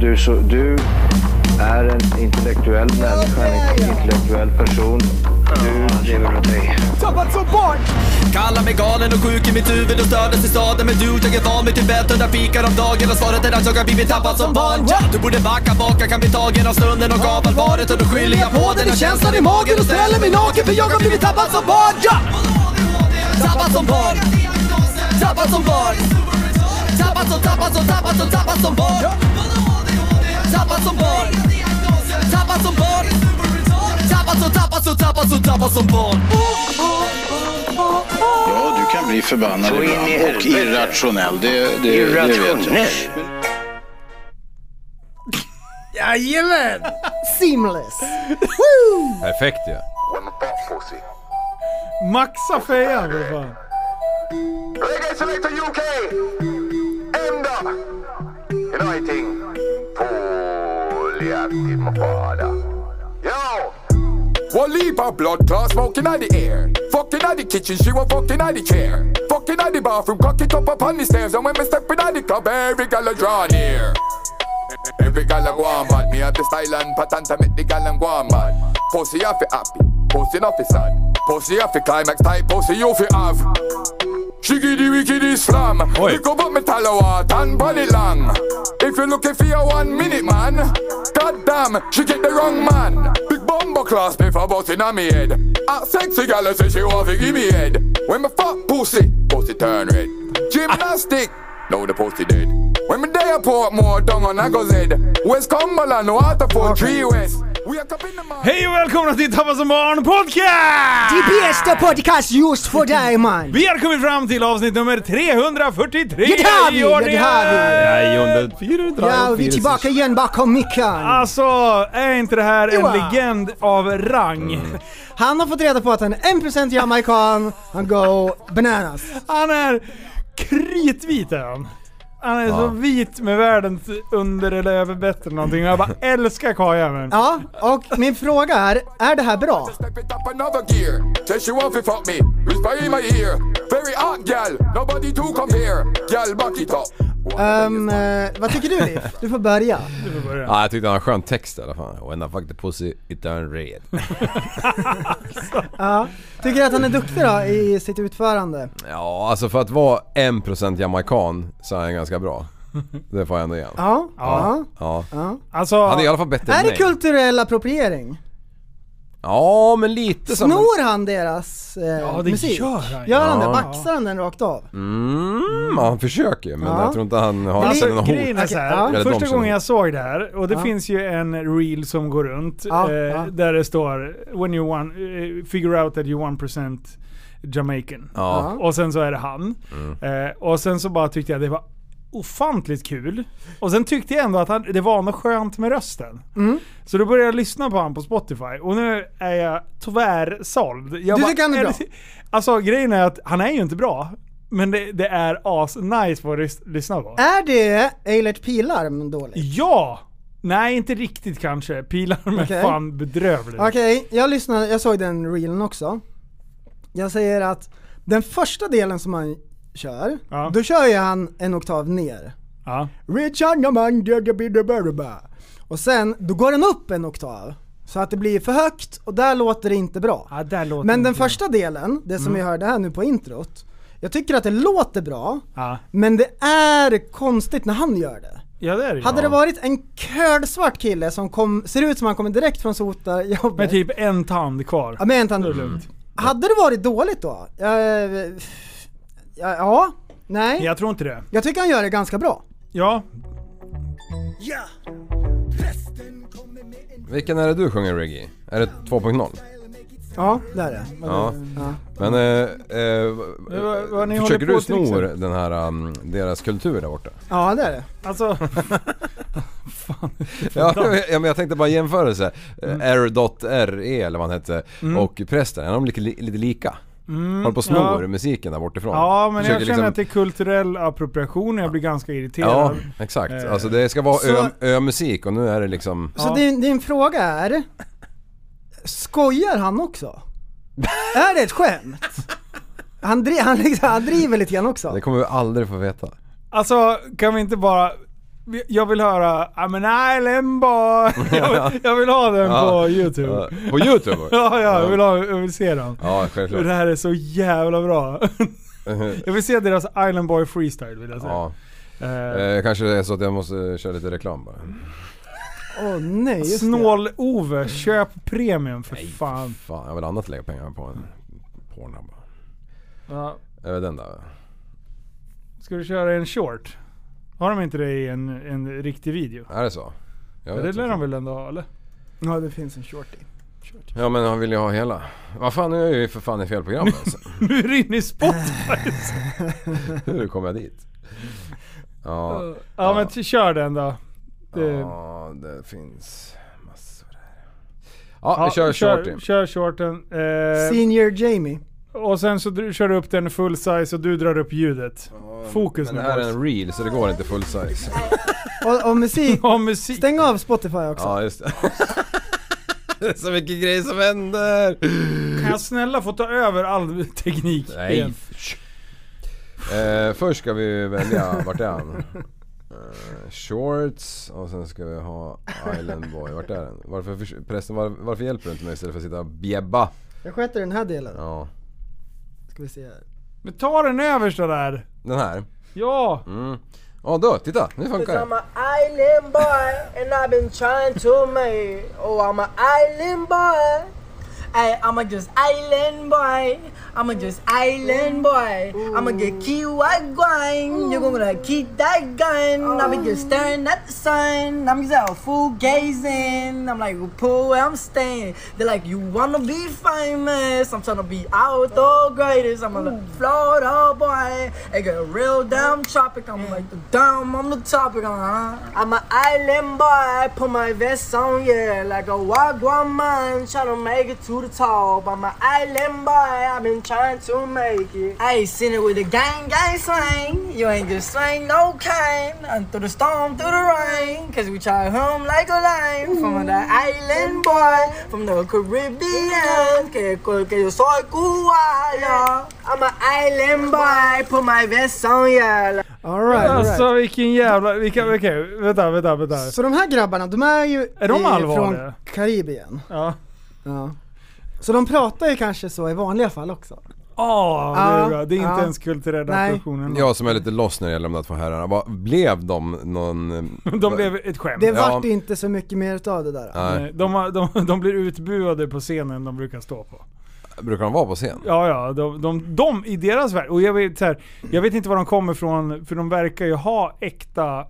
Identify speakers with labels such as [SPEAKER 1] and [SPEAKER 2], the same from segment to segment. [SPEAKER 1] Du, så, du är en intellektuell människa, en intellektuell person. Du lever av dig.
[SPEAKER 2] Tappat som barn!
[SPEAKER 3] Kallar mig galen och sjuk i mitt huvud och stördes i staden Men du, jag är van vid Tibet och där fikar om dagen Och svaret är att jag har blivit tappad som barn ja, Du borde backa bak, jag kan bli tagen av stunden och av allvaret Och då skyller jag på den här känslan i magen och ställer mig naken För jag har blivit tappad som barn ja! Tappad som barn Tappad som barn Tappad som, tappad som, tappad som, tappad som barn Tappad som barn Tappad som barn Tappad som, tappad som, tappad som, tappad som barn
[SPEAKER 4] Ja, du kan bli förbannad
[SPEAKER 1] Så in i
[SPEAKER 4] ibland och
[SPEAKER 1] helvete.
[SPEAKER 4] irrationell. Det, det, det vet jag.
[SPEAKER 1] Irrationell.
[SPEAKER 2] Jajamän! Seamless!
[SPEAKER 5] Perfekt ju. Ja.
[SPEAKER 6] Maxa fejan för fan.
[SPEAKER 7] Reggae Selector UK! Ända! Uniting! Folieaktigt, my father. Yo!
[SPEAKER 8] One leap of blood clot smoking out the air. Fucking out the kitchen, she was fucking out the chair. Fucking out the bathroom, cock it up upon the stairs. And when me stepping out the club, every gal a draw near. Every gal a go on mad. Me have the style and pattern to make the gal and go on mad. Pussy off it happy, pussy off it sad. Pussy off it climax type, pussy you fi have. Shiggity wiggity slam.
[SPEAKER 5] Oi.
[SPEAKER 8] Pick up my tallow heart and body long. If you're looking for a one minute man, god damn, she get the wrong man. Big bumbo class me for busting on me head. A sexy gal I say she want to give me head. When my fuck pussy, pussy turn red. Gymnastic, no the pussy dead. When me day port more dung on I go Zed. West Cumberland, Waterford, Tree West. We are up in the morning.
[SPEAKER 6] Hej och välkomna till Tappa som barn
[SPEAKER 2] Det
[SPEAKER 6] podcast!
[SPEAKER 2] bästa podcast just för dig man!
[SPEAKER 6] Vi har kommit fram till avsnitt nummer 343
[SPEAKER 2] Ja, det har vi, ja, det har
[SPEAKER 6] i
[SPEAKER 2] vi.
[SPEAKER 6] ordningen!
[SPEAKER 5] Rajonde 400.
[SPEAKER 2] Ja, vi är tillbaka igen bakom micken.
[SPEAKER 6] Alltså, är inte det här en
[SPEAKER 2] Joa.
[SPEAKER 6] legend av rang?
[SPEAKER 5] Mm.
[SPEAKER 2] Han har fått reda på att han är 1% jamaican, han går bananas.
[SPEAKER 6] Han är kritvit är han. Han är så vit med världens under eller överbett eller någonting. Jag bara älskar karljäveln.
[SPEAKER 2] Ja, och min fråga är, är det här bra?
[SPEAKER 8] Step it up another gear. Says she want to fuck me. Whisper in my ear. Very hot gal. Nobody to compare. Gal back it up.
[SPEAKER 2] Ehm, eh, vad tycker du Liv? Du får börja.
[SPEAKER 5] Ja, jag tyckte han hade skön text i alla fall. When I fuck the pussy it turned red.
[SPEAKER 2] Ja. Tycker du att han är duktig då i sitt utförande?
[SPEAKER 5] Ja, alltså för att vara 1% jamaican så är han ganska bra. Det får jag ändå igen.
[SPEAKER 2] Ja. ja.
[SPEAKER 5] Ja.
[SPEAKER 6] Alltså,
[SPEAKER 5] Han är i alla fall bättre
[SPEAKER 2] Är
[SPEAKER 5] än
[SPEAKER 2] det
[SPEAKER 5] mig.
[SPEAKER 2] kulturell appropriering?
[SPEAKER 5] Ja, men lite som...
[SPEAKER 2] Snor han deras eh,
[SPEAKER 6] ja, det
[SPEAKER 2] musik?
[SPEAKER 6] gör han ju.
[SPEAKER 2] Gör han det?
[SPEAKER 5] Ja.
[SPEAKER 2] Maxar han den rakt av?
[SPEAKER 5] Mm, ja, han försöker ju, men
[SPEAKER 2] Ja.
[SPEAKER 5] jag tror inte han har
[SPEAKER 2] Alltså,
[SPEAKER 5] alltså, någon
[SPEAKER 6] Grejen
[SPEAKER 5] hot.
[SPEAKER 6] är
[SPEAKER 2] Okej,
[SPEAKER 6] så
[SPEAKER 2] ja.
[SPEAKER 6] här,
[SPEAKER 5] Eller de
[SPEAKER 6] första
[SPEAKER 5] som-
[SPEAKER 6] gången jag såg det här, och det
[SPEAKER 2] Ja.
[SPEAKER 6] finns ju en reel som går runt,
[SPEAKER 2] Ja,
[SPEAKER 6] eh,
[SPEAKER 2] ja.
[SPEAKER 6] där det står When you one, eh, figure out that you 1% Jamaican.
[SPEAKER 5] Ja.
[SPEAKER 6] Och sen så är det han.
[SPEAKER 2] Mm.
[SPEAKER 6] Eh, och sen så bara tyckte jag det var ofantligt kul. Och sen tyckte jag ändå att han, det var något skönt med rösten.
[SPEAKER 2] Mm.
[SPEAKER 6] Så då började jag lyssna på han på Spotify och nu är jag tyvärr såld. Jag
[SPEAKER 2] Du tycker han är bra?
[SPEAKER 6] Alltså grejen är att han är ju inte bra. Men det, det är as-nice på att lys- lyssna på.
[SPEAKER 2] Är det Eilert Pilarm dåligt?
[SPEAKER 6] Ja! Nej, inte riktigt kanske. Pilarm är
[SPEAKER 2] Okej.
[SPEAKER 6] fan bedrövlig.
[SPEAKER 2] Okej, jag lyssnade, jag såg den reelen också. Jag säger att den första delen som han kör,
[SPEAKER 6] Ja.
[SPEAKER 2] då kör ju han en oktav ner.
[SPEAKER 6] Ja.
[SPEAKER 2] Richard Yaman, Jaga Bidda Barba. Och sen, då går den upp en oktav. Så att det blir för högt och där låter det inte bra.
[SPEAKER 6] Ja, där låter
[SPEAKER 2] Men
[SPEAKER 6] inte
[SPEAKER 2] den
[SPEAKER 6] bra.
[SPEAKER 2] första delen, det som
[SPEAKER 6] Mm.
[SPEAKER 2] vi hörde här nu på introt. Jag tycker att det låter bra,
[SPEAKER 6] Ja,
[SPEAKER 2] men det är konstigt när han gör det.
[SPEAKER 6] ja det är det ju.
[SPEAKER 2] Hade det varit en kölsvart kille som kom, ser ut som han kommer direkt från sotarjobbet.
[SPEAKER 6] Med typ en tand kvar.
[SPEAKER 2] Ja, men han,
[SPEAKER 6] lugnt.
[SPEAKER 2] hade det varit dåligt då? Eh, ja, ja, nej.
[SPEAKER 6] Jag tror inte det.
[SPEAKER 2] Jag tycker han gör det ganska bra.
[SPEAKER 6] Ja.
[SPEAKER 5] Vilken är det du sjunger reggae? Är det 2.0?
[SPEAKER 2] Ja, det är det.
[SPEAKER 5] Ja.
[SPEAKER 2] Ja.
[SPEAKER 5] Men eh, eh,
[SPEAKER 6] vad- vad ni håller
[SPEAKER 5] försöker
[SPEAKER 6] på
[SPEAKER 5] du
[SPEAKER 6] till
[SPEAKER 5] sno
[SPEAKER 6] exempel?
[SPEAKER 5] den här, um, deras kultur där borta?
[SPEAKER 2] Ja, det är det.
[SPEAKER 6] Alltså,
[SPEAKER 5] Ja, ja, men jag tänkte bara jämförelse. Mm. R.R.E E, eller vad han hette
[SPEAKER 6] Mm.
[SPEAKER 5] och prästen, är de lite, lite lika? Håller på och snor
[SPEAKER 6] ja.
[SPEAKER 5] musiken där bortifrån.
[SPEAKER 6] ja men jag
[SPEAKER 5] Försöker liksom-
[SPEAKER 6] känner att det är kulturell appropriation och jag blir ganska irriterad.
[SPEAKER 5] Ja, exakt.
[SPEAKER 6] Eh,
[SPEAKER 5] Alltså det ska vara
[SPEAKER 2] så-
[SPEAKER 5] ö- ö-musik och nu är det liksom...
[SPEAKER 2] Så
[SPEAKER 6] Ja.
[SPEAKER 2] din, din fråga är, skojar han också? är det ett skämt? Han, dri, han, liksom, han driver lite grann också.
[SPEAKER 5] Det kommer vi aldrig få veta.
[SPEAKER 6] Alltså, kan vi inte bara... vi- jag vill höra "Ah, I'm an island boy. Jag, jag vill ha den
[SPEAKER 3] Ja.
[SPEAKER 6] på youtube.
[SPEAKER 3] Ja, På YouTube?
[SPEAKER 6] Ja, ja, jag vill, ha, jag vill se dem.
[SPEAKER 3] Ja,
[SPEAKER 6] Och Det
[SPEAKER 3] självklart.
[SPEAKER 6] här är så jävla bra. Jag vill se deras Island Boy freestyle vill jag säga.
[SPEAKER 3] Ja.
[SPEAKER 6] Eh,
[SPEAKER 3] Eh, kanske det är så att jag måste eh, köra lite reklam bara.
[SPEAKER 2] Åh nej, just
[SPEAKER 3] Mm.
[SPEAKER 6] Snål-Ove, köp premium för fan.
[SPEAKER 3] Fan, jag vill annat lägga pengar på än Pornhub.
[SPEAKER 6] Ja.
[SPEAKER 3] Är det den där?
[SPEAKER 6] Ska du köra en short? Har de inte det i en, en riktig video?
[SPEAKER 3] Är det så? Jag
[SPEAKER 6] Det
[SPEAKER 3] vet
[SPEAKER 6] lär
[SPEAKER 3] inte.
[SPEAKER 6] de väl ändå ha eller?
[SPEAKER 2] det. Ja, det finns en shorty. Shorty.
[SPEAKER 3] Ja men han vill ju ha hela. Vad fan, nu är jag ju för fan i fel program alltså.
[SPEAKER 6] Nu är du inne i spot!
[SPEAKER 3] Hur kom jag dit? Ja,
[SPEAKER 6] Ja men t- kör den då. Det,
[SPEAKER 3] ja det finns massor här. Ja, vi
[SPEAKER 6] ja,
[SPEAKER 3] kör
[SPEAKER 6] kör,
[SPEAKER 3] shorty.
[SPEAKER 6] kör shorten. Eh,
[SPEAKER 2] Senior Jamie.
[SPEAKER 6] och sen så dr- kör du upp den full size och du drar upp ljudet. Fokus
[SPEAKER 3] Men
[SPEAKER 6] nu
[SPEAKER 3] det här är
[SPEAKER 6] boys.
[SPEAKER 3] en reel så det går inte full size.
[SPEAKER 2] Och, och musik.
[SPEAKER 6] Ja musik.
[SPEAKER 2] Stäng av Spotify också.
[SPEAKER 3] Ja just det. det är så mycket grejer som händer.
[SPEAKER 6] Kan jag snälla få ta över all teknik?
[SPEAKER 3] Nej.
[SPEAKER 6] igen?
[SPEAKER 3] Eh, först ska vi välja, vart är han? Eh, Shorts och sen ska vi ha Island Boy. Vart är den? Varför, förs- förresten, var, varför hjälper du inte mig istället för att sitta och bjäbba?
[SPEAKER 2] Jag sköter den här delen.
[SPEAKER 3] Ja.
[SPEAKER 2] Ska vi se här.
[SPEAKER 6] Men ta den översta där.
[SPEAKER 3] Den här. Mm.
[SPEAKER 6] Ja.
[SPEAKER 3] Ja då, titta! Nu funkar det.
[SPEAKER 5] I'm an island boy, and I've been trying to make. Oh, I'm an island boy. Ay, I'm a just island boy. I'm a just island boy. I'm a get key what going. You're gonna keep that gun. I'll be just staring at the sun. I'm just out full gazing. I'm like, pull where I'm staying. They're like, you wanna be famous. I'm trying to be out the greatest. I'm a like, Florida boy. I got a real damn tropic. I'm like, the damn, I'm the topic. Uh-huh. I'm an island boy. Put my vest on, yeah. Like a wagwan man. Trying to make it to the top. I'm an island boy. I've been trying to make it. I ain't seen it with a gang, gang swing. You ain't just swing no kind. And through the storm, through the rain. Cause we try home like a line. From the island boy. From the Caribbean. Que, que yo soy cubano. I'm an island boy. Put my vest on, yeah. Like
[SPEAKER 2] Alright,
[SPEAKER 6] Alltså
[SPEAKER 2] alright.
[SPEAKER 6] vilken jävla... Vilka, okej, vänta, vänta, vänta.
[SPEAKER 2] Så de här grabbarna, de är ju
[SPEAKER 6] Är de
[SPEAKER 2] i-
[SPEAKER 6] allvarliga?
[SPEAKER 2] från Karibien.
[SPEAKER 6] Ja.
[SPEAKER 2] Ja. Så de pratar ju kanske så i vanliga fall också.
[SPEAKER 6] Åh, det är
[SPEAKER 2] Ja,
[SPEAKER 6] bra. Det är inte
[SPEAKER 2] ja.
[SPEAKER 6] ens kulturella
[SPEAKER 2] Nej.
[SPEAKER 6] appropriationen.
[SPEAKER 3] Jag som är lite lost när det gäller de där två herrarna. Vad, blev de någon...
[SPEAKER 6] De blev ett skämt.
[SPEAKER 2] Det
[SPEAKER 3] Ja.
[SPEAKER 2] vart ju inte så mycket mer utav det där.
[SPEAKER 3] Nej.
[SPEAKER 6] Nej, De, har- de, de blir utbuade på scenen de brukar stå på.
[SPEAKER 3] Brukar de vara på scen?
[SPEAKER 6] Ja, ja. De, de, de i deras värld. Och jag vet, så här, jag vet inte var de kommer ifrån, för de verkar ju ha äkta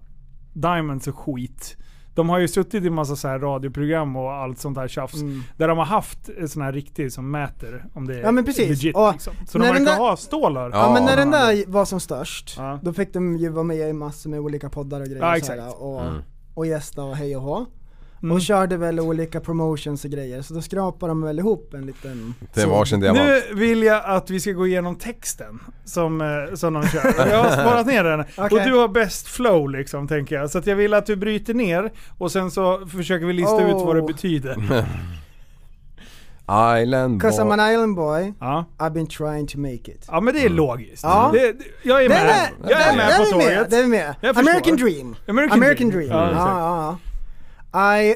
[SPEAKER 6] diamonds och skit. De har ju suttit i massa så här radioprogram och allt sånt där tjafs. Där de har haft en sån här riktig som mäter om det är
[SPEAKER 2] Mm. Ja, men precis.
[SPEAKER 6] legit.
[SPEAKER 2] Och
[SPEAKER 6] liksom. Så de
[SPEAKER 2] när den
[SPEAKER 6] verkar
[SPEAKER 2] där-
[SPEAKER 6] ha stålar.
[SPEAKER 3] Ja.
[SPEAKER 2] Ja men när den där var som störst,
[SPEAKER 6] Ja.
[SPEAKER 2] då fick de ju vara med i massor med olika poddar och grejer
[SPEAKER 6] Ja,
[SPEAKER 2] och
[SPEAKER 6] exakt.
[SPEAKER 2] sådär, och,
[SPEAKER 6] Mm.
[SPEAKER 2] och gästa och hej och hå. Och körde väl olika promotions och grejer, så då skrapar de väl ihop en liten...
[SPEAKER 3] Det är varsin diamant.
[SPEAKER 6] Nu vill jag att vi ska gå igenom texten som, eh, som de kör. Jag har sparat ner den. Och du har bäst flow liksom, tänker jag. Så att jag vill att du bryter ner och sen så försöker vi lista ut vad det
[SPEAKER 2] Oh.
[SPEAKER 6] betyder.
[SPEAKER 3] Island
[SPEAKER 2] Cause I'm
[SPEAKER 3] boy.
[SPEAKER 2] an island boy,
[SPEAKER 6] Ja,
[SPEAKER 2] I've been trying to make it.
[SPEAKER 6] ja men det är logiskt.
[SPEAKER 2] Ja.
[SPEAKER 6] Det, det- jag är
[SPEAKER 2] Den
[SPEAKER 6] med.
[SPEAKER 2] är-
[SPEAKER 6] Jag är
[SPEAKER 2] den-
[SPEAKER 6] med
[SPEAKER 2] den
[SPEAKER 6] på
[SPEAKER 2] är
[SPEAKER 6] tåget.
[SPEAKER 2] Den är med!
[SPEAKER 6] Jag förstår.
[SPEAKER 2] American dream!
[SPEAKER 6] American, Oh,
[SPEAKER 2] American dream,
[SPEAKER 6] Ja,
[SPEAKER 2] ja,
[SPEAKER 6] exakt.
[SPEAKER 2] ja, ja. I,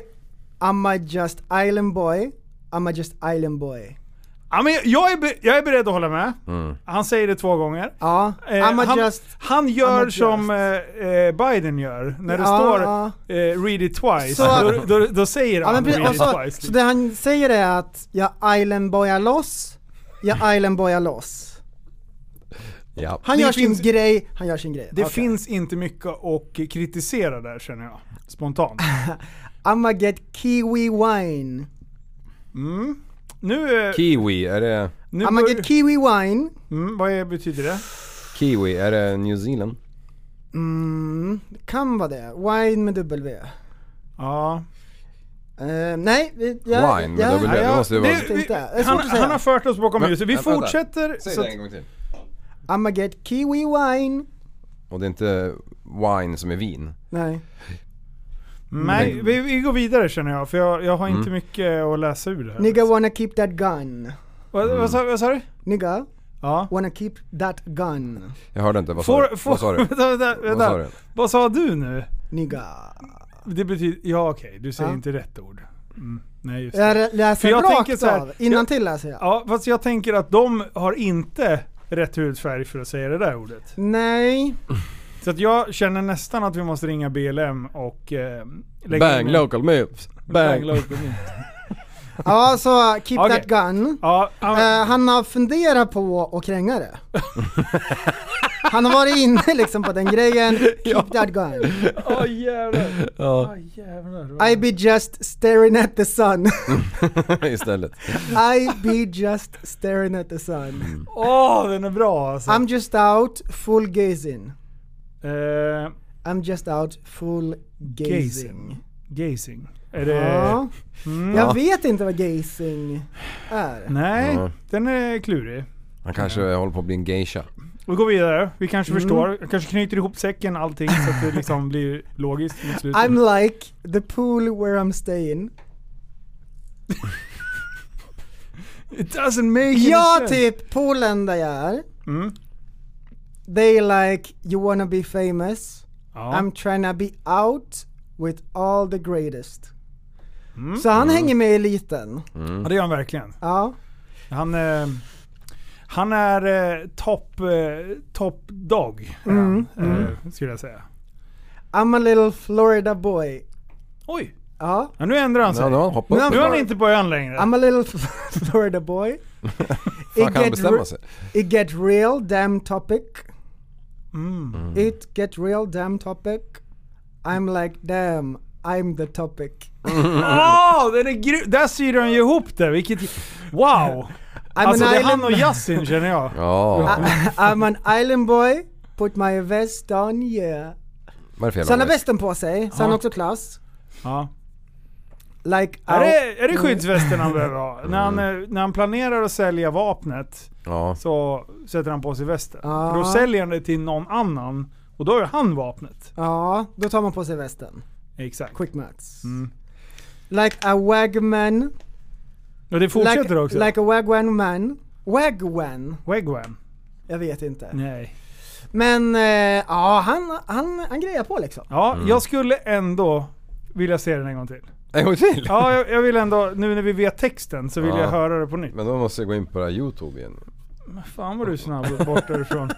[SPEAKER 2] I'm a just island boy, I'm a just island boy.
[SPEAKER 6] Ja, men jag, är be, jag är beredd att hålla med. Han säger det två gånger.
[SPEAKER 2] Ja,
[SPEAKER 6] Eh,
[SPEAKER 2] I'm a
[SPEAKER 6] han,
[SPEAKER 2] just...
[SPEAKER 6] han gör
[SPEAKER 2] I'm a
[SPEAKER 6] som eh, eh, Biden gör. När det
[SPEAKER 2] Ja,
[SPEAKER 6] står
[SPEAKER 2] ja.
[SPEAKER 6] eh, “read it twice”,
[SPEAKER 2] Så-
[SPEAKER 6] då, då, då säger
[SPEAKER 2] Ja,
[SPEAKER 6] han
[SPEAKER 2] men precis,
[SPEAKER 6] “read
[SPEAKER 2] och
[SPEAKER 6] it
[SPEAKER 2] så,
[SPEAKER 6] twice”.
[SPEAKER 2] så det han säger är att jag islandboyar loss, jag islandboyar loss.
[SPEAKER 3] Ja.
[SPEAKER 2] Han
[SPEAKER 6] Det
[SPEAKER 2] gör sin
[SPEAKER 6] finns-
[SPEAKER 2] grej, han gör sin grej.
[SPEAKER 6] Det
[SPEAKER 2] Okej.
[SPEAKER 6] finns inte mycket att kritisera där känner jag. Spontant.
[SPEAKER 2] I'mma get kiwi wine.
[SPEAKER 6] Nu... eh,
[SPEAKER 3] Kiwi, är det...
[SPEAKER 6] nu
[SPEAKER 2] I'mma
[SPEAKER 6] bör,
[SPEAKER 2] get kiwi wine.
[SPEAKER 6] mm, vad är, betyder det?
[SPEAKER 3] Kiwi, är det New Zealand?
[SPEAKER 2] Mm, det kan vara det. Wine med W.
[SPEAKER 6] Ja.
[SPEAKER 2] Eh, nej, vi- jag,
[SPEAKER 3] Wine med
[SPEAKER 2] jag,
[SPEAKER 3] W, det måste ju vara...
[SPEAKER 2] vet inte. Det är svårt
[SPEAKER 6] han,
[SPEAKER 2] att säga.
[SPEAKER 6] han har fört oss bakom
[SPEAKER 3] Men-
[SPEAKER 6] ljuset. Vi
[SPEAKER 3] men vänta.
[SPEAKER 6] fortsätter.
[SPEAKER 3] Säg
[SPEAKER 6] så
[SPEAKER 3] det
[SPEAKER 6] att-
[SPEAKER 3] en gång till.
[SPEAKER 2] I'mma get kiwi wine.
[SPEAKER 3] Och det är inte wine som är vin.
[SPEAKER 2] Nej.
[SPEAKER 6] Mm. nej, vi, vi går vidare känner jag. För jag, jag har inte
[SPEAKER 3] Mm.
[SPEAKER 6] mycket att läsa ur här.
[SPEAKER 2] Nigga wanna keep that gun.
[SPEAKER 6] Vad, vad, sa, vad sa du?
[SPEAKER 2] Nigga
[SPEAKER 6] Ja.
[SPEAKER 2] wanna keep that gun.
[SPEAKER 3] Jag hörde inte, vad sa
[SPEAKER 6] Får,
[SPEAKER 3] du?
[SPEAKER 6] får,
[SPEAKER 3] Vad sa du?
[SPEAKER 6] vänta, vänta,
[SPEAKER 3] Vad sa
[SPEAKER 6] vänta.
[SPEAKER 3] du?
[SPEAKER 6] Vad sa du nu?
[SPEAKER 2] Nigga.
[SPEAKER 6] Det betyder... Ja okej, du säger
[SPEAKER 2] Ja.
[SPEAKER 6] inte rätt ord. Mm. Nej just det.
[SPEAKER 2] Jag läser
[SPEAKER 6] För jag tänker
[SPEAKER 2] rakt
[SPEAKER 6] så här,
[SPEAKER 2] av. Innantill läser jag.
[SPEAKER 6] Ja, fast jag tänker att de har inte rätt hudfärg för att säga det där ordet.
[SPEAKER 2] Nej.
[SPEAKER 6] Så att jag känner nästan att vi måste ringa BLM och... Eh, lägga
[SPEAKER 3] Bang
[SPEAKER 6] in-
[SPEAKER 3] local moves.
[SPEAKER 6] Bang
[SPEAKER 3] Bang.
[SPEAKER 6] local meat.
[SPEAKER 2] Ja, så keep
[SPEAKER 6] Okej.
[SPEAKER 2] that gun.
[SPEAKER 6] Ja, ah, ja, men-
[SPEAKER 2] Eh, han har funderat på att kränga det. han har varit inne liksom på den grejen. Keep that gun.
[SPEAKER 6] Åh ah, jävlar.
[SPEAKER 3] Ja,
[SPEAKER 6] Åh jävlar.
[SPEAKER 2] I be just staring at the sun.
[SPEAKER 3] istället.
[SPEAKER 2] I be just staring at the sun.
[SPEAKER 6] Åh, den är bra alltså.
[SPEAKER 2] I'm just out full gazing.
[SPEAKER 6] Eh,
[SPEAKER 2] I'm just out full gazing.
[SPEAKER 6] gazing. Gazing. Är det...
[SPEAKER 2] Ja.
[SPEAKER 6] Mm.
[SPEAKER 2] Jag vet inte vad gazing är.
[SPEAKER 6] Nej,
[SPEAKER 3] Ja.
[SPEAKER 6] den är klurig.
[SPEAKER 3] Han kanske håller på att bli en geisha.
[SPEAKER 6] Vi går vidare. Vi kanske
[SPEAKER 2] Mm.
[SPEAKER 6] förstår. Jag kanske knyter ihop säcken allting så att det liksom blir logiskt mot slutet.
[SPEAKER 2] I'm like the pool where I'm staying.
[SPEAKER 6] It doesn't make any
[SPEAKER 2] Ja,
[SPEAKER 6] sense.
[SPEAKER 2] typ poolen där jag är.
[SPEAKER 6] Mm.
[SPEAKER 2] They like, you wanna be famous.
[SPEAKER 6] Ja.
[SPEAKER 2] I'm trying to be out with all the greatest.
[SPEAKER 6] Mm.
[SPEAKER 2] Så han hänger med i eliten.
[SPEAKER 6] ja, det gör han verkligen.
[SPEAKER 2] Ja.
[SPEAKER 6] Han, eh, han är eh, topp eh, top dog, är
[SPEAKER 2] Mm,
[SPEAKER 6] han, eh, skulle jag säga.
[SPEAKER 2] I'm a little Florida boy.
[SPEAKER 6] Oj!
[SPEAKER 2] Ja.
[SPEAKER 6] Ja, nu ändrar han sig.
[SPEAKER 3] Ja, nu har han hoppat
[SPEAKER 6] Nu är han
[SPEAKER 3] upp.
[SPEAKER 6] inte på ön längre.
[SPEAKER 2] I'm a little Florida boy.
[SPEAKER 3] Fan, kan han bestämma
[SPEAKER 2] re-
[SPEAKER 3] sig?
[SPEAKER 2] it get real damn topic.
[SPEAKER 6] Mm.
[SPEAKER 2] It get real damn topic. I'm like damn, I'm the topic.
[SPEAKER 6] Åh, den Ah, är grym! Där syr han ju ihop det, vilket... Wow!
[SPEAKER 2] I'm
[SPEAKER 6] alltså
[SPEAKER 2] an
[SPEAKER 6] det är
[SPEAKER 2] island
[SPEAKER 6] han och Yasin känner jag.
[SPEAKER 3] Ja,
[SPEAKER 2] I'm an island boy. Put my vest on yeah.
[SPEAKER 3] vad
[SPEAKER 2] Så han
[SPEAKER 3] är det för jävla
[SPEAKER 2] har
[SPEAKER 3] ångest?
[SPEAKER 2] västen på sig, så han
[SPEAKER 6] Ja.
[SPEAKER 2] har också klass.
[SPEAKER 6] Ja.
[SPEAKER 2] Like
[SPEAKER 6] Är,
[SPEAKER 2] out-
[SPEAKER 6] det, är det skyddsvästen han behöver ha? När, han, eh, när han planerar att sälja vapnet
[SPEAKER 3] Mm. Ja,
[SPEAKER 6] så sätter han på sig västen.
[SPEAKER 2] Ja.
[SPEAKER 6] För då säljer han det till någon annan och då har ju han vapnet.
[SPEAKER 2] Ja, då tar man på sig västen.
[SPEAKER 6] Exakt.
[SPEAKER 2] Quick maths.
[SPEAKER 6] Mm.
[SPEAKER 2] Like a wagman.
[SPEAKER 6] Och det fortsätter
[SPEAKER 2] Like,
[SPEAKER 6] också.
[SPEAKER 2] like a wagwan man. Wagwan?
[SPEAKER 6] Wegwan.
[SPEAKER 2] Jag vet inte.
[SPEAKER 6] Nej.
[SPEAKER 2] Men eh, ja, han, han, han grejar på liksom.
[SPEAKER 6] Ja,
[SPEAKER 3] Mm.
[SPEAKER 6] jag skulle ändå vilja se den en gång till.
[SPEAKER 3] en gång till!
[SPEAKER 6] Ja, jag, jag vill ändå, nu när vi vet texten så vill
[SPEAKER 3] Ja.
[SPEAKER 6] jag höra det på nytt.
[SPEAKER 3] Men då måste jag gå in på det här youtube igen.
[SPEAKER 6] Fan vad du är snabb bort därifrån.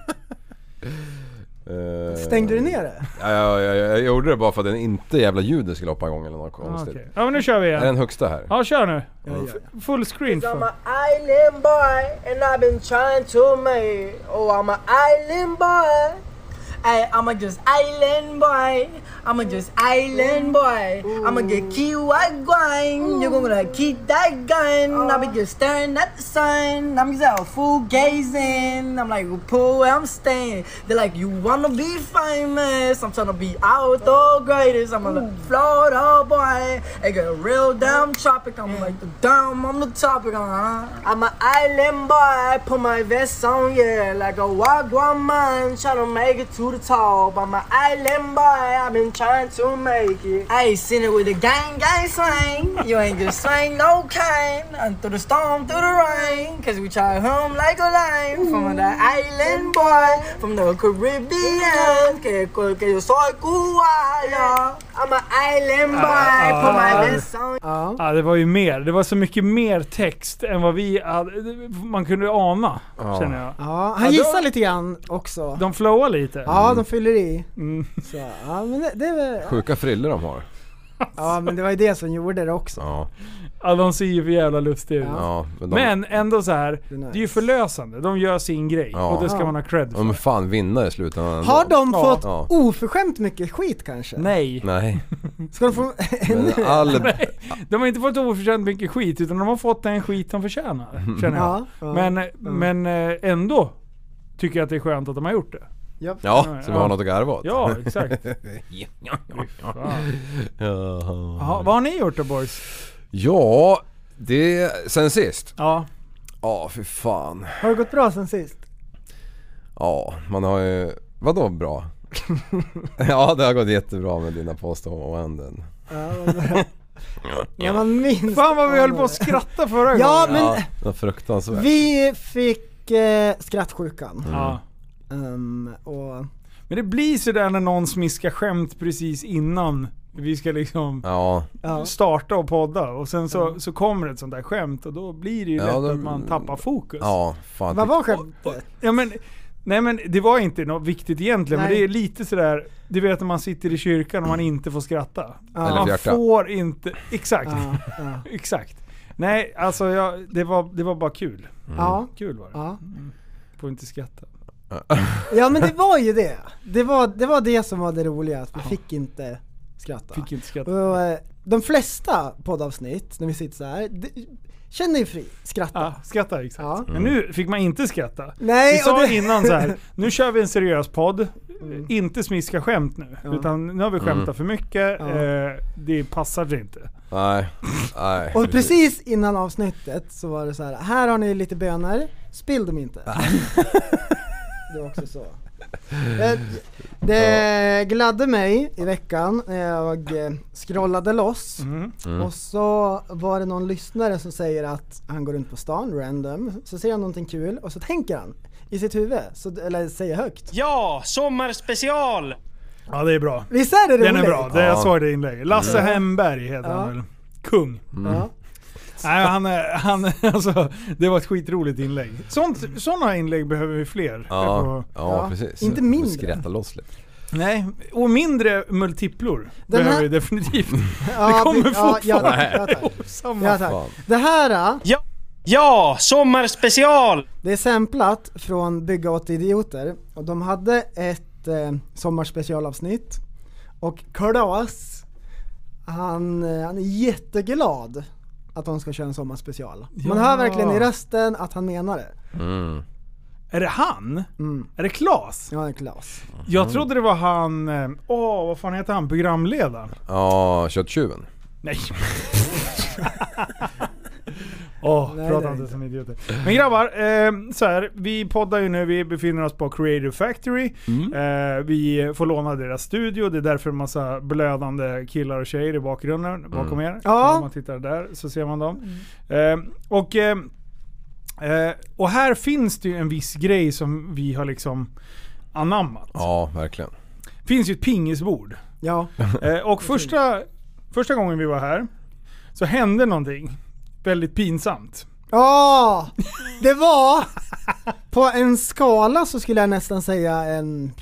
[SPEAKER 3] Eh,
[SPEAKER 2] Stängde du ner det?
[SPEAKER 3] Ja, ja, ja, jag gjorde det bara för att den inte jävla ljudet skulle hoppa igång eller något
[SPEAKER 6] Ah,
[SPEAKER 3] konstigt.
[SPEAKER 6] okej. Ja men nu kör vi
[SPEAKER 3] Är den
[SPEAKER 6] igen.
[SPEAKER 3] högsta här?
[SPEAKER 6] Ja kör nu.
[SPEAKER 2] ja,
[SPEAKER 6] F- Full screen.
[SPEAKER 5] I'm
[SPEAKER 6] Fan.
[SPEAKER 5] an island boy, and I've been trying to make. Oh, I'm an island boy. Ay, I'ma just island boy. I'ma just island boy. I'ma get key white going. You're gonna keep that gun. I'll be just staring at the sun. I'm just out full gazing. I'm like, poor where I'm staying. They're like, you wanna be famous? I'm trying to be out the greatest. I'm gonna Florida boy. I got a real damn tropic. I'm like the dumb, I'm the topic. Uh-huh. I'm an island boy. I put my vest on, yeah, like a wagwan man trying to make it to the top. I'm an island boy. I've been trying to make it. I ain't seen it with the gang, gang slang. You ain't just swing no kind. And through the storm, through the rain, cause we try home like a line. From the island boy, from the Caribbean. Que, que yo soy cubano. I'm an island boy. put
[SPEAKER 2] Ah.
[SPEAKER 5] my vest on.
[SPEAKER 2] Ja.
[SPEAKER 6] Ja, det var ju mer. Det var så mycket mer text än vad vi hade, man kunde ana. Känner jag.
[SPEAKER 2] ja
[SPEAKER 6] Ja,
[SPEAKER 2] han
[SPEAKER 6] då-
[SPEAKER 2] gissar lite grann också.
[SPEAKER 6] De flowar lite.
[SPEAKER 2] Ja, de fyller i.
[SPEAKER 6] Mm.
[SPEAKER 2] Så, ja, men det, det, är väl-
[SPEAKER 3] Sjuka friller de har.
[SPEAKER 2] ja, men det var ju det som gjorde det också.
[SPEAKER 3] Ja,
[SPEAKER 6] Ja, de ser ju för jävla lustiga ut.
[SPEAKER 3] ja. Men de,
[SPEAKER 6] Men ändå så här.
[SPEAKER 2] är nice.
[SPEAKER 6] det är ju förlösande. De gör sin grej
[SPEAKER 3] Ja.
[SPEAKER 6] och det ska
[SPEAKER 2] Ja.
[SPEAKER 6] man ha cred för.
[SPEAKER 3] de är fan vinnare i slutändan ändå.
[SPEAKER 2] Har de
[SPEAKER 6] Ja.
[SPEAKER 2] fått
[SPEAKER 3] Ja.
[SPEAKER 2] oförskämt mycket skit kanske?
[SPEAKER 6] Nej.
[SPEAKER 3] Nej,
[SPEAKER 2] Ska de få ännu?
[SPEAKER 3] men all...
[SPEAKER 6] De har inte fått oförtjänt mycket skit utan de har fått den skit de förtjänar. Känner jag.
[SPEAKER 2] Ja, ja.
[SPEAKER 6] Men, men eh, ändå tycker jag att det är skönt att de har gjort det.
[SPEAKER 2] Japp.
[SPEAKER 3] Ja, så vi har något att garva åt.
[SPEAKER 6] Ja, exakt. Jaha, vad har ni gjort då boys?
[SPEAKER 3] Ja, det... Sen sist?
[SPEAKER 6] Ja.
[SPEAKER 3] Ja, för fan.
[SPEAKER 2] Har det gått bra sen sist?
[SPEAKER 3] Ja, man har ju... Vadå bra? ja, det har gått jättebra med dina påståenden.
[SPEAKER 2] Ja. Man minns
[SPEAKER 6] Fan vad vi höll på att skratta förra gången.
[SPEAKER 2] Ja, men
[SPEAKER 3] Ja, det var fruktansvärt. Mm.
[SPEAKER 2] vi fick eh, skrattsjukan.
[SPEAKER 6] Ja.
[SPEAKER 2] Ehm, och
[SPEAKER 6] Men det blir sådär när någon smiskar skämt precis innan vi ska liksom
[SPEAKER 3] Ja,
[SPEAKER 2] Ja.
[SPEAKER 6] starta och podda. Och sen så, så kommer ett sånt där skämt och då blir det ju
[SPEAKER 3] Ja,
[SPEAKER 6] lätt
[SPEAKER 3] då-
[SPEAKER 6] att man tappar fokus.
[SPEAKER 3] ja, fan.
[SPEAKER 2] Vad var
[SPEAKER 6] Och,
[SPEAKER 2] skämtet?
[SPEAKER 6] ja, men, nej men det var inte något viktigt egentligen, men
[SPEAKER 2] Nej.
[SPEAKER 6] det är lite sådär, du vet när man sitter i kyrkan och man inte får skratta.
[SPEAKER 3] Eller
[SPEAKER 6] man
[SPEAKER 3] fjärta.
[SPEAKER 6] får inte, exakt.
[SPEAKER 2] Ja, ja.
[SPEAKER 6] Exakt. Nej, alltså jag, det, var, det var bara kul.
[SPEAKER 2] Ja.
[SPEAKER 6] Kul var det.
[SPEAKER 2] Ja.
[SPEAKER 6] Får inte skratta.
[SPEAKER 2] ja men det var ju det. Det var det, var det som var det roliga, att vi fick inte skratta.
[SPEAKER 6] Fick inte skratta.
[SPEAKER 2] Och, eh, de flesta poddavsnitt, när vi sitter så här, det- känner ju fri, skratta.
[SPEAKER 6] Ja, ah, skratta exakt.
[SPEAKER 2] Ja.
[SPEAKER 6] Men nu fick man inte skratta.
[SPEAKER 2] Nej,
[SPEAKER 6] vi sa
[SPEAKER 2] och det- Mm.
[SPEAKER 6] innan så här. nu kör vi en seriös podd. Inte smiska skämt nu.
[SPEAKER 2] Ja.
[SPEAKER 6] Utan nu har vi skämtat
[SPEAKER 3] Mm.
[SPEAKER 6] för mycket.
[SPEAKER 2] Ja.
[SPEAKER 6] Eh, det passar inte.
[SPEAKER 3] Nej, nej.
[SPEAKER 2] Och precis innan avsnittet så var det så här. här har ni lite bönor, spill dem inte. det var också så. Eh, Det gladde mig i veckan när jag eh, scrollade loss
[SPEAKER 6] Mm.
[SPEAKER 3] Mm.
[SPEAKER 2] och så var det någon lyssnare som säger att han går runt på stan random, så ser han någonting kul och så tänker han i sitt huvud, så, eller säger högt.
[SPEAKER 9] Ja, sommarspecial!
[SPEAKER 6] Ja det är bra.
[SPEAKER 2] Visst är det roligt?
[SPEAKER 6] Den är bra. Det, jag
[SPEAKER 3] Ja.
[SPEAKER 6] såg det inlägget. Lasse Hemberg heter han väl? Kung.
[SPEAKER 3] Mm.
[SPEAKER 2] Ja.
[SPEAKER 6] Nej, han, är- han, alltså, det var ett skitroligt inlägg. Sånt, sådana inlägg behöver vi fler.
[SPEAKER 3] Ja,
[SPEAKER 2] Ja,
[SPEAKER 3] ja, precis.
[SPEAKER 2] inte mindre.
[SPEAKER 3] Skratta loss lite.
[SPEAKER 6] Nej, och mindre multiplor
[SPEAKER 2] Den
[SPEAKER 6] behöver
[SPEAKER 2] här-
[SPEAKER 6] vi definitivt.
[SPEAKER 2] Ja,
[SPEAKER 6] kommer
[SPEAKER 2] vi- Ja, ja, tack. ja, tack.
[SPEAKER 6] Samma.
[SPEAKER 2] Ja,
[SPEAKER 3] Fan.
[SPEAKER 2] tack. Det här äh,
[SPEAKER 9] Ja, ja sommarspecial!
[SPEAKER 2] Det är samplat från Bygga åt idioter och de hade ett eh, sommarspecialavsnitt och Klas, han, eh, han är jätteglad att de ska köra en sommarspecial. Man
[SPEAKER 6] Ja.
[SPEAKER 2] hör verkligen i rösten att han menar det.
[SPEAKER 6] Är det han?
[SPEAKER 2] Mm.
[SPEAKER 6] Är det Klas?
[SPEAKER 2] Ja, Klas.
[SPEAKER 3] Mm.
[SPEAKER 6] Jag trodde det var han... eh, Åh, vad fan heter han? Programledaren?
[SPEAKER 3] Ja, kötttjuven.
[SPEAKER 6] Nej. Åh,
[SPEAKER 2] Nej, det
[SPEAKER 6] prata
[SPEAKER 2] är
[SPEAKER 6] inte
[SPEAKER 2] inte.
[SPEAKER 6] som idioter. Men grabbar, eh, så här, vi poddar ju nu, vi befinner oss på Creative Factory.
[SPEAKER 3] Mm.
[SPEAKER 6] Eh, vi får låna deras studio, det är därför en massa blödande killar och tjejer i
[SPEAKER 3] Mm.
[SPEAKER 6] bakgrunden bakom er.
[SPEAKER 2] Ja. Mm.
[SPEAKER 6] Om man tittar där så ser man dem. Eh, och, eh, eh, och här finns det ju en viss grej som vi har liksom anammat.
[SPEAKER 3] Ja, verkligen.
[SPEAKER 6] finns ju ett pingisbord.
[SPEAKER 2] Ja,
[SPEAKER 6] Eh, och första, första gången vi var här så hände någonting väldigt pinsamt.
[SPEAKER 2] ja det var på en skala så skulle jag nästan säga en,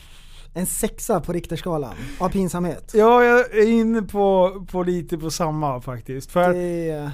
[SPEAKER 2] en sexa på Richterskalan av pinsamhet.
[SPEAKER 6] Ja, jag är inne på, på lite på samma faktiskt. För
[SPEAKER 2] Det,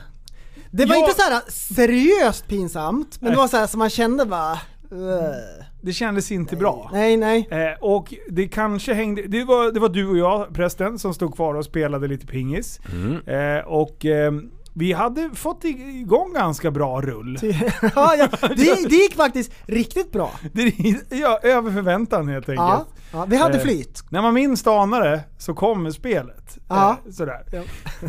[SPEAKER 2] det var
[SPEAKER 6] Jag-
[SPEAKER 2] inte så här seriöst pinsamt, men det var så här som man kände bara... eh.
[SPEAKER 6] det kändes inte bra.
[SPEAKER 2] Nej, nej.
[SPEAKER 6] Eh, och det kanske hängde... Det var, det var du och jag, prästen, som stod kvar och spelade lite pingis. Eh, och ehm, vi hade fått i- igång ganska bra rull.
[SPEAKER 2] ja, ja. Det, det gick faktiskt riktigt bra.
[SPEAKER 6] Det, ja, över förväntan helt enkelt.
[SPEAKER 2] Ja, ja, vi hade
[SPEAKER 6] Eh,
[SPEAKER 2] flyt.
[SPEAKER 6] När man minst anar det så kommer spelet.
[SPEAKER 2] Ja.
[SPEAKER 6] Eh, sådär.
[SPEAKER 2] Ja.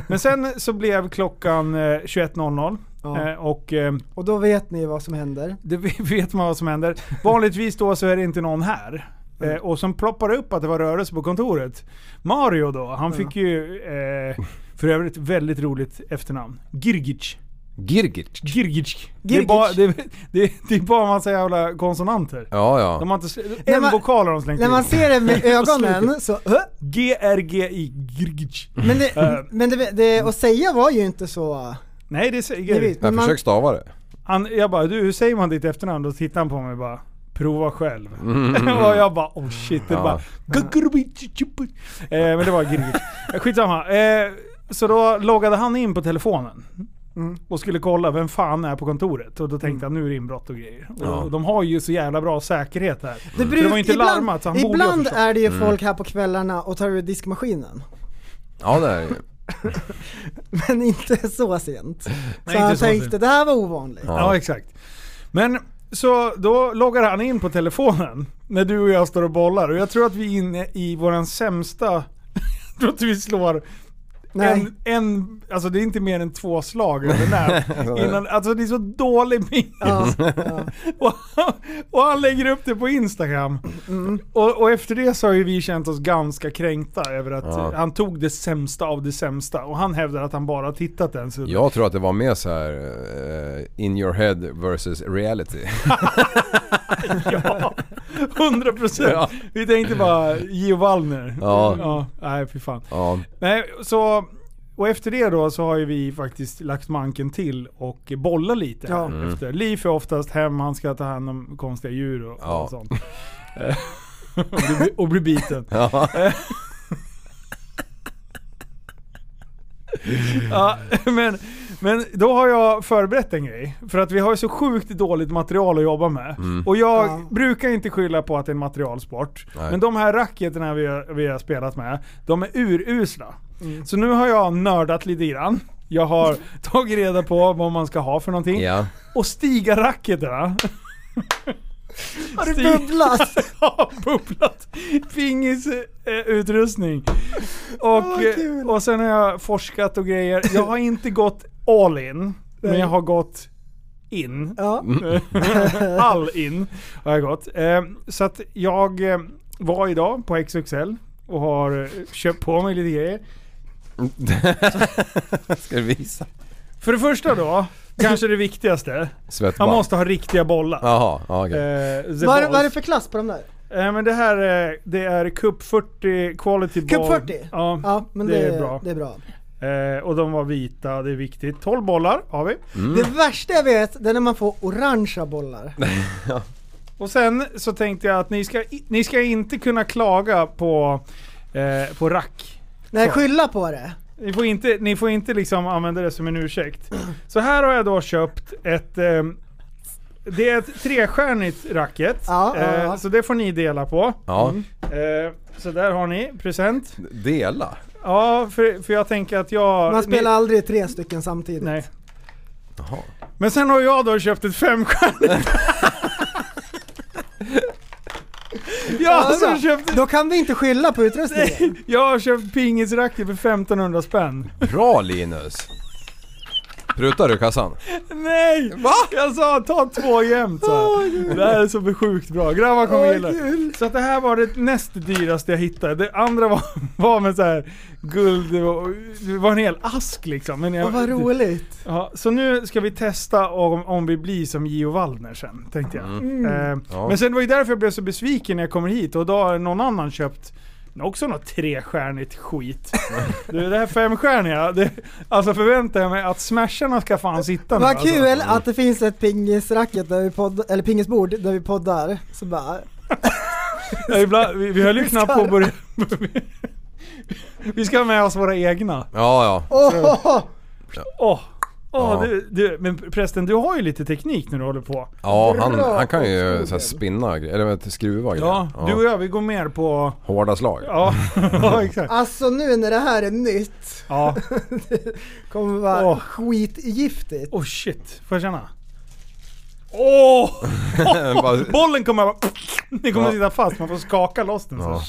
[SPEAKER 6] Men sen så blev klockan eh, 21.00
[SPEAKER 2] Ja.
[SPEAKER 6] eh, och eh,
[SPEAKER 2] Och då vet ni vad som händer.
[SPEAKER 6] det vet man vad som händer. Vanligtvis då så är det inte någon här. Eh, och sen ploppar det upp att det var rörelse på kontoret. Mario då, han fick ju eh, för övrigt väldigt roligt efternamn. Girgic.
[SPEAKER 3] Girgic.
[SPEAKER 6] Girgic. Det är
[SPEAKER 2] Girgic.
[SPEAKER 6] bara, det, det, det är bara en massa jävla konsonanter.
[SPEAKER 3] Ja, ja.
[SPEAKER 6] De har inte,
[SPEAKER 2] När
[SPEAKER 6] en
[SPEAKER 2] man-
[SPEAKER 6] vokal har de slängt
[SPEAKER 2] När man
[SPEAKER 6] in.
[SPEAKER 2] ser det med ögonen så... "Hö?"
[SPEAKER 6] GRGI. Girgic.
[SPEAKER 2] Men,
[SPEAKER 6] Eh.
[SPEAKER 2] det, men det, det att säga var ju inte så...
[SPEAKER 6] Nej det är
[SPEAKER 2] Ni
[SPEAKER 6] säger
[SPEAKER 2] vet, men
[SPEAKER 3] Jag
[SPEAKER 2] man,
[SPEAKER 3] försöker stava det.
[SPEAKER 6] han, Jag bara, du hur säger man ditt efternamn? Då tittar han på mig och bara, prova själv. och jag bara, oh shit. Det
[SPEAKER 3] Mm. Ja.
[SPEAKER 6] bara, eh, men det var Girgic. Skitsamma. Eh, så då loggade han in på telefonen.
[SPEAKER 3] Mm.
[SPEAKER 6] Och skulle kolla vem fan är på kontoret. Och då tänkte han nu är det inbrott och grejer. Och,
[SPEAKER 3] Ja.
[SPEAKER 6] och de har ju så jävla bra säkerhet där.
[SPEAKER 2] det,
[SPEAKER 6] Så det var ju inte
[SPEAKER 2] ibland,
[SPEAKER 6] larmat så han borde ha
[SPEAKER 2] Ibland
[SPEAKER 6] förstått.
[SPEAKER 2] är det ju folk här på kvällarna och tar ur diskmaskinen.
[SPEAKER 3] Ja, det är ju-
[SPEAKER 2] Men inte så sent.
[SPEAKER 6] Nej,
[SPEAKER 2] så
[SPEAKER 6] inte
[SPEAKER 2] han
[SPEAKER 6] så
[SPEAKER 2] tänkte,
[SPEAKER 6] sent.
[SPEAKER 2] det här var ovanligt.
[SPEAKER 6] Ja. exakt. Men så då loggar han in på telefonen när du och jag står och bollar. Och jag tror att vi är inne i våran sämsta... Jag tror att vi slår
[SPEAKER 2] Nej.
[SPEAKER 6] en, en... Alltså det är inte mer än två slag över när. Innan, alltså det är så dålig ping.
[SPEAKER 2] Ja, ja.
[SPEAKER 6] Och, och han lägger upp det på Instagram. Och, och efter det så har ju vi känt oss ganska kränkta över att
[SPEAKER 3] Ja.
[SPEAKER 6] han tog det sämsta av det sämsta. Och han hävdar att han bara har tittat den sidan.
[SPEAKER 3] Jag tror att det var mer så här eh, in your head versus reality.
[SPEAKER 6] ja, 100 procent.
[SPEAKER 3] Ja.
[SPEAKER 6] Vi tänkte bara Gio Wallner.
[SPEAKER 3] Ja.
[SPEAKER 6] Nej, fy fan.
[SPEAKER 3] Ja.
[SPEAKER 6] Nej, så... Och efter det då så har ju vi faktiskt lagt manken till och bollar lite.
[SPEAKER 2] Ja.
[SPEAKER 6] Ja.
[SPEAKER 3] Mm.
[SPEAKER 6] Efter. Liv är oftast hem, han ska ta hand om konstiga djur och,
[SPEAKER 3] Ja.
[SPEAKER 6] och sånt. Eh, och, bli, och bli biten.
[SPEAKER 3] Ja.
[SPEAKER 6] Ja, men, men då har jag förberett en grej. För att vi har ju så sjukt dåligt material att jobba med.
[SPEAKER 3] Mm.
[SPEAKER 6] Och jag
[SPEAKER 2] Ja.
[SPEAKER 6] brukar inte skylla på att det är en materialsport.
[SPEAKER 3] Nej.
[SPEAKER 6] Men de här racketerna vi, har- vi har spelat med, de är urusla. Så nu har jag nördat lite grann. Jag har tagit reda på vad man ska ha för någonting.
[SPEAKER 3] ja.
[SPEAKER 6] Och stiga racketerna.
[SPEAKER 2] Har du bubblat?
[SPEAKER 6] Ja, bubblat pingisutrustning. eh, Och, eh,
[SPEAKER 2] vad kul.
[SPEAKER 6] och sen har jag forskat och grejer. Jag har inte gått all in, men
[SPEAKER 2] Nej.
[SPEAKER 6] jag har gått in.
[SPEAKER 2] Ja.
[SPEAKER 6] All in har jag gått. Eh, Så att jag eh, var idag på XXL och har eh, köpt på mig lite grejer.
[SPEAKER 3] Ska du visa?
[SPEAKER 6] För det första då, kanske det viktigaste. Man
[SPEAKER 3] Svettband.
[SPEAKER 6] måste ha riktiga bollar.
[SPEAKER 3] Jaha, ja, okej.
[SPEAKER 6] Eh, the
[SPEAKER 2] Vad är,
[SPEAKER 6] balls.
[SPEAKER 2] vad är det för klass på de där?
[SPEAKER 6] Eh, men det här är, det är Cup 40 Quality
[SPEAKER 2] Cup
[SPEAKER 6] Ball.
[SPEAKER 2] 40?
[SPEAKER 6] Ja,
[SPEAKER 2] Ja, men
[SPEAKER 6] det, är bra.
[SPEAKER 2] Det är bra.
[SPEAKER 6] Eh, och de var vita, det är viktigt. 12 bollar har vi.
[SPEAKER 2] Det värsta jag vet, det är när man får orangea bollar.
[SPEAKER 6] Och sen så tänkte jag att ni ska, i- ni ska inte kunna klaga på, eh, på rack.
[SPEAKER 2] Nej, skylla på det.
[SPEAKER 6] Ni får, inte, ni får inte liksom använda det som en ursäkt. Så här har jag då köpt ett... Eh, det är ett trestjärnigt racket.
[SPEAKER 2] Ja, ja,
[SPEAKER 6] eh,
[SPEAKER 2] ja.
[SPEAKER 6] Så det får ni dela på.
[SPEAKER 3] ja.
[SPEAKER 6] Eh, så där har ni present.
[SPEAKER 3] Dela?
[SPEAKER 6] Ja, för, för jag tänker att jag...
[SPEAKER 2] Man
[SPEAKER 6] ni-
[SPEAKER 2] spelar aldrig tre stycken samtidigt.
[SPEAKER 6] Nej. Men sen har jag då köpt ett femstjärnigt. jag, har
[SPEAKER 2] Alltså,
[SPEAKER 6] alltså köpt,
[SPEAKER 2] Då kan vi inte skylla på utrustningen.
[SPEAKER 6] jag har köpt pingisracket för 1500 spänn.
[SPEAKER 3] Bra Linus! Prutar du kassan?
[SPEAKER 6] Nej! Va? Jag sa ta två jämt så. här. Det här är så sjukt bra. Grabbar kommer gilla det. Så att det här var det näst dyraste jag hittade. Det andra var, var med så här guld och det var en hel ask liksom. Men jag,
[SPEAKER 2] Åh, vad roligt.
[SPEAKER 6] Ja, så nu ska vi testa om, om vi blir som Gio Waldner sen, tänkte jag. Eh,
[SPEAKER 3] Ja.
[SPEAKER 6] Men sen det var ju därför jag blev så besviken när jag kommer hit och då har någon annan köpt också något trestjärnigt skit. du, det här femstjärniga, det, alltså förväntar jag mig att smasharna ska fan sitta nu.
[SPEAKER 2] Vad kul
[SPEAKER 6] Alltså.
[SPEAKER 2] att det finns ett pingisracket där vi poddar, eller pingisbord där vi poddar. Så bara,
[SPEAKER 6] Ja, ibland, vi, vi höll ju knappt på att börja... vi ska ha med oss våra egna.
[SPEAKER 3] Ja, ja.
[SPEAKER 2] åh, åh, åh.
[SPEAKER 6] Åh, åh,
[SPEAKER 3] Ja.
[SPEAKER 6] du, du, men prästen, du har ju lite teknik när du håller på.
[SPEAKER 3] Ja, han,
[SPEAKER 2] Bra
[SPEAKER 3] han kan ju så här spinna grejer, eller vet, skruva
[SPEAKER 6] Ja,
[SPEAKER 3] grejer.
[SPEAKER 6] du och jag vi går mer på...
[SPEAKER 3] Hårda slag.
[SPEAKER 6] Ja, ja exakt.
[SPEAKER 2] Alltså nu när det här är nytt
[SPEAKER 6] Ja.
[SPEAKER 2] kommer vara
[SPEAKER 6] Åh.
[SPEAKER 2] skitgiftigt.
[SPEAKER 6] Oh shit, får jag känna? Åh!
[SPEAKER 3] Bara-
[SPEAKER 6] Bollen kommer bara... Ni kommer
[SPEAKER 3] Ja.
[SPEAKER 6] sitta fast, man får skaka loss den
[SPEAKER 3] Ja.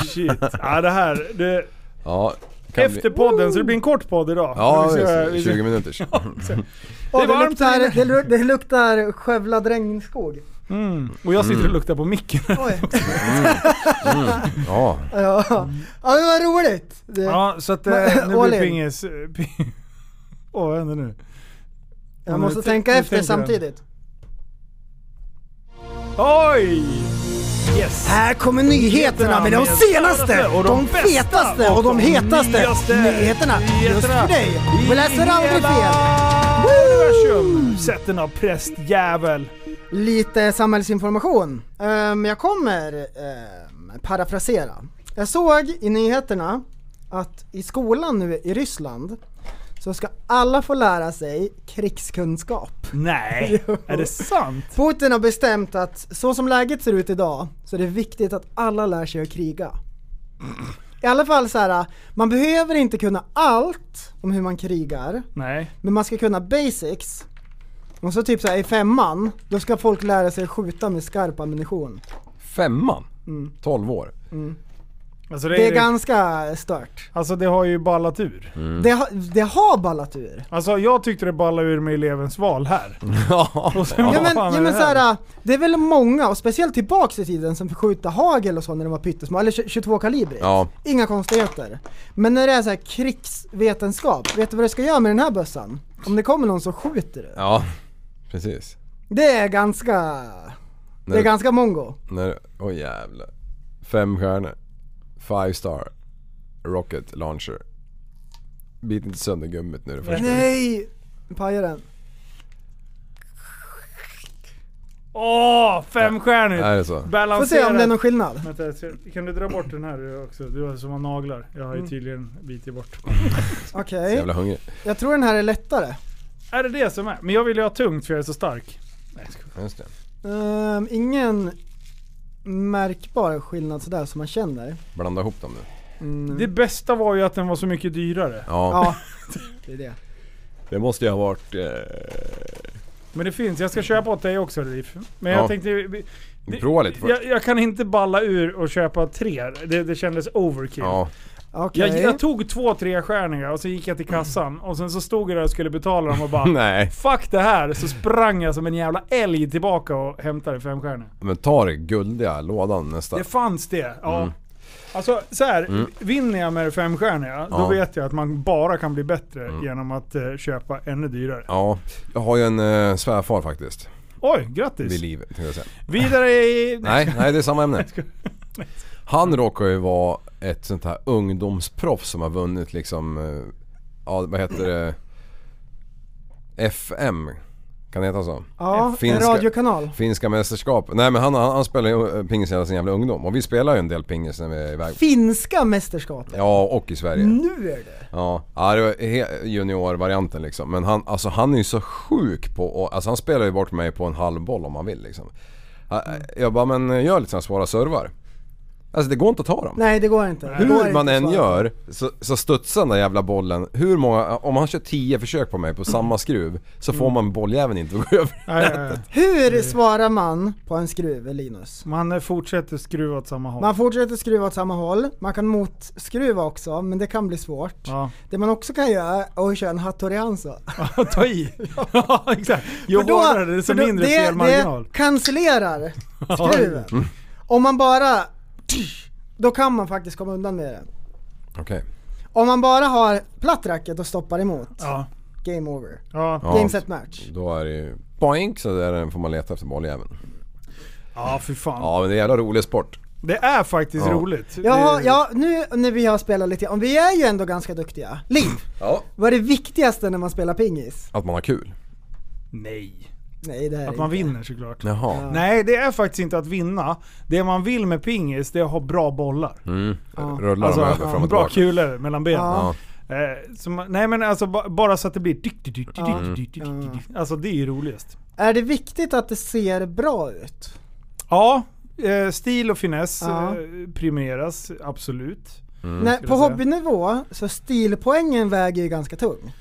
[SPEAKER 6] så. Shit. Ja det här, det,
[SPEAKER 3] ja kan
[SPEAKER 6] efter
[SPEAKER 3] bli-
[SPEAKER 6] podden, så det blir en kort podd idag.
[SPEAKER 3] Ja,
[SPEAKER 6] Vi ska- vi
[SPEAKER 3] visst,
[SPEAKER 6] ska-
[SPEAKER 3] 20 minuters.
[SPEAKER 2] Åh,
[SPEAKER 6] det är varmt
[SPEAKER 2] luktar,
[SPEAKER 6] här inne.
[SPEAKER 2] det, lu- det luktar skövlad regnskog.
[SPEAKER 6] Mm. Och jag sitter och luktar på micken.
[SPEAKER 2] Oj.
[SPEAKER 6] Mm.
[SPEAKER 3] Ja,
[SPEAKER 2] Ja, ja men vad roligt! Det,
[SPEAKER 6] Ja, så att eh,
[SPEAKER 2] Men,
[SPEAKER 6] nu blir det
[SPEAKER 2] Olin.
[SPEAKER 6] pingis... eh, ping- Åh, vad händer nu?
[SPEAKER 2] jag
[SPEAKER 6] men
[SPEAKER 2] måste
[SPEAKER 6] nu tänk-
[SPEAKER 2] tänka
[SPEAKER 6] nu
[SPEAKER 2] efter
[SPEAKER 6] tänker jag.
[SPEAKER 2] samtidigt.
[SPEAKER 6] Oj! Yes!
[SPEAKER 2] Här kommer nyheterna med de senaste, och de fetaste och de hetaste nyheterna. Just för dig. Vi läser aldrig fel.
[SPEAKER 6] fel. Sätt den av prästjävel.
[SPEAKER 2] Lite samhällsinformation. Ehm, jag kommer ehm, parafrasera. Jag såg i nyheterna att i skolan nu i Ryssland så ska alla få lära sig krigskunskap.
[SPEAKER 6] Nej, är det sant?
[SPEAKER 2] Putin har bestämt att så som läget ser ut idag så är det viktigt att alla lär sig att kriga. I alla fall så här, man behöver inte kunna allt om hur man krigar,
[SPEAKER 6] Nej.
[SPEAKER 2] men man ska kunna basics. Och så typ så här, i femman, då ska folk lära sig skjuta med skarp ammunition.
[SPEAKER 3] femman. 12 år.
[SPEAKER 6] Alltså det,
[SPEAKER 2] Det
[SPEAKER 6] är
[SPEAKER 2] är ganska stört.
[SPEAKER 6] alltså det har ju ballat ur.
[SPEAKER 2] Det, har- det har ballat ur.
[SPEAKER 6] Alltså jag tyckte det ballade ur med elevens val här.
[SPEAKER 3] Ja.
[SPEAKER 6] Och sen,
[SPEAKER 2] Ja
[SPEAKER 6] vad
[SPEAKER 2] men,
[SPEAKER 6] fan är
[SPEAKER 2] ja, men
[SPEAKER 6] det
[SPEAKER 2] så
[SPEAKER 6] här?
[SPEAKER 2] här, det är väl många, och speciellt tillbaks i tiden, som fick skjuta hagel och så när de var pyttesmå, eller 22 kaliber.
[SPEAKER 3] Ja.
[SPEAKER 2] Inga konstigheter. Men när det är så här krigsvetenskap, vet du vad du ska göra med den här bössan? Om det kommer någon så skjuter du.
[SPEAKER 3] Ja, precis.
[SPEAKER 2] Det är ganska... Det är ganska mongo.
[SPEAKER 3] När, åh jävlar. Fem stjärnor. Five star. Rocket launcher. Bit inte sönder gummit nu det första.
[SPEAKER 2] Nej! Pajar den.
[SPEAKER 6] Åh, femstjärnigt!
[SPEAKER 3] Är det så?
[SPEAKER 2] Får se om det är någon skillnad.
[SPEAKER 6] Vänta, jag ser- kan du dra bort den här också? Du har som har naglar. Jag har
[SPEAKER 2] Mm.
[SPEAKER 6] ju tydligen bitit bort.
[SPEAKER 2] Okej.
[SPEAKER 3] Jävla hungrig.
[SPEAKER 2] Jag tror den här är lättare.
[SPEAKER 6] Är det det som är? Men jag vill ju ha tungt för jag är så stark. Nej, jag skojar.
[SPEAKER 3] Just det.
[SPEAKER 2] Ehm, ingen märkbar skillnad sådär som man känner. Mm.
[SPEAKER 3] Blanda ihop dem nu. Mm.
[SPEAKER 6] Det bästa var ju att den var så mycket dyrare.
[SPEAKER 3] Ja.
[SPEAKER 2] Ja, det är det.
[SPEAKER 3] Det måste ju ha varit... Eh,
[SPEAKER 6] Men det finns. Jag ska köpa åt dig också Liv. Men jag
[SPEAKER 3] Mm. Ja.
[SPEAKER 6] tänkte...
[SPEAKER 3] prova lite först.
[SPEAKER 6] Jag, jag kan inte balla ur och köpa tre. Det, det kändes overkill.
[SPEAKER 3] Ja.
[SPEAKER 2] Okej.
[SPEAKER 6] Jag, jag tog två trestjärningar och så gick jag till kassan och sen så stod jag där och skulle betala dem och bara
[SPEAKER 3] Mm. Nej.
[SPEAKER 6] Fuck det här! Så sprang jag som en jävla älg tillbaka och hämtade femstjärningar.
[SPEAKER 3] Men ta det guldiga lådan nästa.
[SPEAKER 6] Det fanns det, ja.
[SPEAKER 3] Mm.
[SPEAKER 6] Alltså så här, vinner jag med femstjärniga, då
[SPEAKER 3] Ja. Mm.
[SPEAKER 6] vet jag att man bara kan bli bättre genom att eh, köpa ännu dyrare.
[SPEAKER 3] Ja. Jag har ju en eh, svärfar faktiskt.
[SPEAKER 6] Oj, grattis!
[SPEAKER 3] Vid liv, tänkte jag säga.
[SPEAKER 6] Vidare i...
[SPEAKER 3] Nej, nej det är samma ämne. Han råkar ju vara ett sånt här ungdomsproffs som har vunnit liksom, eh, ja vad heter det? FM, kan det heta så?
[SPEAKER 2] ja, en
[SPEAKER 3] Finska-
[SPEAKER 2] radiokanal.
[SPEAKER 3] Finska mästerskap. Nej men han, han, han spelar ju eh, pingis hela sin jävla ungdom och vi spelar ju en del pingis när vi är iväg.
[SPEAKER 2] Finska mästerskapet.
[SPEAKER 3] Ja, och i
[SPEAKER 6] Mm.
[SPEAKER 3] Sverige.
[SPEAKER 2] Nu är det.
[SPEAKER 3] Ja, ja det var he- juniorvarianten liksom. Men han, alltså, han är ju så sjuk på och, alltså, han spelar ju bort mig på en halv boll om han vill liksom. Ja, Jag bara, men gör lite sådana svåra servar. Alltså det går inte att ta dem.
[SPEAKER 2] Nej det går inte. Det går
[SPEAKER 3] Hur
[SPEAKER 2] inte
[SPEAKER 3] man
[SPEAKER 2] att
[SPEAKER 3] än
[SPEAKER 2] svara.
[SPEAKER 3] gör så, så studsar den där jävla bollen. Hur många, om han kör 10 försök på mig på samma skruv så får man bolljäveln inte att gå över.
[SPEAKER 6] Nej, nej, nej.
[SPEAKER 2] Hur svarar man på en skruv Linus?
[SPEAKER 6] Man eh, fortsätter skruva åt samma håll.
[SPEAKER 2] Man fortsätter skruva åt samma håll, man kan motskruva också men det kan bli svårt.
[SPEAKER 6] Ja.
[SPEAKER 2] Det man också kan göra är att köra en hattori hanzo.
[SPEAKER 6] Ta i! ja, exakt. Jo
[SPEAKER 2] För då-
[SPEAKER 6] hårdare desto
[SPEAKER 2] för då-
[SPEAKER 6] mindre
[SPEAKER 2] det-
[SPEAKER 6] felmarginal.
[SPEAKER 2] Det cancellerar skruven. Om man bara... Då kan man faktiskt komma undan med det.
[SPEAKER 3] Okej.
[SPEAKER 2] Om man bara har platt racket och stoppar emot,
[SPEAKER 6] Ja.
[SPEAKER 2] game over.
[SPEAKER 6] Ja.
[SPEAKER 3] Ja,
[SPEAKER 2] Game set match.
[SPEAKER 3] Då är det ju boink så där är den får man leta efter bolljäveln.
[SPEAKER 6] ja, för fan.
[SPEAKER 3] Ja men det är en jävla rolig sport.
[SPEAKER 6] Det är faktiskt
[SPEAKER 3] Ja.
[SPEAKER 6] roligt.
[SPEAKER 2] Ja,
[SPEAKER 6] Det-
[SPEAKER 2] ja, nu när vi har spelat lite, om vi är ju ändå ganska duktiga. Liv,
[SPEAKER 3] Ja.
[SPEAKER 2] vad är det viktigaste när man spelar pingis?
[SPEAKER 3] Att man har kul.
[SPEAKER 6] Nej.
[SPEAKER 2] Nej det här
[SPEAKER 6] Att
[SPEAKER 2] är
[SPEAKER 6] man
[SPEAKER 2] inte.
[SPEAKER 6] vinner såklart.
[SPEAKER 3] Jaha.
[SPEAKER 6] Nej, det är faktiskt inte att vinna. Det man vill med pingis, det är att ha bra bollar.
[SPEAKER 3] Mm.
[SPEAKER 2] Ja.
[SPEAKER 3] Rullar
[SPEAKER 6] Alltså,
[SPEAKER 3] de över fram och
[SPEAKER 6] bra
[SPEAKER 3] tillbaka.
[SPEAKER 6] kulor mellan benen.
[SPEAKER 2] Ja.
[SPEAKER 6] Eh, så man, nej men alltså ba, bara så att det blir dyk, dyk, dyk, dyk, dyk, dyk, dyk, dyk. Alltså det är ju roligast.
[SPEAKER 2] Är det viktigt att det ser bra ut?
[SPEAKER 6] Ja, eh, stil och finess
[SPEAKER 2] Ja.
[SPEAKER 6] eh, primeras, absolut.
[SPEAKER 3] Mm.
[SPEAKER 2] Nej,
[SPEAKER 6] skulle
[SPEAKER 2] på
[SPEAKER 6] jag säga.
[SPEAKER 2] hobbynivå så stilpoängen väger ju ganska tungt.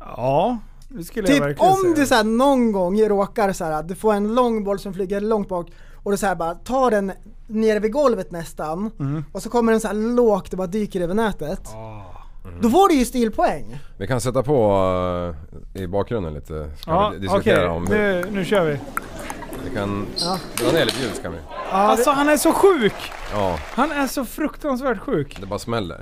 [SPEAKER 6] Ja, det skulle jag
[SPEAKER 2] Typ
[SPEAKER 6] verkligen
[SPEAKER 2] om
[SPEAKER 6] säga.
[SPEAKER 2] du så här någon gång råkar så här, att du får en lång boll som flyger långt bak och du så här bara tar den nere vid golvet nästan och så kommer den så här lågt och bara dyker över nätet. Då får du ju stilpoäng.
[SPEAKER 3] Vi kan sätta på eh, i bakgrunden lite. Ska
[SPEAKER 6] Ja,
[SPEAKER 3] vi
[SPEAKER 6] okej.
[SPEAKER 3] diskutera om hur...
[SPEAKER 6] Nu, nu kör vi.
[SPEAKER 3] Vi kan dra ner lite ljus kan vi.
[SPEAKER 6] Alltså han är så sjuk!
[SPEAKER 3] Ja,
[SPEAKER 6] Han är så fruktansvärt sjuk.
[SPEAKER 3] det bara smäller.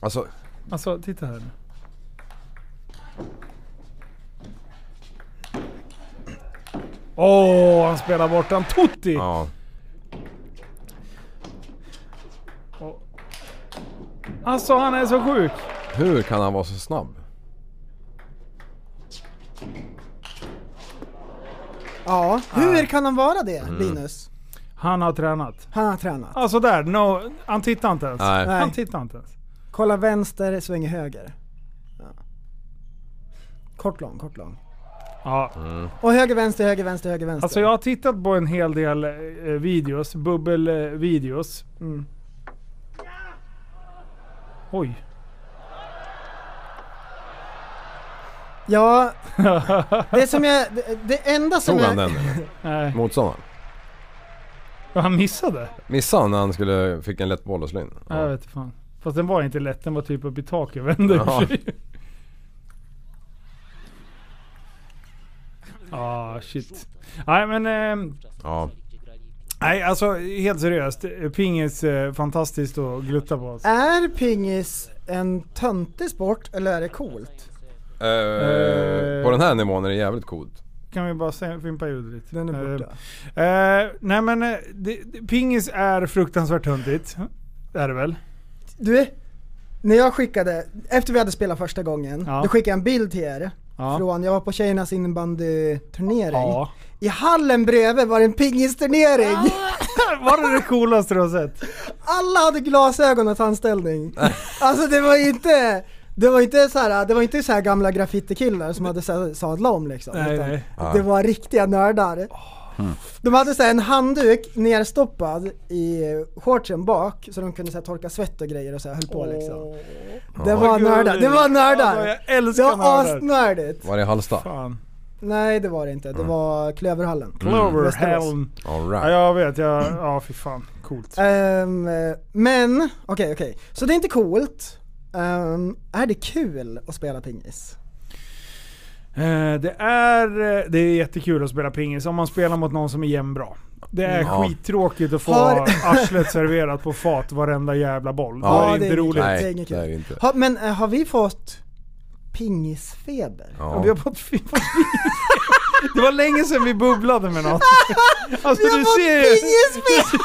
[SPEAKER 3] Alltså,
[SPEAKER 6] Alltså titta här nu. Åh, han spelar bort han. Totti!
[SPEAKER 3] ja.
[SPEAKER 6] Alltså han är så sjuk.
[SPEAKER 3] Hur kan han vara så snabb?
[SPEAKER 2] Ja, hur kan han vara det Linus?
[SPEAKER 6] Han har tränat.
[SPEAKER 2] Han har tränat.
[SPEAKER 6] Alltså där, no, han tittar inte ens.
[SPEAKER 3] Nej.
[SPEAKER 6] Han
[SPEAKER 2] Nej.
[SPEAKER 6] tittar inte ens.
[SPEAKER 2] Kolla vänster, svänger höger. Ja. Kort lång, kort lång.
[SPEAKER 6] Ja. Mm.
[SPEAKER 2] Och höger, vänster, höger, vänster, höger, vänster.
[SPEAKER 6] Alltså jag har tittat på en hel del eh, videos, bubbelvideos. Mm. Oj.
[SPEAKER 2] Ja, det som jag... Det, det enda som
[SPEAKER 3] Tog
[SPEAKER 2] jag...
[SPEAKER 3] han den eller?
[SPEAKER 6] Nej.
[SPEAKER 3] Motståndaren?
[SPEAKER 6] Han missade.
[SPEAKER 3] Missade han när han skulle, fick en lätt boll och slå in?
[SPEAKER 6] Ja. Jag vet inte fan. Fast den var inte lätt, den var typ uppe i taket. Vände
[SPEAKER 3] Ja.
[SPEAKER 6] ja. Ah shit. Nej men, ehm,
[SPEAKER 3] Ja.
[SPEAKER 6] nej alltså helt seriöst. Pingis eh, fantastiskt att glutta på. Alltså.
[SPEAKER 2] Är pingis en töntig sport eller är det coolt?
[SPEAKER 3] Eh, på den här nivån är det jävligt coolt.
[SPEAKER 6] kan vi bara se- fimpa ljudet lite.
[SPEAKER 2] Den är borta.
[SPEAKER 6] Eh, eh, nej men, eh, det, det, pingis är fruktansvärt töntigt. Det är det väl?
[SPEAKER 2] Du, när jag skickade, efter vi hade spelat första gången,
[SPEAKER 6] Ja.
[SPEAKER 2] då skickade jag en bild till er.
[SPEAKER 6] Ja.
[SPEAKER 2] Från, jag var på tjejernas innebandyturnering.
[SPEAKER 6] Ja.
[SPEAKER 2] I hallen bredvid var det en pingisturnering.
[SPEAKER 6] Ah. Var det det coolaste du har sett?
[SPEAKER 2] Alla hade glasögon och tandställning. alltså det var inte, det var inte så här, det var inte så här gamla graffitikillar som hade så här sadlat om liksom.
[SPEAKER 6] Nej,
[SPEAKER 2] utan
[SPEAKER 6] nej.
[SPEAKER 2] Det var riktiga nördar. De hade så här en handduk nerstoppad i shortsen bak så de kunde så här torka svett och grejer och så här höll på liksom. Det var nördar, det var
[SPEAKER 6] Ja,
[SPEAKER 2] nördar!
[SPEAKER 6] jag
[SPEAKER 2] Det
[SPEAKER 6] älskar
[SPEAKER 2] var
[SPEAKER 6] nördar.
[SPEAKER 2] asnördigt!
[SPEAKER 3] Var det i Halsta?
[SPEAKER 6] Fan.
[SPEAKER 2] Nej det var det inte, det var Klöverhallen.
[SPEAKER 6] Mm.
[SPEAKER 3] Mm.
[SPEAKER 2] Västerås.
[SPEAKER 6] Cloverhelm. Ja,
[SPEAKER 3] Alright.
[SPEAKER 6] jag vet. Jag, ja, fy fan. Coolt.
[SPEAKER 2] Ehm, eh, men, okej okej. Så det är inte coolt. Ehm, är det kul att spela pingis?
[SPEAKER 6] Eh, Det är, eh, det är jättekul att spela pingis om man spelar mot någon som är jämnbra. Det är
[SPEAKER 3] Mm. Ja.
[SPEAKER 6] skittråkigt att få
[SPEAKER 2] Har-
[SPEAKER 6] arslet serverat på fat varenda jävla boll.
[SPEAKER 3] Ja,
[SPEAKER 6] Då är det
[SPEAKER 2] det är
[SPEAKER 6] inte roligt.
[SPEAKER 2] det
[SPEAKER 3] Nej,
[SPEAKER 2] är inget
[SPEAKER 3] det
[SPEAKER 2] kul.
[SPEAKER 3] är det inte.
[SPEAKER 2] Ha, men eh, har vi fått pingisfeber?
[SPEAKER 6] Ja,
[SPEAKER 3] Ja.
[SPEAKER 6] vi har fått fi- fått pingis. Det var länge sedan vi bubblade med något. Alltså,
[SPEAKER 2] Vi har
[SPEAKER 6] du
[SPEAKER 2] fått
[SPEAKER 6] ser ju.
[SPEAKER 2] pingisfeber!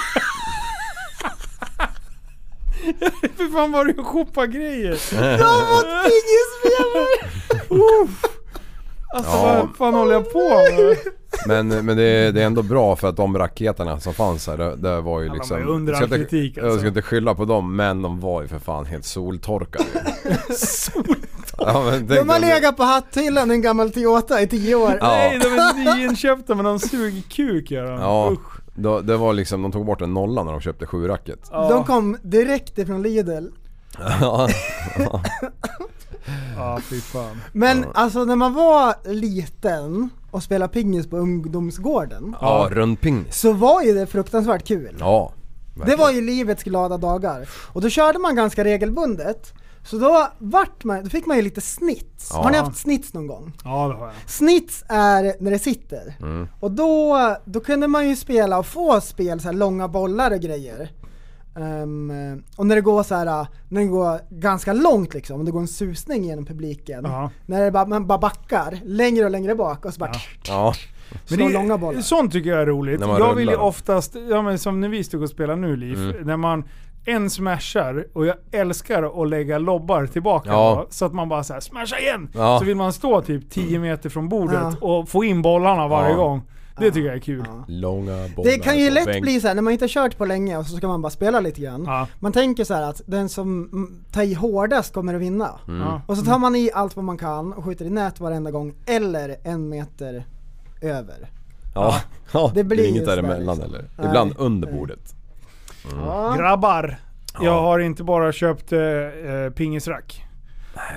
[SPEAKER 6] Fy fan vad du shoppar grejer.
[SPEAKER 2] Jag har fått pingisfeber!
[SPEAKER 6] Alltså
[SPEAKER 3] Ja.
[SPEAKER 6] vad fan håller jag på med?
[SPEAKER 3] Men, men det, är, det är ändå bra för att de raketerna som fanns här, det, det var ju
[SPEAKER 6] var
[SPEAKER 3] liksom...
[SPEAKER 6] ju under
[SPEAKER 3] jag ska
[SPEAKER 6] all
[SPEAKER 3] inte-
[SPEAKER 6] kritik,
[SPEAKER 3] Jag
[SPEAKER 6] alltså.
[SPEAKER 3] ska inte skylla på dem men de var ju för fan helt soltorkade. soltorkade? Ja, men tänk
[SPEAKER 2] De har
[SPEAKER 3] om det-
[SPEAKER 2] legat på hatthyllan i en gammal Toyota i tio år.
[SPEAKER 3] Ja.
[SPEAKER 6] Nej, de är nyinköpta men de suger kuk gör de.
[SPEAKER 3] Ja,
[SPEAKER 6] Usch.
[SPEAKER 3] då, det var liksom, de tog bort en nolla när de köpte sju racket.
[SPEAKER 6] Ja.
[SPEAKER 2] De kom direkt ifrån Lidl.
[SPEAKER 3] Ja.
[SPEAKER 6] Ja, fy fan.
[SPEAKER 2] Men alltså när man var liten och spelade pingis på ungdomsgården
[SPEAKER 3] ja, rundpingis.
[SPEAKER 2] så var ju det fruktansvärt kul.
[SPEAKER 3] Ja.
[SPEAKER 2] Det
[SPEAKER 3] verkligen.
[SPEAKER 2] var ju livets glada dagar. Och då körde man ganska regelbundet. Så då, vart man, då fick man ju lite snits.
[SPEAKER 3] Ja.
[SPEAKER 2] Har ni haft snits någon gång?
[SPEAKER 6] Ja, det har jag.
[SPEAKER 2] Snits är när det sitter.
[SPEAKER 3] Mm.
[SPEAKER 2] Och då, då kunde man ju spela och få spel, så här långa bollar och grejer. Ehm, och när det går så här, när det går ganska långt liksom, om det går en susning genom publiken.
[SPEAKER 6] Ja.
[SPEAKER 2] När det bara, man bara backar längre och längre bak och så bara
[SPEAKER 3] Ja.
[SPEAKER 2] slår långa bollar.
[SPEAKER 6] Sånt tycker jag är roligt.
[SPEAKER 3] När man
[SPEAKER 6] Jag vill ju
[SPEAKER 3] rullar. Mm.
[SPEAKER 6] oftast, ja, men som när vi stod och spelade nu Liv, när man en smashar och jag älskar att lägga lobbar tillbaka
[SPEAKER 3] Ja.
[SPEAKER 6] då, så att man bara såhär smasha igen!
[SPEAKER 3] Ja.
[SPEAKER 6] Så vill man stå typ 10 meter från bordet
[SPEAKER 2] Ja.
[SPEAKER 6] och få in bollarna varje
[SPEAKER 3] Ja.
[SPEAKER 6] gång. Det tycker jag är kul. Ja.
[SPEAKER 3] Långa bollar
[SPEAKER 2] Det kan ju
[SPEAKER 3] på
[SPEAKER 2] lätt
[SPEAKER 3] bänk.
[SPEAKER 2] bli så här när man inte har kört på länge och så ska man bara spela lite grann.
[SPEAKER 6] Ja.
[SPEAKER 2] Man tänker så här att den som mm, tar i hårdast kommer att vinna.
[SPEAKER 3] Mm.
[SPEAKER 6] Ja.
[SPEAKER 2] Och så tar man i allt vad man kan och skjuter i nät varenda gång eller en meter över.
[SPEAKER 3] Ja. ja.
[SPEAKER 2] Det
[SPEAKER 3] Det
[SPEAKER 2] blir
[SPEAKER 3] blir
[SPEAKER 2] just
[SPEAKER 3] inget
[SPEAKER 2] där
[SPEAKER 3] däremellan
[SPEAKER 2] liksom.
[SPEAKER 3] eller?
[SPEAKER 2] Nej.
[SPEAKER 3] Ibland under bordet.
[SPEAKER 6] Grabbar! Jag har inte bara köpt eh, eh, pingisrack.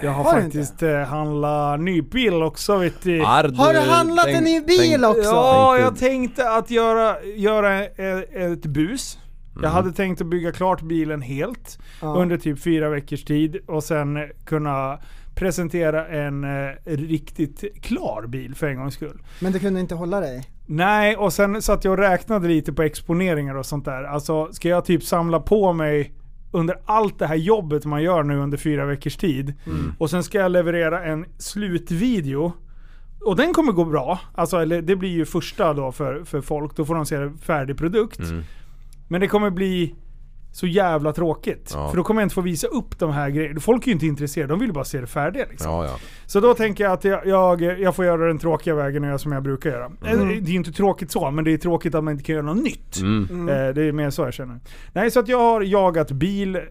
[SPEAKER 6] Jag har,
[SPEAKER 2] Har du
[SPEAKER 6] faktiskt eh, handlat ny bil också vet du.
[SPEAKER 2] Har du handlat en ny bil också?
[SPEAKER 6] Ja,
[SPEAKER 3] Tänkte-
[SPEAKER 6] jag tänkte att göra, göra ett, ett bus. Jag hade tänkt att bygga klart bilen helt
[SPEAKER 2] Ja.
[SPEAKER 6] under typ fyra veckors tid och sen kunna presentera en eh, riktigt klar bil för en gångs skull.
[SPEAKER 2] Men du kunde inte hålla dig?
[SPEAKER 6] Nej, och sen satt jag och räknade lite på exponeringar och sånt där. Alltså, ska jag typ samla på mig under allt det här jobbet man gör nu under fyra veckors tid. Och sen ska jag leverera en slutvideo. Och den kommer gå bra. Alltså, eller det blir ju första då för, för folk. Då får de se en färdig produkt. Men det kommer bli så jävla tråkigt.
[SPEAKER 3] Ja.
[SPEAKER 6] För då kommer jag inte få visa upp de här grejerna. Folk är ju inte intresserade. De vill ju bara se det färdiga liksom.
[SPEAKER 3] Ja, ja.
[SPEAKER 6] Så då tänker jag att jag, jag, jag får göra den tråkiga vägen och göra som jag brukar göra.
[SPEAKER 2] Mm.
[SPEAKER 6] Eh, Det är ju inte tråkigt så, men det är tråkigt att man inte kan göra något nytt.
[SPEAKER 2] Mm.
[SPEAKER 6] Eh, Det är mer så jag känner. Nej, så att jag har jagat bil, eh,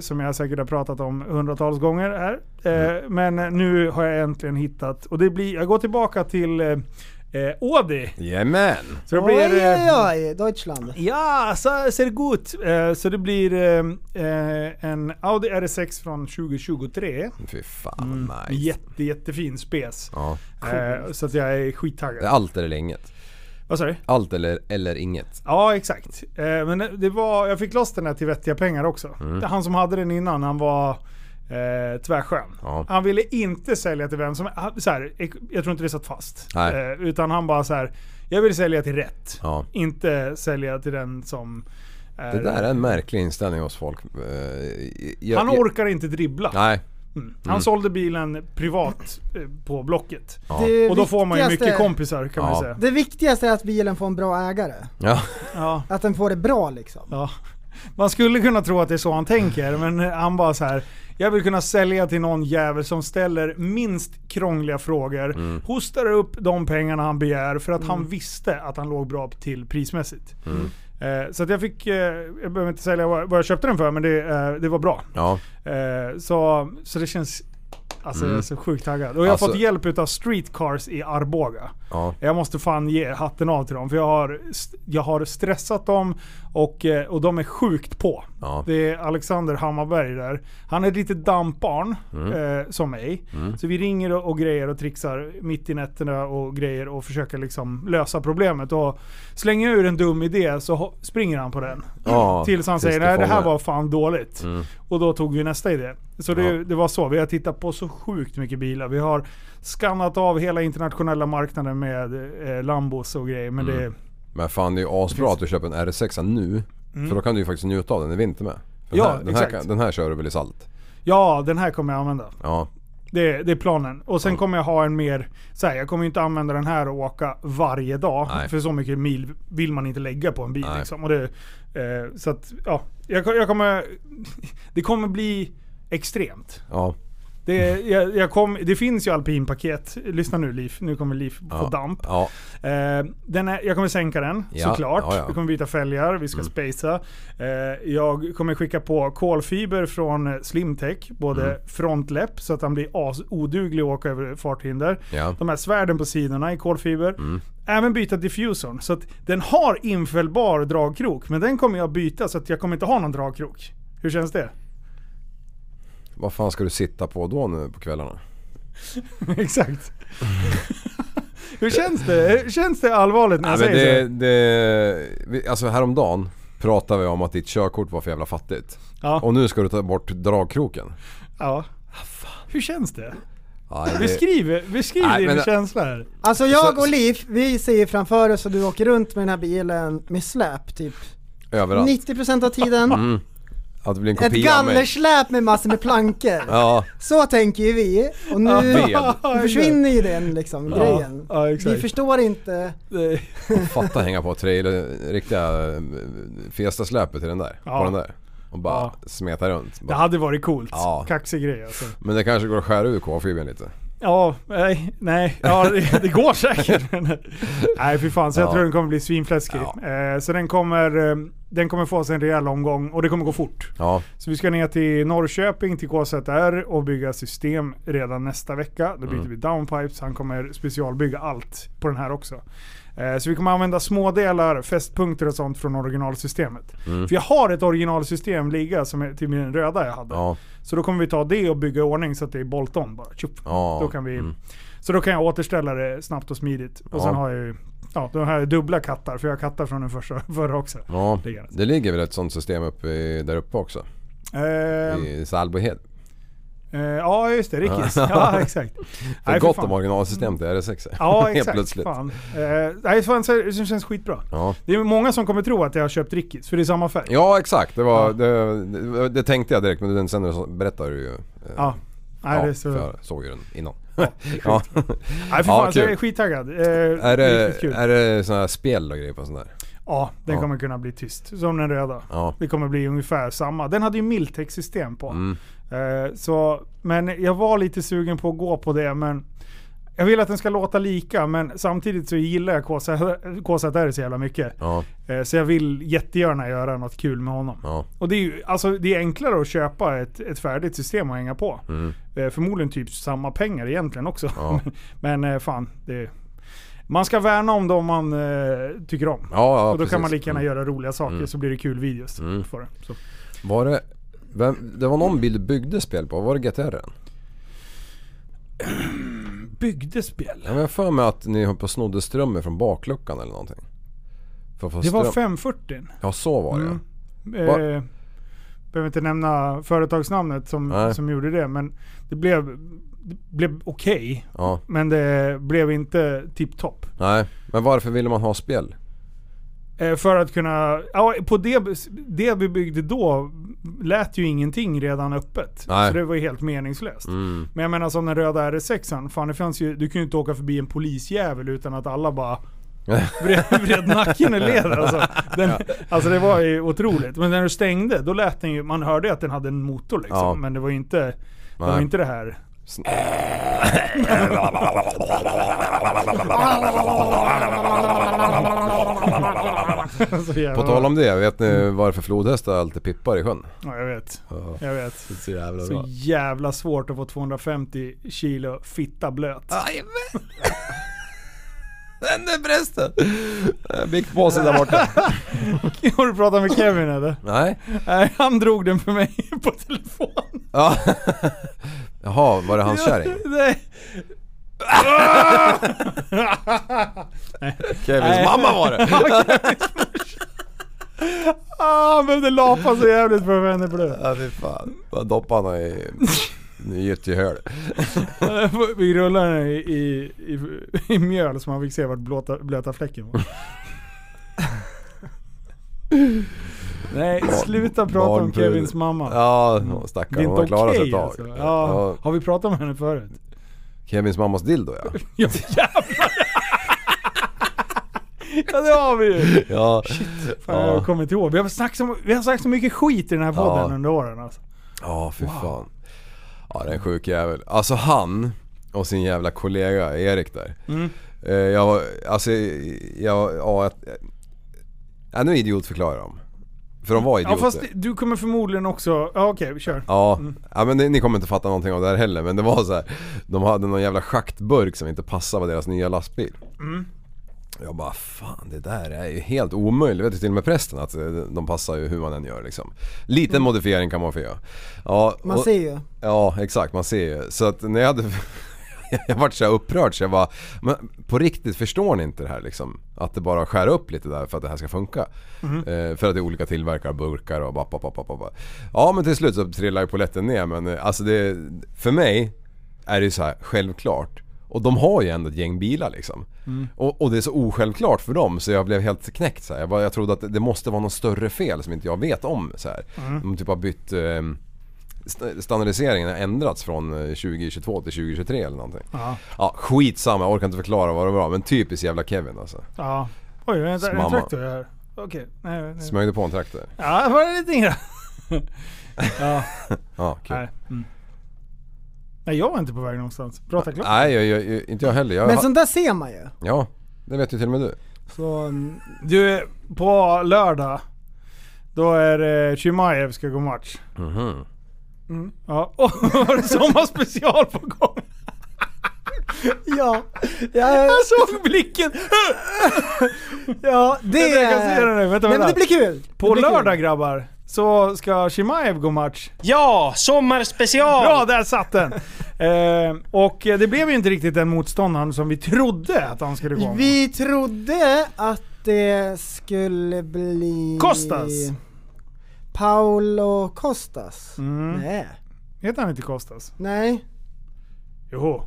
[SPEAKER 6] som jag säkert har pratat om hundratals gånger här. Eh, Men nu har jag äntligen hittat, och det blir, jag går tillbaka till eh, eh, Audi.
[SPEAKER 3] Jajamän!
[SPEAKER 6] Så det
[SPEAKER 2] Oj,
[SPEAKER 6] blir... eh,
[SPEAKER 2] oj, oj, Deutschland.
[SPEAKER 6] Ja, så ser det ut. Eh, Så det blir eh, eh, en Audi R6 från 2023.
[SPEAKER 3] Fy fan nice.
[SPEAKER 6] Jätte, jättefin spec.
[SPEAKER 3] Ja.
[SPEAKER 6] Eh, så att jag är
[SPEAKER 3] Det är
[SPEAKER 6] skittaggad.
[SPEAKER 3] Allt eller inget.
[SPEAKER 6] Vad sa du?
[SPEAKER 3] Allt eller, eller inget.
[SPEAKER 6] Ja, exakt. Eh, men det var, jag fick loss den här till vettiga pengar också.
[SPEAKER 3] Mm.
[SPEAKER 6] Han som hade den innan, han var eh, tvärskön.
[SPEAKER 3] Ja.
[SPEAKER 6] Han ville inte sälja till vem som han- så här, ek- Jag tror inte det satt fast.
[SPEAKER 3] Nej.
[SPEAKER 6] Eh, utan han bara så här. jag vill sälja till rätt.
[SPEAKER 3] Ja.
[SPEAKER 6] Inte sälja till den som... Är,
[SPEAKER 3] Det där är en märklig inställning hos folk. Eh, jag-
[SPEAKER 6] han
[SPEAKER 3] jag- Mm.
[SPEAKER 6] orkar inte dribbla.
[SPEAKER 3] Nej.
[SPEAKER 6] Han sålde bilen privat eh, på Blocket.
[SPEAKER 2] Det
[SPEAKER 6] Och då får man ju mycket
[SPEAKER 2] viktigaste-
[SPEAKER 6] kompisar kan man
[SPEAKER 3] Ja.
[SPEAKER 6] ju säga.
[SPEAKER 2] Det viktigaste är att bilen får en bra ägare.
[SPEAKER 3] Ja.
[SPEAKER 6] Ja,
[SPEAKER 2] Att den får det bra liksom.
[SPEAKER 6] ja. Man skulle kunna tro att det är så han tänker, men han bara så här. Jag vill kunna sälja till någon jävel som ställer minst krångliga frågor, hostar upp de pengarna han begär för att han visste att han låg bra till prismässigt. Eh, så att jag fick, eh, jag behöver inte säga vad vad jag köpte den för, men det, eh, det var bra.
[SPEAKER 3] ja.
[SPEAKER 6] Eh, så, så det känns... Alltså jag är så sjukt taggad. Och jag har
[SPEAKER 3] Alltså-
[SPEAKER 6] fått hjälp utav Streetcars i Arboga.
[SPEAKER 3] Ja.
[SPEAKER 6] Jag måste fan ge hatten av till dem. För jag har, st- jag har stressat dem och, eh, och de är sjukt på.
[SPEAKER 3] Ja.
[SPEAKER 6] Det är Alexander Hammarberg där. Han är lite dampbarn
[SPEAKER 3] Mm.
[SPEAKER 6] eh, som mig. Så vi ringer och, och grejer och trixar mitt i nätterna och grejer och försöker liksom lösa problemet. Och slänger jag ur en dum idé så ho- springer han på den.
[SPEAKER 3] Ja,
[SPEAKER 6] Tills han
[SPEAKER 3] tills
[SPEAKER 6] säger
[SPEAKER 3] du
[SPEAKER 6] nej det här
[SPEAKER 3] fångar."
[SPEAKER 6] var fan dåligt. Och då tog vi nästa idé. Så det,
[SPEAKER 3] Ja.
[SPEAKER 6] det var så. Vi har tittat på så sjukt mycket bilar. Vi har skannat av hela internationella marknaden med eh, Lambos och grejer. Men det,
[SPEAKER 3] Mm. Men fan det är ju asbra att du köper en R6 nu. För då kan du ju faktiskt njuta av den i vinter med. För Den
[SPEAKER 6] Mm. Ja,
[SPEAKER 3] här, den, här,
[SPEAKER 6] exakt.
[SPEAKER 3] kan- den här kör du väl i salt?
[SPEAKER 6] ja, den här kommer jag använda.
[SPEAKER 3] Ja.
[SPEAKER 6] Det, det är planen. Och sen kommer jag ha en mer... Så här, jag kommer ju inte använda den här och åka varje dag.
[SPEAKER 3] Nej.
[SPEAKER 6] För så mycket mil vill man inte lägga på en bil.
[SPEAKER 3] Nej.
[SPEAKER 6] Liksom. Och det, eh, så att, ja. Jag, ko- jag kommer... Det kommer bli extremt.
[SPEAKER 3] Ja.
[SPEAKER 6] Det, jag, jag kom, det finns ju alpinpaket. Lyssna nu Liv. Nu kommer Liv få
[SPEAKER 3] Ja.
[SPEAKER 6] damp.
[SPEAKER 3] Ja.
[SPEAKER 6] Eh, den är, jag kommer sänka den,
[SPEAKER 3] Ja,
[SPEAKER 6] såklart.
[SPEAKER 3] ja, Mm. ja.
[SPEAKER 6] Vi kommer byta fälgar, vi ska spacea. Eh, jag kommer skicka på kolfiber från eh, Slimtech, både
[SPEAKER 3] Mm.
[SPEAKER 6] frontläpp så att han blir as- oduglig att åka över farthinder.
[SPEAKER 3] Ja. Mm.
[SPEAKER 6] De här svärden på sidorna i kolfiber. Även byta diffusorn. Så att den har infällbar dragkrok, men den kommer jag byta så att jag kommer inte ha någon dragkrok. Hur känns det?
[SPEAKER 3] Vad fan ska du sitta på då nu på kvällarna?
[SPEAKER 6] Exakt. Hur känns det? Hur Känns det allvarligt när
[SPEAKER 3] Nej,
[SPEAKER 6] jag
[SPEAKER 3] men
[SPEAKER 6] säger
[SPEAKER 3] Alltså, det,
[SPEAKER 6] så?
[SPEAKER 3] det, vi- alltså häromdagen pratade vi om att ditt körkort var för jävla fattigt.
[SPEAKER 6] Ja.
[SPEAKER 3] Och nu ska du ta bort dragkroken.
[SPEAKER 6] Ja.
[SPEAKER 3] Ah,
[SPEAKER 6] Hur känns det?
[SPEAKER 3] Nej,
[SPEAKER 6] Beskriv, beskriv
[SPEAKER 3] Eh, Nej,
[SPEAKER 6] din
[SPEAKER 3] men-
[SPEAKER 6] känsla här.
[SPEAKER 2] Alltså jag
[SPEAKER 3] Så-
[SPEAKER 2] och Liv, vi ser framför oss och du åker runt med den här bilen med släp typ.
[SPEAKER 3] överallt.
[SPEAKER 2] 90% av tiden.
[SPEAKER 6] Mm,
[SPEAKER 3] Att det blir en
[SPEAKER 2] Ett
[SPEAKER 3] kopia av mig.
[SPEAKER 2] gallersläp med massor med plankor.
[SPEAKER 3] Ja,
[SPEAKER 2] Så tänker ju vi. Och nu
[SPEAKER 3] ved.
[SPEAKER 2] försvinner ju den liksom, grejen.
[SPEAKER 6] Ja,
[SPEAKER 2] Vi
[SPEAKER 6] exakt.
[SPEAKER 2] förstår inte.
[SPEAKER 3] fatta hänga på trailer, riktiga eh, Fiesta-släpet till den där.
[SPEAKER 6] Ja.
[SPEAKER 3] På den där. Och bara
[SPEAKER 6] Ja.
[SPEAKER 3] smeta runt.
[SPEAKER 6] Det
[SPEAKER 3] Bara.
[SPEAKER 6] hade varit coolt.
[SPEAKER 3] Ja.
[SPEAKER 6] Kaxig grej alltså.
[SPEAKER 3] Men det kanske går att skära ur K-fibern lite.
[SPEAKER 6] Ja, nej, nej. Ja, det, det går säkert. men- nej fy fan, så jag
[SPEAKER 3] Ja.
[SPEAKER 6] tror den kommer bli svinfläskig. Eh, så den kommer, eh, den kommer få sig en rejäl omgång och det kommer gå fort.
[SPEAKER 3] Ja,
[SPEAKER 6] Så vi ska ner till Norrköping, till KZR och bygga system redan nästa vecka. Då byter
[SPEAKER 3] Mm.
[SPEAKER 6] vi downpipes, han kommer specialbygga allt på den här också. Eh, Så vi kommer använda smådelar, fästpunkter och sånt från originalsystemet.
[SPEAKER 3] Mm.
[SPEAKER 6] För jag har ett originalsystem ligga som är till min röda jag hade.
[SPEAKER 3] ja,
[SPEAKER 6] Så då kommer vi ta det och bygga i ordning så att det är bolt-on bara. Tjup.
[SPEAKER 3] ja. Mm.
[SPEAKER 6] Då kan vi, Så då kan jag återställa det snabbt och smidigt. Och sen
[SPEAKER 3] Ja.
[SPEAKER 6] har jag ju ja, de här dubbla kattar, för jag har kattar från den första, förra också.
[SPEAKER 3] Ja,
[SPEAKER 6] Ligger.
[SPEAKER 3] det ligger väl ett sånt system uppe i, där uppe också.
[SPEAKER 6] Ehm,
[SPEAKER 3] I Salbohed.
[SPEAKER 6] Eh, ja just det, Rickis. ja exakt.
[SPEAKER 3] För
[SPEAKER 6] Nej,
[SPEAKER 3] gott
[SPEAKER 6] fan. Mm.
[SPEAKER 3] om originalsystem till RS6.
[SPEAKER 6] Ja
[SPEAKER 3] Helt
[SPEAKER 6] exakt.
[SPEAKER 3] plötsligt.
[SPEAKER 6] Fan. Eh, nej fan, så- det känns skitbra.
[SPEAKER 3] Ja.
[SPEAKER 6] Det är många som kommer tro att jag har köpt Rickis, för det är samma färg.
[SPEAKER 3] ja exakt, det, var,
[SPEAKER 6] Ja.
[SPEAKER 3] det, det, det tänkte jag direkt men den- sen när du så- berättade du ju. eh,
[SPEAKER 6] Ja. Nej,
[SPEAKER 3] ja,
[SPEAKER 6] det är så...
[SPEAKER 3] för jag såg ju den innan. Ja,
[SPEAKER 6] Nej, för
[SPEAKER 3] Ja,
[SPEAKER 6] fan, så jag är
[SPEAKER 3] kul.
[SPEAKER 6] skittaggad. Eh, det
[SPEAKER 3] Är,
[SPEAKER 6] är
[SPEAKER 3] det,
[SPEAKER 6] riktigt kul.
[SPEAKER 3] är det såna här spel och grejer på sån där?
[SPEAKER 6] Ja, den
[SPEAKER 3] Ja.
[SPEAKER 6] kommer kunna bli tyst. Som den röda.
[SPEAKER 3] Ja.
[SPEAKER 6] Det kommer bli ungefär samma. Den hade ju Miltech-system på.
[SPEAKER 3] Mm.
[SPEAKER 6] Eh, så, men jag var lite sugen på att gå på det, men jag vill att den ska låta lika, men samtidigt så gillar jag KZ- KZR så jävla mycket.
[SPEAKER 3] Ja,
[SPEAKER 6] Eh, Så jag vill jättegärna göra något kul med honom.
[SPEAKER 3] ja,
[SPEAKER 6] Och det är ju alltså, det är enklare att köpa ett, ett färdigt system och hänga på. Eh, Förmodligen typ samma pengar egentligen också.
[SPEAKER 3] Mm. Ja.
[SPEAKER 6] Men eh, fan, det, man ska värna om dem man eh, tycker om.
[SPEAKER 3] ja, ja
[SPEAKER 6] och då
[SPEAKER 3] precis.
[SPEAKER 6] kan man lika gärna
[SPEAKER 3] Mm.
[SPEAKER 6] göra roliga saker så blir det kul videos. För det. Så.
[SPEAKER 3] Mm. Var det, vem, det var någon bil du byggde spel på, var det GTR?
[SPEAKER 6] Bygdespel.
[SPEAKER 3] Jag har för mig att ni höll på och snodde strömmen från bakluckan eller någonting. För att få
[SPEAKER 6] Det var
[SPEAKER 3] ström-
[SPEAKER 6] 540.
[SPEAKER 3] Ja så var det ja.
[SPEAKER 6] Mm.
[SPEAKER 3] Va-
[SPEAKER 6] Eh, behöver inte nämna företagsnamnet som,
[SPEAKER 3] Nej.
[SPEAKER 6] som gjorde det, men det blev, det blev okej.
[SPEAKER 3] ja.
[SPEAKER 6] Men det blev inte tipptopp.
[SPEAKER 3] Nej, men varför ville man ha spel?
[SPEAKER 6] Eh, För att kunna... Ja, på det, det vi byggde då lät ju ingenting redan öppet.
[SPEAKER 3] Nej.
[SPEAKER 6] Så det var ju helt meningslöst.
[SPEAKER 3] Mm.
[SPEAKER 6] Men jag menar som den röda RS6an, fan det fanns ju, du kunde ju inte åka förbi en polisjävel utan att alla bara vred, vred nacken och led alltså. Den, alltså det var ju otroligt. Men när du stängde, då lät den ju, man hörde ju att den hade en motor liksom.
[SPEAKER 3] Ja.
[SPEAKER 6] Men det var ju inte, det var
[SPEAKER 3] Nej.
[SPEAKER 6] ju inte det här. Så jävla-
[SPEAKER 3] På tal om det, vet ni varför flodhästar alltid pippar i sjön?
[SPEAKER 6] Ja, jag vet. Jag vet.
[SPEAKER 3] Det är så jävla
[SPEAKER 6] Så jävla svårt att få 250 kilo fitta blöt.
[SPEAKER 3] Jajamän! Den där prästen! Biktpåsen där borta.
[SPEAKER 6] Har du pratat med Kevin eller?
[SPEAKER 3] Nej.
[SPEAKER 6] Nej, han drog den för mig på telefon.
[SPEAKER 3] Ja. Jaha, var det hans kärring?
[SPEAKER 6] Nej.
[SPEAKER 3] Kevins mamma var det!
[SPEAKER 6] Ah, han behövde lapa så jävligt för att få henne blöt.
[SPEAKER 3] Ja fy fan. Bara doppade han i i gyttjehöl.
[SPEAKER 6] Vi rullade den i, i, i, i mjöl så man fick se vart blåta, blöta fläcken var. Nej, sluta prata om
[SPEAKER 3] barnbrud.
[SPEAKER 6] Kevins mamma.
[SPEAKER 3] Ja,
[SPEAKER 6] Det är
[SPEAKER 3] stackarn. Hon
[SPEAKER 6] inte
[SPEAKER 3] har klarat sig
[SPEAKER 6] okej
[SPEAKER 3] ett tag.
[SPEAKER 6] alltså. ja. Har vi pratat om henne förut?
[SPEAKER 3] Kevins mammas dildo ja.
[SPEAKER 6] Ja, jävlar! ja det har vi ju!
[SPEAKER 3] Ja.
[SPEAKER 6] Fan,
[SPEAKER 3] Ja.
[SPEAKER 6] jag kommer inte ihåg. Vi har, snackat så, vi har sagt så mycket skit i den här podden
[SPEAKER 3] Ja.
[SPEAKER 6] under åren alltså.
[SPEAKER 3] Ja, fy fan. Ja, den sjuk jävel. Alltså han och sin jävla kollega Erik där.
[SPEAKER 6] Mm.
[SPEAKER 3] Eh, Jag var, alltså, jag, ja, att, ja nu idiotförklarar de. För de var idioter.
[SPEAKER 6] Ja fast Mm. du kommer förmodligen också... Ja okej, vi kör.
[SPEAKER 3] Ja, ja men ni, ni kommer inte fatta någonting av det här heller men det var så här. De hade någon jävla schaktburk som inte passade med deras nya lastbil.
[SPEAKER 6] Mm.
[SPEAKER 3] Jag bara fan det där är ju helt omöjligt. Vet du till och med prästen att eh, de passar ju hur man än gör liksom. Liten
[SPEAKER 6] Mm.
[SPEAKER 3] modifiering kan man få göra. Ja,
[SPEAKER 2] Man
[SPEAKER 3] och-
[SPEAKER 2] ser ju.
[SPEAKER 3] Ja exakt, man ser ju. Så att när jag hade... Jag vart så här upprörd så jag bara, men på riktigt förstår ni inte det här liksom? Att det bara skär upp lite där för att det här ska funka. Eh, för att det är olika tillverkare, burkar och bap, bap, bap, bap, bap. Ja men till slut så trillar ju polletten ner men eh, alltså det, för mig är det ju så här självklart. Och de har ju ändå ett gäng bilar liksom. Och, och det är så osjälvklart för dem så jag blev helt knäckt så här. Jag, bara, jag trodde att det- det måste vara något större fel som inte jag vet om så här. De typ har bytt ehm, st- standardiseringen har ändrats från eh, 2022 till 2023 eller någonting.
[SPEAKER 6] Ja.
[SPEAKER 3] Ja, skitsamma, jag orkar inte förklara vad det var men typiskt jävla Kevin alltså.
[SPEAKER 6] ja. Oj, vänta, är det en
[SPEAKER 3] Mamma.
[SPEAKER 6] traktor jag hör? Okej, nej, nej.
[SPEAKER 3] Smögde på en traktor.
[SPEAKER 6] Ja, var det lite ingra? ja,
[SPEAKER 3] Ja, kul.
[SPEAKER 6] nej. Mm. Nej jag var inte på väg någonstans. Prata klart.
[SPEAKER 3] Nej, jag, jag, jag, inte jag heller. Jag,
[SPEAKER 2] Men sånt där ser man ju.
[SPEAKER 3] Ja, det vet ju till och med du.
[SPEAKER 2] Så, mm,
[SPEAKER 6] Du, på lördag. Då är det Chimaev ska gå match. Mm.
[SPEAKER 3] Mhm.
[SPEAKER 6] Ja, och har du sommarspecial på gång?
[SPEAKER 2] ja. Ja,
[SPEAKER 6] Jag såg blicken!
[SPEAKER 2] ja det...
[SPEAKER 6] Jag kan se den nu. Vänta,
[SPEAKER 2] Nej men
[SPEAKER 6] vänta.
[SPEAKER 2] det blir kul. Det
[SPEAKER 6] På
[SPEAKER 2] blir kul.
[SPEAKER 6] lördag grabbar, så ska Chimaev gå match.
[SPEAKER 9] Ja, sommarspecial!
[SPEAKER 6] Bra, där satt den! eh, och eh, det blev ju inte riktigt den motståndaren som vi trodde att han skulle gå mot.
[SPEAKER 2] Vi trodde att det skulle bli...
[SPEAKER 6] Kostas.
[SPEAKER 2] Paolo Costas.
[SPEAKER 6] Mm.
[SPEAKER 2] Nej.
[SPEAKER 6] Heter han inte Kostas?
[SPEAKER 2] Nej.
[SPEAKER 6] Joho.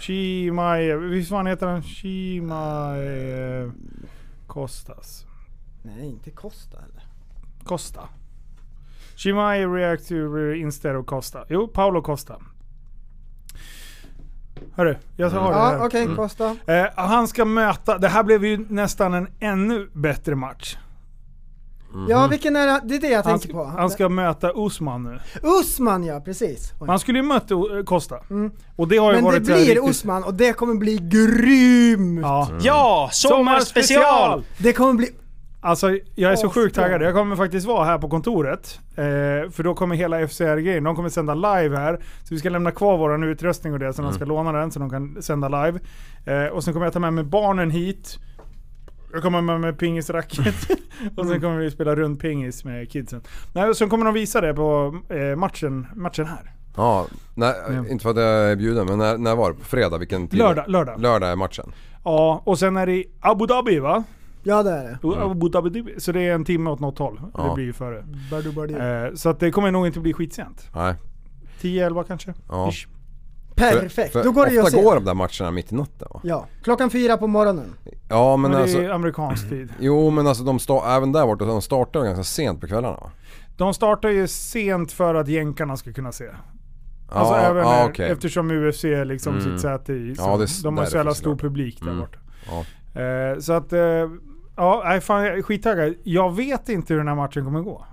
[SPEAKER 6] Chimaev, visst fan heter han Chimaev Kostas?
[SPEAKER 2] Nej, inte Costa eller?
[SPEAKER 6] Costa. Chimaev react to instead of Costa. Jo, Paolo Costa. Hörru, jag har det här.
[SPEAKER 2] Ja, okej, Costa.
[SPEAKER 6] Eh, han ska möta, det här blev ju nästan en ännu bättre match.
[SPEAKER 2] Ja, vilken är det? Det är det jag
[SPEAKER 6] Mm. Han,
[SPEAKER 2] tänker på. Mm.
[SPEAKER 6] han ska möta Usman nu.
[SPEAKER 2] Usman ja, precis. Oj.
[SPEAKER 6] Han skulle ju möta eh, Costa. Och det har ju
[SPEAKER 2] Mm. Men det
[SPEAKER 6] varit
[SPEAKER 2] blir Usman och det kommer bli grymt!
[SPEAKER 6] Ja.
[SPEAKER 9] Ja, sommarspecial!
[SPEAKER 2] Det kommer bli...
[SPEAKER 6] Alltså jag är så
[SPEAKER 2] Åh,
[SPEAKER 6] sjukt
[SPEAKER 2] bra.
[SPEAKER 6] taggad. Jag kommer faktiskt vara här på kontoret. Eh, för då kommer hela FCR-grejen, de kommer sända live här. Så vi ska lämna kvar vår utrustning och det, så de
[SPEAKER 3] Mm.
[SPEAKER 6] ska låna den så de kan sända live. Eh, och sen kommer jag ta med mig barnen hit. Jag kommer med mig pingisracket. och sen kommer vi spela runt pingis med kidsen. Nej, och sen kommer de visa det på eh, matchen, matchen här.
[SPEAKER 3] Ja, nej,
[SPEAKER 6] Ja.
[SPEAKER 3] inte för att jag är bjuden men när, när var det? På fredag? Vilken tid?
[SPEAKER 6] Lördag, lördag.
[SPEAKER 3] Lördag är matchen.
[SPEAKER 6] Ja, och sen är det i Abu Dhabi va?
[SPEAKER 2] Ja det är det.
[SPEAKER 6] Abu Dhabi, så det är en timme åt något håll. Det
[SPEAKER 3] Mm. Ja.
[SPEAKER 6] blir ju före.
[SPEAKER 2] Badu, badu.
[SPEAKER 6] Eh, så att det kommer nog inte bli skitsent.
[SPEAKER 3] Nej.
[SPEAKER 6] 10-11 kanske.
[SPEAKER 3] Ja.
[SPEAKER 6] Ish.
[SPEAKER 2] Perfekt, då går det ju att
[SPEAKER 3] ofta
[SPEAKER 2] se.
[SPEAKER 3] går de där matcherna mitt i natten va?
[SPEAKER 2] Ja, klockan fyra på morgonen.
[SPEAKER 3] Ja men
[SPEAKER 6] Men
[SPEAKER 3] alltså,
[SPEAKER 6] det är amerikansk tid.
[SPEAKER 3] jo men alltså de sta- även där borta, de startar ganska sent på kvällarna va?
[SPEAKER 6] De startar ju sent för att jänkarna ska kunna se.
[SPEAKER 3] Ja,
[SPEAKER 6] Alltså även
[SPEAKER 3] ja,
[SPEAKER 6] här,
[SPEAKER 3] okej.
[SPEAKER 6] eftersom UFC är liksom
[SPEAKER 3] Mm.
[SPEAKER 6] sitt säte i. Så
[SPEAKER 3] Ja, det är
[SPEAKER 6] de har så
[SPEAKER 3] därför
[SPEAKER 6] jävla stor
[SPEAKER 3] såklart.
[SPEAKER 6] publik där
[SPEAKER 3] Mm.
[SPEAKER 6] borta. Eh, så att, eh, ja, nej, fan, jag är skittaggad. Jag vet inte hur den här matchen kommer gå.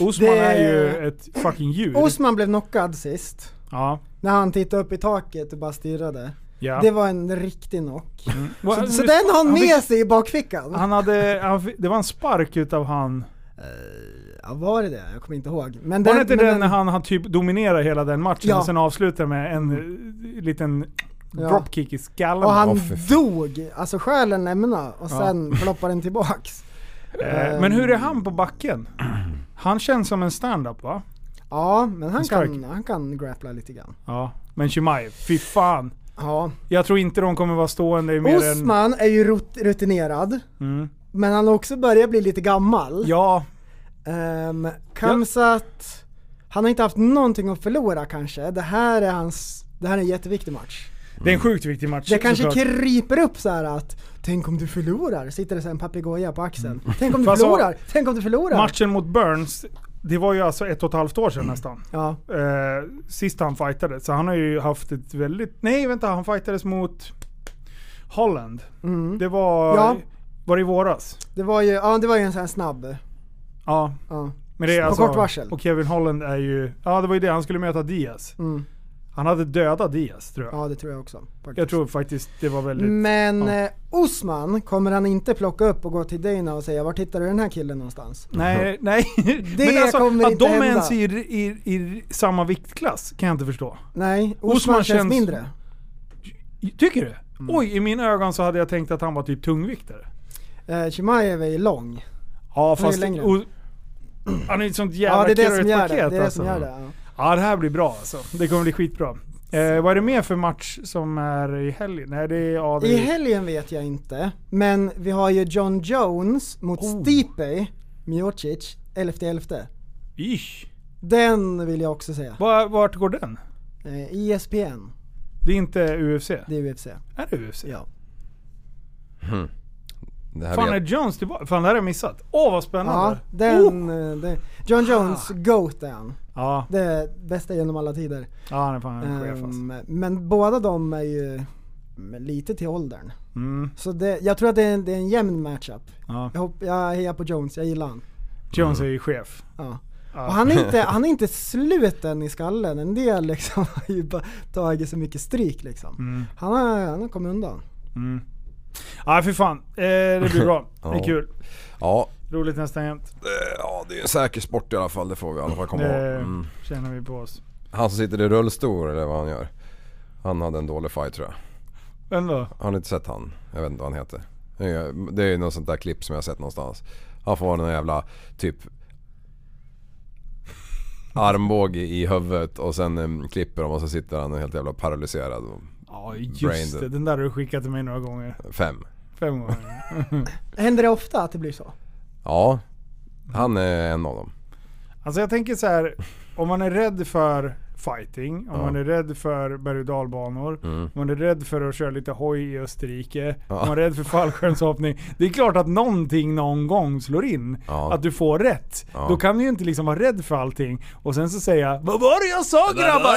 [SPEAKER 6] Osman
[SPEAKER 2] Det-
[SPEAKER 6] är ju ett fucking djur.
[SPEAKER 2] Osman blev knockad sist.
[SPEAKER 6] ja,
[SPEAKER 2] När han tittade upp i taket och bara stirrade.
[SPEAKER 6] ja.
[SPEAKER 2] Det var en riktig knock.
[SPEAKER 6] Va-
[SPEAKER 2] Så,
[SPEAKER 6] nu-
[SPEAKER 2] så den har han
[SPEAKER 6] fick-
[SPEAKER 2] med sig i bakfickan.
[SPEAKER 6] Han hade, han, fick- det var en spark utav han.
[SPEAKER 2] Ja, var det det? Jag kommer inte ihåg. Men
[SPEAKER 6] Var det inte
[SPEAKER 2] men
[SPEAKER 6] den när han, han typ dominerade hela den matchen
[SPEAKER 2] Ja.
[SPEAKER 6] och sen avslutade med en eh, liten
[SPEAKER 2] Ja.
[SPEAKER 6] dropkick i skallen?
[SPEAKER 2] Och han
[SPEAKER 3] Åh, fy fan.
[SPEAKER 2] dog, alltså själen lämnade och
[SPEAKER 6] Ja.
[SPEAKER 2] sen ploppade den tillbaks. Ehm.
[SPEAKER 6] Eh, men hur är han på backen? Han känns som en stand-up va?
[SPEAKER 2] Ja, men han
[SPEAKER 6] En
[SPEAKER 2] kan,
[SPEAKER 6] strike.
[SPEAKER 2] han kan grappla lite grann.
[SPEAKER 6] Ja. Men Chimaev, fy fan.
[SPEAKER 2] Ja.
[SPEAKER 6] Jag tror inte de kommer vara stående i mer än...
[SPEAKER 2] Osman är ju rut- rutinerad,
[SPEAKER 6] Mm.
[SPEAKER 2] men han har också börjat bli lite gammal.
[SPEAKER 6] Ja,
[SPEAKER 2] Ehm, Kamsat, han har inte haft någonting att förlora kanske. Det här är hans, det här är en jätteviktig match.
[SPEAKER 6] det är en sjukt viktig match.
[SPEAKER 2] Det kanske
[SPEAKER 6] såklart.
[SPEAKER 2] kryper upp så här att Tänk om du förlorar, sitter det så här en papegoja på axeln. Tänk om du
[SPEAKER 6] Fast Mm. så-
[SPEAKER 2] förlorar, tänk om du förlorar.
[SPEAKER 6] Matchen mot Burns, det var ju alltså ett och ett halvt år sedan nästan.
[SPEAKER 2] Ja,
[SPEAKER 6] Eh, sist han fightade. Så han har ju haft ett väldigt... Nej vänta, han fightades mot Holland.
[SPEAKER 2] mm.
[SPEAKER 6] Det var...
[SPEAKER 2] Ja.
[SPEAKER 6] Var det i våras?
[SPEAKER 2] det var ju, ja det var ju en sån här snabb.
[SPEAKER 6] Ja.
[SPEAKER 2] Ja.
[SPEAKER 6] Men det är
[SPEAKER 2] På
[SPEAKER 6] alltså,
[SPEAKER 2] kort varsel.
[SPEAKER 6] Och Kevin Holland är ju... Ja det var ju det, han skulle möta Diaz.
[SPEAKER 2] Mm.
[SPEAKER 6] Han hade dödat Diaz tror jag.
[SPEAKER 2] Ja det tror jag också. faktiskt.
[SPEAKER 6] Jag tror faktiskt det var väldigt...
[SPEAKER 2] Men
[SPEAKER 6] ja.
[SPEAKER 2] eh, Osman kommer han inte plocka upp och gå till Dana och säga vart hittar du den här killen någonstans?
[SPEAKER 6] Nej, nej.
[SPEAKER 2] Det
[SPEAKER 6] Men alltså,
[SPEAKER 2] kommer
[SPEAKER 6] att
[SPEAKER 2] inte
[SPEAKER 6] de
[SPEAKER 2] hända.
[SPEAKER 6] ens är i, i, i samma viktklass kan jag inte förstå.
[SPEAKER 2] Nej, Osman,
[SPEAKER 6] Osman
[SPEAKER 2] känns,
[SPEAKER 6] känns-
[SPEAKER 2] mindre.
[SPEAKER 6] Tycker du?
[SPEAKER 2] Mm.
[SPEAKER 6] Oj, i mina ögon så hade jag tänkt att han var typ tungviktare.
[SPEAKER 2] Eh, Chimaev är ju lång.
[SPEAKER 6] Ja,
[SPEAKER 2] Han är
[SPEAKER 6] fast...
[SPEAKER 2] längre.
[SPEAKER 6] o- han är ett sånt jävla
[SPEAKER 2] Ja det är det som gör det.
[SPEAKER 6] curry-paket,
[SPEAKER 2] Det är det
[SPEAKER 6] alltså.
[SPEAKER 2] som gör det. Ja.
[SPEAKER 6] Ja, det här blir bra alltså. Det kommer bli skitbra. Eh, vad är det mer för match som är i helgen? Nej, det är... Ja, det
[SPEAKER 2] I
[SPEAKER 6] är
[SPEAKER 2] helgen vet jag inte, men vi har ju John Jones mot
[SPEAKER 6] Oh.
[SPEAKER 2] Stipe Miocic 11.11.
[SPEAKER 6] Ish.
[SPEAKER 2] Den vill jag också säga.
[SPEAKER 6] Var, vart går den?
[SPEAKER 2] Eh, ESPN,
[SPEAKER 6] Det är inte UFC?
[SPEAKER 2] det är UFC.
[SPEAKER 6] Är det UFC?
[SPEAKER 2] Ja.
[SPEAKER 3] Det här
[SPEAKER 6] Fan,
[SPEAKER 3] vet-
[SPEAKER 6] är Jones tillbaka? Fan, det här har jag missat. Åh, vad
[SPEAKER 2] Ja,
[SPEAKER 6] spännande. Oh!
[SPEAKER 2] den, eh, den,
[SPEAKER 6] Ah.
[SPEAKER 2] John Jones, GOAT är han.
[SPEAKER 6] Ja,
[SPEAKER 2] Det är bästa genom alla tider.
[SPEAKER 6] ja han är fan en chef alltså.
[SPEAKER 2] Ehm, men båda de är ju mm, lite till åldern.
[SPEAKER 6] Mm,
[SPEAKER 2] Så det, jag tror att det är en, det är en jämn matchup.
[SPEAKER 6] ja.
[SPEAKER 2] Jag, hopp, jag hejar på Jones, jag gillar han.
[SPEAKER 6] Jones är ju chef.
[SPEAKER 2] Ja.
[SPEAKER 6] Ja.
[SPEAKER 2] Och han är, inte, han är inte sluten i skallen. En del liksom har ju bara tagit så mycket stryk liksom.
[SPEAKER 6] Mm,
[SPEAKER 2] Han har, han har kommit undan.
[SPEAKER 6] mm. Ja, för fan. Eh, det blir bra. Det är
[SPEAKER 3] Ja.
[SPEAKER 6] kul.
[SPEAKER 3] Ja,
[SPEAKER 6] Roligt nästan jämt.
[SPEAKER 3] det- Eh, ja, det är en säker sport i alla fall, det får vi i alla fall komma ihåg.
[SPEAKER 6] Det
[SPEAKER 3] Mm.
[SPEAKER 6] Eh, känner vi på oss.
[SPEAKER 3] Han som sitter i rullstol eller vad han gör. Han hade en dålig fight tror jag.
[SPEAKER 6] Vem då?
[SPEAKER 3] Har ni inte sett han? Jag vet inte vad han heter. Det är- Det är ju något sånt där klipp som jag har sett någonstans. Han får någon jävla typ armbåge i huvudet och sen em, klipper de och så sitter han helt jävla paralyserad.
[SPEAKER 6] Ja, just
[SPEAKER 3] Braindead.
[SPEAKER 6] det. Den där har du skickat till mig några gånger.
[SPEAKER 3] Fem.
[SPEAKER 6] Fem gånger.
[SPEAKER 2] Händer det ofta att det blir så?
[SPEAKER 3] Ja, han är en av dem.
[SPEAKER 6] Alltså jag tänker så här. om man är rädd för fighting, om
[SPEAKER 3] Ja. Mm.
[SPEAKER 6] man är rädd för berg och dalbanor, om man är rädd för att köra lite hoj i Österrike,
[SPEAKER 3] Ja.
[SPEAKER 6] om man är rädd för fallskärmshoppning. Det är klart att någonting någon gång slår in.
[SPEAKER 3] Ja.
[SPEAKER 6] Att du får rätt.
[SPEAKER 3] Ja.
[SPEAKER 6] Då kan du ju inte liksom vara rädd för allting och sen så säga Vad var det jag sa grabbar?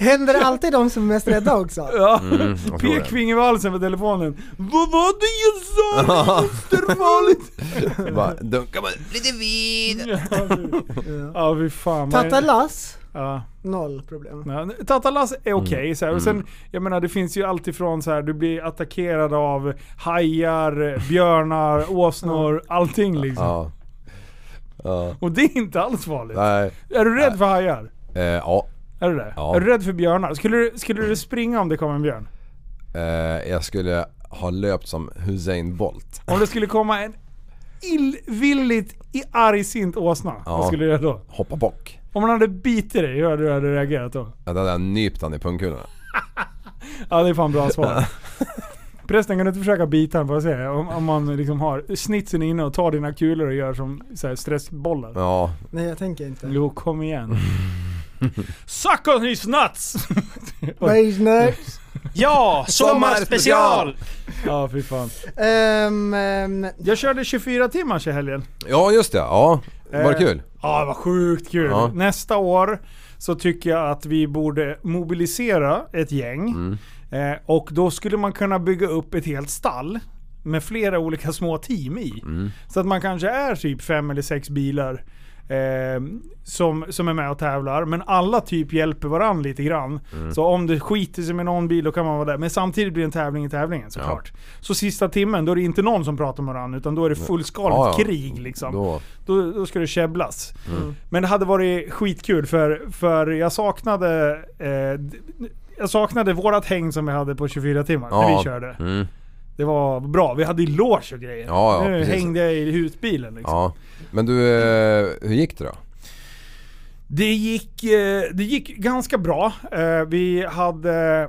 [SPEAKER 2] Händer det alltid de som är mest rädda också?
[SPEAKER 6] Ja.
[SPEAKER 3] Mm, jag tror det.
[SPEAKER 6] Pekfinger vid halsen på telefonen. Vad var det jag sa? Det är jättefarligt."
[SPEAKER 3] Bara dunkar man.
[SPEAKER 6] Ja fy fan. man-
[SPEAKER 2] Tatalas,
[SPEAKER 6] Ja.
[SPEAKER 2] noll problem.
[SPEAKER 6] Ja, Tatalas är okej.
[SPEAKER 3] Mm.
[SPEAKER 6] Okay, sen, Jag menar det finns ju alltifrån så här, du blir attackerad av hajar, björnar, åsnor, allting liksom.
[SPEAKER 3] Ja. Ja.
[SPEAKER 6] Och det är inte alls farligt.
[SPEAKER 3] Nej.
[SPEAKER 6] Är du rädd för hajar?
[SPEAKER 3] Eh, ja.
[SPEAKER 6] Är du det?
[SPEAKER 3] Ja.
[SPEAKER 6] Är du rädd för björnar? Skulle du, skulle du springa om det kom en björn?
[SPEAKER 3] Eh, jag skulle ha löpt som Hussein Bolt.
[SPEAKER 6] Om det skulle komma en illvilligt i argsint åsna, vad
[SPEAKER 3] Ja.
[SPEAKER 6] skulle du göra då?
[SPEAKER 3] Hoppa bock.
[SPEAKER 6] Om han hade bitit dig, hur hade du hade reagerat då?
[SPEAKER 3] Ja, Då hade jag nypt han i pungkulorna.
[SPEAKER 6] Ja det är fan bra svar. Prästen kan du inte försöka bita den, får jag säga? Om, om man liksom har snitsen inne och tar dina kulor och gör som så här, stressbollar.
[SPEAKER 3] Ja,
[SPEAKER 2] Nej jag tänker inte.
[SPEAKER 6] Jo, kom igen. Suck on his nuts!
[SPEAKER 2] Beige nerds.
[SPEAKER 9] Ja, sommarspecial!
[SPEAKER 6] ja, fy fan.
[SPEAKER 2] Ehm, ehm,
[SPEAKER 6] Jag körde 24 timmars i helgen.
[SPEAKER 3] ja just det. Ja. Var det
[SPEAKER 6] Eh,
[SPEAKER 3] kul?
[SPEAKER 6] Ja, det var sjukt kul.
[SPEAKER 3] Ja.
[SPEAKER 6] Nästa år så tycker jag att vi borde mobilisera ett gäng.
[SPEAKER 3] Mm.
[SPEAKER 6] Eh, och då skulle man kunna bygga upp ett helt stall med flera olika små team i.
[SPEAKER 3] Mm.
[SPEAKER 6] Så att man kanske är typ fem eller sex bilar eh, som, som är med och tävlar. Men alla typ hjälper varandra lite grann.
[SPEAKER 3] Mm.
[SPEAKER 6] Så om det skiter sig med någon bil då kan man vara där. Men samtidigt blir det en tävling i tävlingen såklart. Så sista timmen då är det inte någon som pratar med varandra utan då är det fullskaligt
[SPEAKER 3] Ja, ja.
[SPEAKER 6] krig liksom
[SPEAKER 3] Då.
[SPEAKER 6] då, då ska det käbblas.
[SPEAKER 3] Mm.
[SPEAKER 6] Men det hade varit skitkul för, för jag saknade eh, d- jag saknade vårat häng som vi hade på 24 timmar när
[SPEAKER 3] Ja.
[SPEAKER 6] vi körde.
[SPEAKER 3] Mm.
[SPEAKER 6] Det var bra. Vi hade ju loge och grejer.
[SPEAKER 3] Ja, ja,
[SPEAKER 6] nu
[SPEAKER 3] precis.
[SPEAKER 6] hängde jag i husbilen liksom.
[SPEAKER 3] Ja. Men du, eh, hur gick det då?
[SPEAKER 6] Det gick, eh, det gick ganska bra. Eh, Vi hade,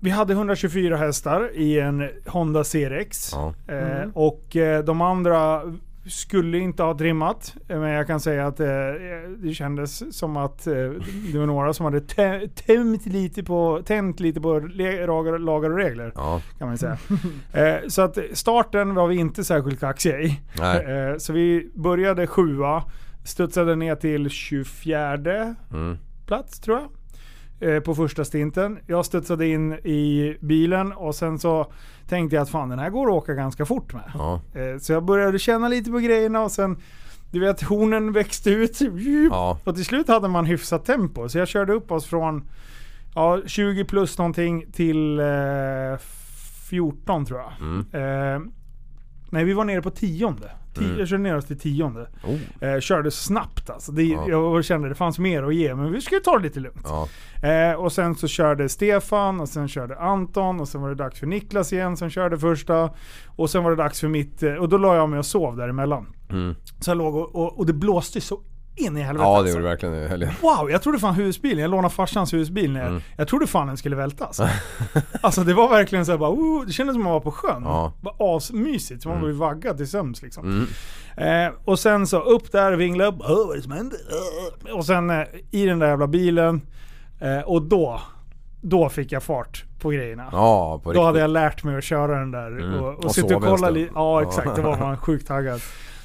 [SPEAKER 6] vi hade 124 hästar i en Honda CRX.
[SPEAKER 3] Ja.
[SPEAKER 6] Eh, Och eh, de andra skulle inte ha trimmat. Eh, Men jag kan säga att eh, det kändes som att eh, det var några som hade tä- tämt lite på, tänt lite på le- lagar, lagar och regler.
[SPEAKER 3] Ja.
[SPEAKER 6] Kan man säga. Eh, Så att starten var vi inte särskilt kaxiga i.
[SPEAKER 3] Nej.
[SPEAKER 6] Eh, Så vi började sjua, studsade ner till 24
[SPEAKER 3] Mm.
[SPEAKER 6] plats tror jag. eh, På första stinten. Jag studsade in i bilen och sen så tänkte jag att fan den här går att åka ganska fort med.
[SPEAKER 3] Ja.
[SPEAKER 6] Eh, Så jag började känna lite på grejerna och sen du vet hornen växte ut.
[SPEAKER 3] Ja.
[SPEAKER 6] Och till slut hade man hyfsat tempo. Så jag körde upp oss från ja, 20 plus någonting till eh, 14 tror jag.
[SPEAKER 3] Mm.
[SPEAKER 6] Eh, nej vi var nere på tionde. Ti- Jag körde ner oss till tionde.
[SPEAKER 3] Mm. Oh.
[SPEAKER 6] Eh, körde snabbt alltså. Det,
[SPEAKER 3] Ja.
[SPEAKER 6] Jag kände det fanns mer att ge men vi skulle ta det lite lugnt.
[SPEAKER 3] Ja.
[SPEAKER 6] Eh, och sen så körde Stefan och sen körde Anton och sen var det dags för Niklas igen som körde första. Och sen var det dags för mitt, eh, och då la jag mig och sov däremellan.
[SPEAKER 3] Mm.
[SPEAKER 6] Så jag låg och, och, och det blåste ju så in i helvete
[SPEAKER 3] Ja det
[SPEAKER 6] alltså.
[SPEAKER 3] gjorde det verkligen nu i helgen.
[SPEAKER 6] Wow, jag trodde fan husbilen, jag lånade farsans husbil ner. Jag trodde fan den skulle vältas. alltså det var verkligen såhär bara, oh, det kändes som man var på sjön.
[SPEAKER 3] Ja.
[SPEAKER 6] Bara asmysigt, så man blev vaggad till sömns liksom. Eh, och sen så upp där, vingla upp, oh, vad är det som händer? Öh. Och sen eh, i den där jävla bilen, eh, och då, då fick jag fart på grejerna.
[SPEAKER 3] Ja på
[SPEAKER 6] Då hade
[SPEAKER 3] riktigt. Mm.
[SPEAKER 6] jag lärt mig att köra den där och, och,
[SPEAKER 3] Och
[SPEAKER 6] sitta och
[SPEAKER 3] sov en
[SPEAKER 6] kolla
[SPEAKER 3] stund.
[SPEAKER 6] lite. Ja exakt, det var man sjukt taggad.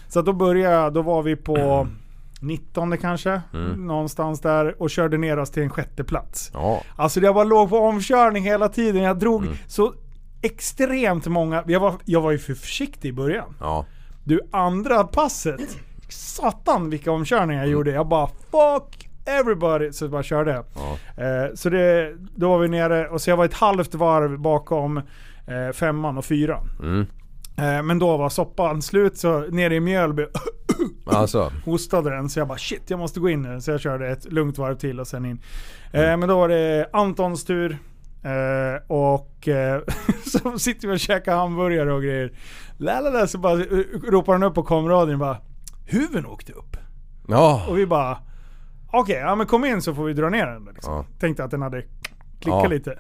[SPEAKER 6] Så att då började jag, då var vi på
[SPEAKER 3] Mm.
[SPEAKER 6] 19 kanske, någonstans där och körde ner oss till en sjätte plats.
[SPEAKER 3] Ja.
[SPEAKER 6] Alltså jag bara låg på omkörning hela tiden, jag drog
[SPEAKER 3] Mm.
[SPEAKER 6] så extremt många, jag var, jag var ju för försiktig i början.
[SPEAKER 3] Ja.
[SPEAKER 6] Du, andra passet. Satan vilka omkörningar jag gjorde. Jag bara fuck everybody. Så bara körde jag. Eh, så det, då var vi nere och så jag var ett halvt varv bakom eh, femman och fyran. Eh, men då var soppan slut så nere i Mjölby
[SPEAKER 3] Alltså.
[SPEAKER 6] hostade den. Så jag bara shit jag måste gå in nu. Så jag körde ett lugnt varv till och sen in. Eh, Men då var det Antons tur. Eh, och eh, så sitter vi och käkar hamburgare och grejer. Lalala, så bara eh, ropar han upp på komradion bara Huven åkte upp.
[SPEAKER 3] Ja.
[SPEAKER 6] Och vi bara Okej, ja, men kom in så får vi dra ner den. Liksom.
[SPEAKER 3] Ja.
[SPEAKER 6] Tänkte att den hade klickat
[SPEAKER 3] Ja.
[SPEAKER 6] lite.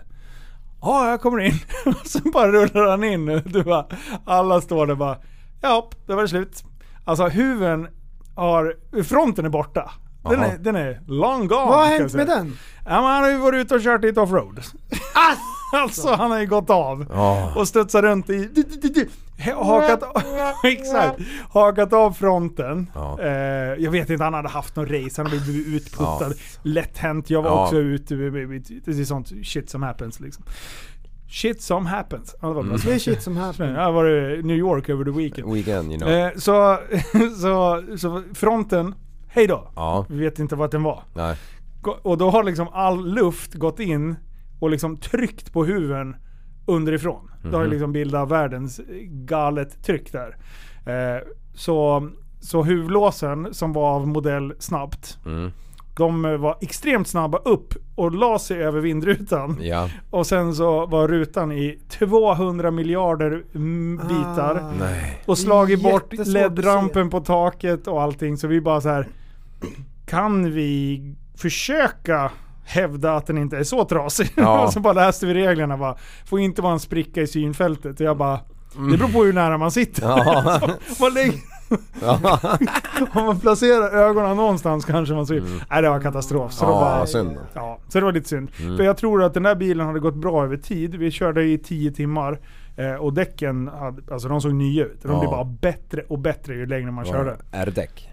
[SPEAKER 6] Ja, jag kommer in. Och Sen bara rullar han in. Och Du bara, alla står där bara Ja, det var det slut. Alltså huven har... Fronten är borta. Den
[SPEAKER 3] Jaha.
[SPEAKER 6] är, den är long gone.
[SPEAKER 2] vad har
[SPEAKER 6] kan jag
[SPEAKER 2] hänt
[SPEAKER 6] säga.
[SPEAKER 2] med den?
[SPEAKER 6] Ja, men han har ju varit ute och kört lite offroad. alltså han har ju gått av.
[SPEAKER 3] Ja.
[SPEAKER 6] Och studsat runt i... du- du- du- du- he- Hakat, exakt, hakat av fronten.
[SPEAKER 3] Ja.
[SPEAKER 6] Eh, jag vet inte, han hade haft någon race, han hade blivit utputtad.
[SPEAKER 3] Ja.
[SPEAKER 6] Lätt hänt, jag var
[SPEAKER 3] Ja.
[SPEAKER 6] också ute. Det är sånt shit som happens liksom. Shit som happens. Ja, det var bra.
[SPEAKER 2] Det är shit som
[SPEAKER 6] Mm.
[SPEAKER 2] händer.
[SPEAKER 6] Jag var i New York över the weekend.
[SPEAKER 3] Weekend you know.
[SPEAKER 6] Eh, så, så, så fronten, hej då.
[SPEAKER 3] Ja.
[SPEAKER 6] Vi vet inte vart den var.
[SPEAKER 3] Nej.
[SPEAKER 6] Gå- Och då har liksom all luft gått in och liksom tryckt på huven underifrån. Det har ju liksom bildat världens galet tryck där. Eh, så, så huvudlåsen som var av modell snabbt,
[SPEAKER 3] Mm.
[SPEAKER 6] de eh, var extremt snabba upp och la sig över vindrutan.
[SPEAKER 3] Ja.
[SPEAKER 6] Och sen så var rutan i 200 miljarder mm, bitar.
[SPEAKER 2] Ah.
[SPEAKER 3] Nej.
[SPEAKER 6] Och slagit
[SPEAKER 2] Det är
[SPEAKER 6] bort
[SPEAKER 2] jättesvårt att
[SPEAKER 6] LED-rampen på taket och allting. Så vi bara så här. Kan vi försöka hävda att den inte är så trasig.
[SPEAKER 3] Ja.
[SPEAKER 6] och så bara läste vi reglerna bara, får inte vara en spricka i synfältet. Och jag bara, det beror på hur nära man sitter.
[SPEAKER 3] Mm. Ja.
[SPEAKER 6] Så, vad länge,
[SPEAKER 3] Ja,
[SPEAKER 6] om man placerar ögonen någonstans kanske man ser...
[SPEAKER 3] Mm.
[SPEAKER 6] Nej det var katastrof. Så, då
[SPEAKER 3] ja
[SPEAKER 6] bara,
[SPEAKER 3] synd.
[SPEAKER 6] ja, så det var lite synd.
[SPEAKER 3] Mm.
[SPEAKER 6] För jag tror att den där bilen hade gått bra över tid. Vi körde i 10 timmar. eh, Och däcken, hade, alltså de såg nya ut. De
[SPEAKER 3] Ja.
[SPEAKER 6] blev bara bättre och bättre ju längre man körde.
[SPEAKER 3] R-däck.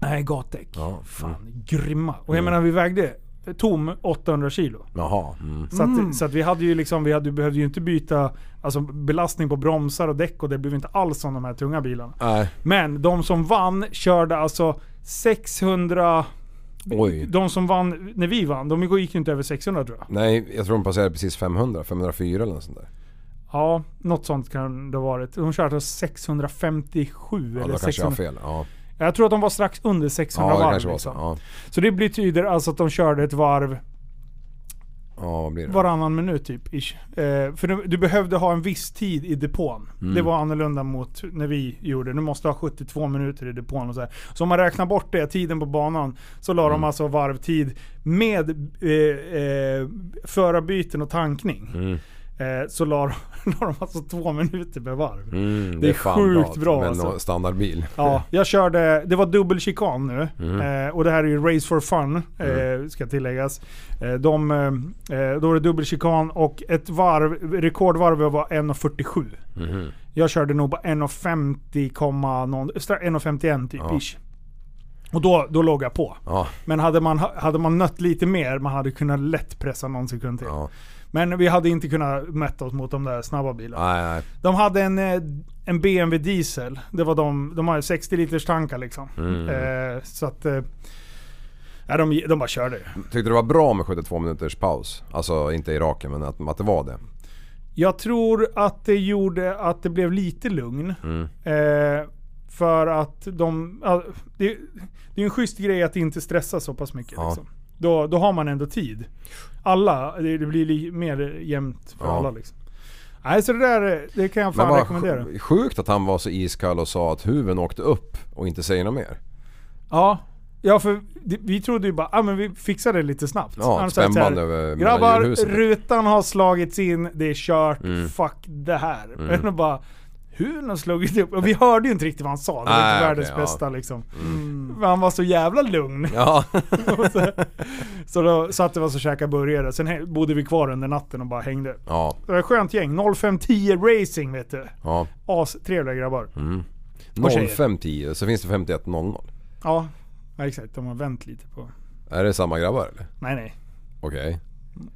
[SPEAKER 6] Nej, gatdäck.
[SPEAKER 3] Ja. Mm.
[SPEAKER 6] Fan, grymma. Och jag menar vi vägde tom 800 kilo.
[SPEAKER 3] Jaha. Mm.
[SPEAKER 6] Så, att, så att vi hade ju liksom, vi hade, behövde ju inte byta alltså, belastning på bromsar och däck och det blev inte alls som de här tunga bilarna.
[SPEAKER 3] Nej.
[SPEAKER 6] Men de som vann körde alltså 600...
[SPEAKER 3] Oj.
[SPEAKER 6] De som vann när vi vann, de gick ju inte över 600 tror jag.
[SPEAKER 3] Nej, jag tror de passerade precis 500. 504 eller något sånt där.
[SPEAKER 6] Ja, något sånt kan det ha varit. De körde 657
[SPEAKER 3] Ja,
[SPEAKER 6] eller
[SPEAKER 3] då kanske jag har
[SPEAKER 6] 600.
[SPEAKER 3] fel. Ja,
[SPEAKER 6] Jag tror att de var strax under 600
[SPEAKER 3] ja det
[SPEAKER 6] varv.
[SPEAKER 3] kanske var så.
[SPEAKER 6] liksom.
[SPEAKER 3] Ja.
[SPEAKER 6] Så det betyder alltså att de körde ett varv
[SPEAKER 3] ja, vad blir det?
[SPEAKER 6] varannan minut typ. Ish. Eh, för du, du behövde ha en viss tid i depån.
[SPEAKER 3] Mm.
[SPEAKER 6] Det var annorlunda mot när vi gjorde. Du måste ha 72 minuter i depån. Och så, här. så om man räknar bort det, tiden på banan, så la
[SPEAKER 3] Mm.
[SPEAKER 6] de alltså varvtid med eh, eh, förarbyten och tankning.
[SPEAKER 3] Mm.
[SPEAKER 6] Eh, så la, de- la de alltså två minuter per varv.
[SPEAKER 3] Mm, det,
[SPEAKER 6] är
[SPEAKER 3] fan
[SPEAKER 6] sjukt
[SPEAKER 3] att-
[SPEAKER 6] bra,
[SPEAKER 3] Men
[SPEAKER 6] alltså.
[SPEAKER 3] nå- standardbil.
[SPEAKER 6] Ja, jag körde, det var dubbel chikan nu.
[SPEAKER 3] Mm.
[SPEAKER 6] Eh, och det här är ju Race for Fun, eh, ska tilläggas. Eh, de, eh, då var det dubbel chikan och ett varv, rekordvarv var 1.47.
[SPEAKER 3] Mhm.
[SPEAKER 6] Jag körde nog på 1.50, komma någon- stra- 1.51 typ.
[SPEAKER 3] Ja.
[SPEAKER 6] ish. Och då, då låg jag på.
[SPEAKER 3] Ja,
[SPEAKER 6] Men hade man, hade man nött lite mer, man hade kunnat lätt pressa någon sekund till.
[SPEAKER 3] ja.
[SPEAKER 6] Men vi hade inte kunnat mätta oss mot de där snabba bilarna.
[SPEAKER 3] Nej, nej.
[SPEAKER 6] De hade en, eh, en BMW diesel. Det var de, de hade 60 liters tankar liksom.
[SPEAKER 3] Mm.
[SPEAKER 6] Eh, så att... Eh, ja, de, de bara körde.
[SPEAKER 3] Tyckte det var bra med 72 minuters paus? Alltså inte i raken men att, att det var det.
[SPEAKER 6] Jag tror att det gjorde att det blev lite lugn.
[SPEAKER 3] Mm.
[SPEAKER 6] Eh, för att de... ja, det, det är en schysst grej att inte stressa så pass mycket.
[SPEAKER 3] Ja.
[SPEAKER 6] Liksom. Då, då har man ändå tid. Alla, det, det blir li, mer jämnt för
[SPEAKER 3] Ja.
[SPEAKER 6] alla liksom. Nej, så det där eh, det kan jag fan
[SPEAKER 3] vad
[SPEAKER 6] rekommendera.
[SPEAKER 3] sj- sjukt att han var så iskall och sa att huven åkte upp och inte säger något mer.
[SPEAKER 6] Ja, ja för det- vi trodde ju bara ah, men vi fixar det lite snabbt.
[SPEAKER 3] Ja,
[SPEAKER 6] Han
[SPEAKER 3] ett
[SPEAKER 6] sa så här,
[SPEAKER 3] spännband över mellan
[SPEAKER 6] Grabbar,
[SPEAKER 3] djurhusen.
[SPEAKER 6] rutan har slagits in, det är kört,
[SPEAKER 3] Mm.
[SPEAKER 6] fuck det här. Men och bara, hur har slagit upp? Och vi hörde ju inte riktigt vad han sa, det var
[SPEAKER 3] Nej,
[SPEAKER 6] inte
[SPEAKER 3] okej,
[SPEAKER 6] världens
[SPEAKER 3] ja. Mm.
[SPEAKER 6] bästa liksom. Men Han var så jävla lugn.
[SPEAKER 3] Ja.
[SPEAKER 6] Så då satte vi oss och käkade burgare, sen hä- bodde vi kvar under natten och bara hängde.
[SPEAKER 3] ja.
[SPEAKER 6] Det var ett skönt gäng, 0510 Racing vet du.
[SPEAKER 3] ja. Mm.
[SPEAKER 6] Astrevliga grabbar. Och tjejer.
[SPEAKER 3] 05.10 så finns det 51.00.
[SPEAKER 6] Ja, ja, exakt. De har vänt lite på...
[SPEAKER 3] Är det samma grabbar eller?
[SPEAKER 6] Nej nej.
[SPEAKER 3] Okej.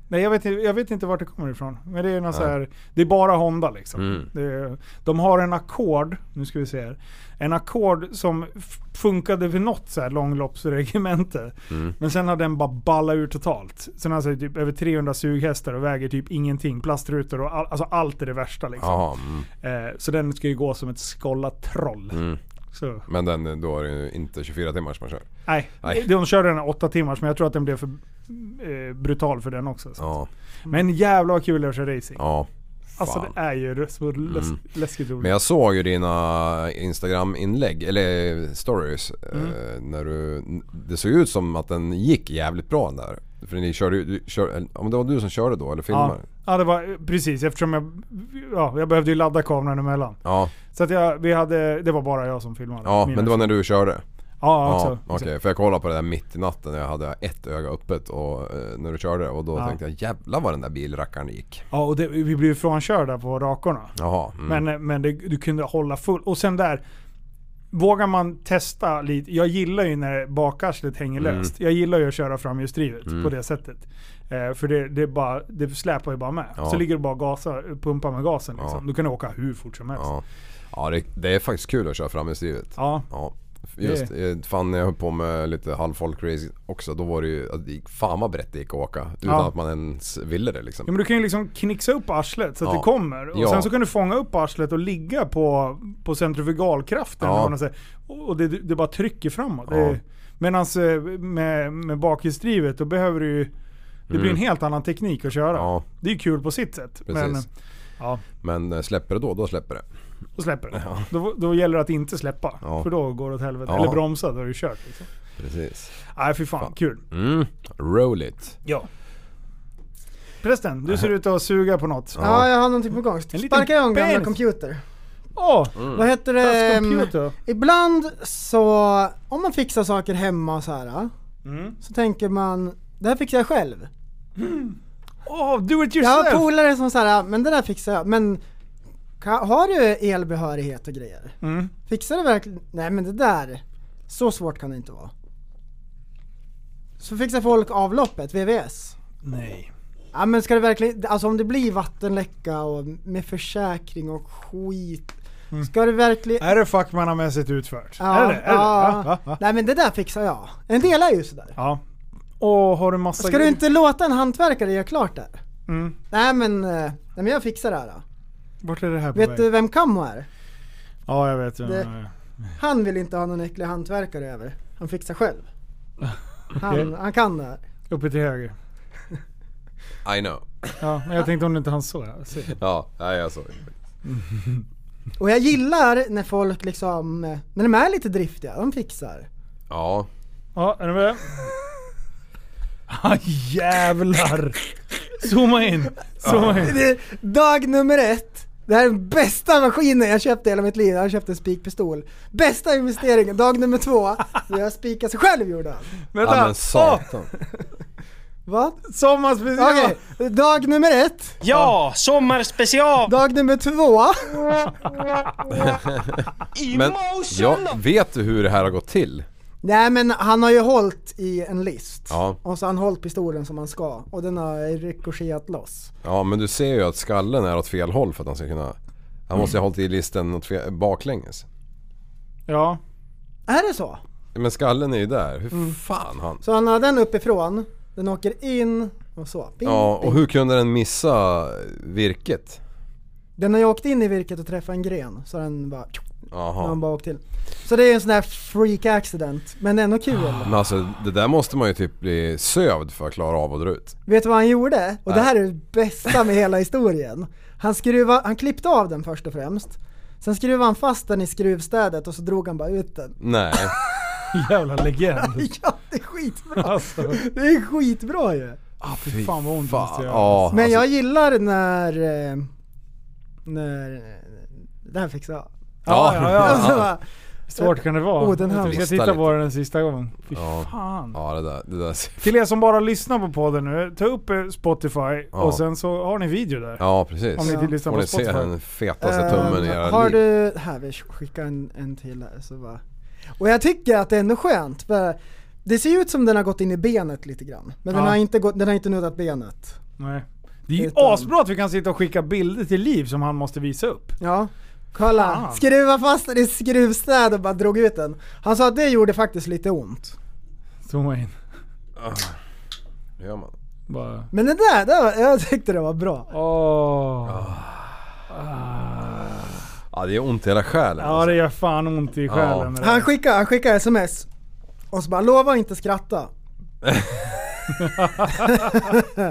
[SPEAKER 6] Nej jag vet, inte- jag vet inte vart det kommer ifrån. Men det är, någon så här, det är bara Honda liksom.
[SPEAKER 3] Mm.
[SPEAKER 6] Det är, de har en ackord, nu ska vi se här. En ackord som f- funkade vid något så här långloppsregemente.
[SPEAKER 3] Mm.
[SPEAKER 6] Men sen har den bara ballat ur totalt. Sen har alltså typ över 300 sughästar och väger typ ingenting. Plastrutor och all, alltså allt är det värsta liksom.
[SPEAKER 3] Jaha. Mm.
[SPEAKER 6] Eh, så den ska ju gå som ett skollat troll. Så,
[SPEAKER 3] Men den, då är det ju inte 24 timmars man kör.
[SPEAKER 6] nej.
[SPEAKER 3] Nej.
[SPEAKER 6] De körde den här åtta timmars men jag tror att den blev för eh, brutal för den också. Så.
[SPEAKER 3] Ja.
[SPEAKER 6] Men jävlar vad kul det är att köra racing.
[SPEAKER 3] Ja.
[SPEAKER 6] Alltså
[SPEAKER 3] Fan. Mm.
[SPEAKER 6] det är ju så läs- läskigt roligt.
[SPEAKER 3] Men jag såg ju dina Instagram-inlägg, eller stories,
[SPEAKER 6] Mm.
[SPEAKER 3] eh, när du... Det såg ut som att den gick jävligt bra den där. För ni körde ju... du kör- eller Om det var du som körde då, eller
[SPEAKER 6] ja.
[SPEAKER 3] filmade?
[SPEAKER 6] ja, det var precis eftersom jag, ja, jag behövde ju ladda kameran emellan.
[SPEAKER 3] Ja.
[SPEAKER 6] Så att jag, vi hade, det var bara jag som filmade.
[SPEAKER 3] Ja,
[SPEAKER 6] Mina
[SPEAKER 3] men det var när du körde?
[SPEAKER 6] Ja, alltså,
[SPEAKER 3] Ja,
[SPEAKER 6] också.
[SPEAKER 3] okej. För jag kollade på det där mitt i natten när jag hade ett öga öppet och, eh, när du körde och då
[SPEAKER 6] Ja.
[SPEAKER 3] tänkte jag jävlar vad den där bilrackaren gick.
[SPEAKER 6] Ja, och det, vi blev ju frånkörda på rakorna.
[SPEAKER 3] Jaha. Mm.
[SPEAKER 6] Men, men det, du kunde hålla full. Och sen där, vågar man testa lite. Jag gillar ju när bakarslet hänger
[SPEAKER 3] Mm.
[SPEAKER 6] löst. Jag gillar ju att köra framhjulsdrivet på det sättet. Eh, för det, det, är bara, det släpar ju bara med.
[SPEAKER 3] Ja.
[SPEAKER 6] Så ligger du bara och gasar, pumpar med gasen liksom.
[SPEAKER 3] Ja.
[SPEAKER 6] Du kan åka hur fort som helst.
[SPEAKER 3] Ja, ja det, det är faktiskt kul att köra framhjulsdrivet.
[SPEAKER 6] Ja.
[SPEAKER 3] Ja. Just, eh, fan när jag höll på med lite halvfolkrace också då var det ju, att det gick- fan vad brett det gick att åka. Utan
[SPEAKER 6] Ja.
[SPEAKER 3] att man ens ville det liksom.
[SPEAKER 6] Ja, men du kan ju liksom knixa upp arslet så att
[SPEAKER 3] Ja.
[SPEAKER 6] det kommer. Och
[SPEAKER 3] Ja.
[SPEAKER 6] sen så kan du fånga upp arslet och ligga på, på centrifugalkraften.
[SPEAKER 3] Ja.
[SPEAKER 6] eller vad man säger. Och och det, det bara trycker framåt.
[SPEAKER 3] Ja.
[SPEAKER 6] Ja. Medan med, med bakhjulsdrivet då behöver du ju... Det blir en helt annan teknik att köra.
[SPEAKER 3] Mm. Ja.
[SPEAKER 6] Det är ju kul på sitt sätt. Men, eh,
[SPEAKER 3] Precis.
[SPEAKER 6] ja,
[SPEAKER 3] Men eh, släpper det då, då släpper det.
[SPEAKER 6] då släpper det. Då, då gäller det att inte släppa.
[SPEAKER 3] Ja.
[SPEAKER 6] För då går det åt helvete.
[SPEAKER 3] Ja.
[SPEAKER 6] Eller bromsa, då är det ju kört. Liksom.
[SPEAKER 3] Precis.
[SPEAKER 6] Nej, fy fan. Kul.
[SPEAKER 3] Mm. Roll it.
[SPEAKER 6] Ja. Förresten, du ser ut att suga på något. Åh!
[SPEAKER 2] Ja, jag har någonting på gång.
[SPEAKER 6] liten
[SPEAKER 2] Sparka igång gamla
[SPEAKER 6] penis.
[SPEAKER 2] computer.
[SPEAKER 6] Ehm.
[SPEAKER 2] Vad heter det?
[SPEAKER 6] Fast computer.
[SPEAKER 2] Ibland så, om man fixar saker hemma och så här.
[SPEAKER 6] Mm.
[SPEAKER 2] Så tänker man, det här fixar jag själv.
[SPEAKER 6] Åh, Oh, do it
[SPEAKER 2] Jag har
[SPEAKER 6] yourself!
[SPEAKER 2] polare som säger men det där fixar jag. Men ka- har du elbehörighet och grejer?
[SPEAKER 6] Mm.
[SPEAKER 2] Fixar du verkligen? Nej men det där, så svårt kan det inte vara. Så fixar folk avloppet, VVS.
[SPEAKER 6] Nej.
[SPEAKER 2] Ja men ska det verkligen, alltså om det blir vattenläcka och med försäkring och skit. Ska det verkligen...
[SPEAKER 6] Är det fuck man har med sig utfört?
[SPEAKER 2] Ja,
[SPEAKER 6] är det är det?
[SPEAKER 2] ja.
[SPEAKER 6] Ja, ja, ja.
[SPEAKER 2] Nej men det där fixar jag. En del är ju sådär.
[SPEAKER 6] ja. Och har du massa
[SPEAKER 2] Ska du
[SPEAKER 6] grejer?
[SPEAKER 2] inte låta en hantverkare göra klart det här?
[SPEAKER 6] Mm.
[SPEAKER 2] Nej men, eh, nej men jag fixar det här då.
[SPEAKER 6] Vart är det här på
[SPEAKER 2] Vet
[SPEAKER 6] väg?
[SPEAKER 2] du vem Kammo är?
[SPEAKER 6] Ja, jag vet.
[SPEAKER 2] Det-
[SPEAKER 6] Ja, ja.
[SPEAKER 2] Han vill inte ha någon äcklig hantverkare över. Han fixar själv. Han,
[SPEAKER 6] Okej.
[SPEAKER 2] han kan det här.
[SPEAKER 6] Uppe till höger.
[SPEAKER 3] I know.
[SPEAKER 6] Ja, men jag tänkte om du inte hann så. här. Se.
[SPEAKER 3] Ja, nej jag såg.
[SPEAKER 2] Och jag gillar när folk liksom, eh, när de är lite driftiga, de fixar.
[SPEAKER 3] Ja.
[SPEAKER 6] Ja, är ni med? Ah, jävlar! Zooma in. Zooma in.
[SPEAKER 2] Det, dag nummer ett. Det här är den bästa maskinen jag köpte i hela mitt liv. Han köpte en spikpistol. Bästa investeringen. Dag nummer två. Jag spikar sig själv gjorde han.
[SPEAKER 3] Ja
[SPEAKER 6] Vänta.
[SPEAKER 3] men satan.
[SPEAKER 2] Vad?
[SPEAKER 6] Sommarspecial!
[SPEAKER 2] Okej. Dag nummer ett.
[SPEAKER 9] Ja, sommarspecial!
[SPEAKER 2] Dag nummer två.
[SPEAKER 3] Men jag vet du hur det här har gått till?
[SPEAKER 2] Nej men han har ju hållit i en list.
[SPEAKER 3] Ja.
[SPEAKER 2] Och så har han hållit pistolen som han ska. Och den har rikoscherat loss.
[SPEAKER 3] Ja men du ser ju att skallen är åt fel håll för att han ska kunna... Han måste ju ha hållit i listen åt fel, baklänges.
[SPEAKER 6] Ja.
[SPEAKER 2] Är det så?
[SPEAKER 3] Men skallen är ju där.
[SPEAKER 6] Mm.
[SPEAKER 3] Hur fan han...
[SPEAKER 2] Så han har den uppifrån. Den åker in och så. Ping,
[SPEAKER 3] Ja och
[SPEAKER 6] Mm.
[SPEAKER 2] ping.
[SPEAKER 3] hur kunde den missa virket?
[SPEAKER 2] Den har ju åkt in i virket och träffat en gren. Så den bara... Och han
[SPEAKER 3] Jaha.
[SPEAKER 2] bara åkt till. Så det är en sån där freak accident, men ändå kul.
[SPEAKER 3] Men alltså det där måste man ju typ bli sövd för att klara av och dra ut.
[SPEAKER 2] Vet du vad han gjorde? Och det här är det bästa med hela historien. Han, skruva, han klippte av den först och främst. Sen skruvade han fast den i skruvstädet och så drog han bara ut den.
[SPEAKER 3] Nej.
[SPEAKER 6] Jävla legend.
[SPEAKER 2] Ja, det är skitbra!
[SPEAKER 6] Alltså.
[SPEAKER 2] Det är skitbra ju!
[SPEAKER 6] Ah, fy fan vad ont det måste
[SPEAKER 3] Fan.
[SPEAKER 6] göra.
[SPEAKER 3] Ja,
[SPEAKER 2] Men
[SPEAKER 3] alltså,
[SPEAKER 2] jag gillar när... eh, När... eh, Det här fixade jag. Alltså,
[SPEAKER 3] Ja,
[SPEAKER 6] ja,
[SPEAKER 3] ja.
[SPEAKER 2] Och så bara,
[SPEAKER 6] Svårt kan det vara.
[SPEAKER 2] Oh, den här-
[SPEAKER 6] jag ska
[SPEAKER 3] Lista
[SPEAKER 6] titta
[SPEAKER 3] lite.
[SPEAKER 6] på den en sista gång. Fy
[SPEAKER 3] Ja.
[SPEAKER 6] fan.
[SPEAKER 3] ja det där, det där ser
[SPEAKER 6] Till er som bara lyssnar på podden nu, ta upp eh, Spotify
[SPEAKER 3] Ja.
[SPEAKER 6] och sen så har ni video där.
[SPEAKER 3] Ja
[SPEAKER 6] Om ni
[SPEAKER 3] precis.
[SPEAKER 6] inte lyssnar
[SPEAKER 3] Får
[SPEAKER 6] på
[SPEAKER 3] ni se
[SPEAKER 6] Spotify. Eh,
[SPEAKER 3] den fetaste
[SPEAKER 2] Ehm,
[SPEAKER 3] tummen i era
[SPEAKER 2] Har
[SPEAKER 3] liv.
[SPEAKER 2] du, här vi skickar en, en till här så bara. Och jag tycker att det är ändå skönt för det ser ju ut som den har gått in i benet lite grann. Men den,
[SPEAKER 6] Ja.
[SPEAKER 2] har inte gått, den har inte nuddat benet.
[SPEAKER 6] Nej. Det är ju
[SPEAKER 2] Utan-
[SPEAKER 6] asbra att vi kan sitta och skicka bilder till Liv som han måste visa upp.
[SPEAKER 2] Ja. Kolla,
[SPEAKER 6] Fan.
[SPEAKER 2] skruva fast den i skruvstäd och bara drog ut den. Han sa att det gjorde faktiskt lite ont.
[SPEAKER 6] Zooma in.
[SPEAKER 3] Hur gör man?
[SPEAKER 6] Bara...
[SPEAKER 2] Men det där, det var, jag tyckte det var bra.
[SPEAKER 6] Åh.
[SPEAKER 3] Ja det är ont i hela själen.
[SPEAKER 6] Ja
[SPEAKER 3] alltså.
[SPEAKER 6] det gör fan ont i själen. med det
[SPEAKER 2] Han
[SPEAKER 6] där.
[SPEAKER 2] skickade, han skickade sms och så bara lova att inte skratta.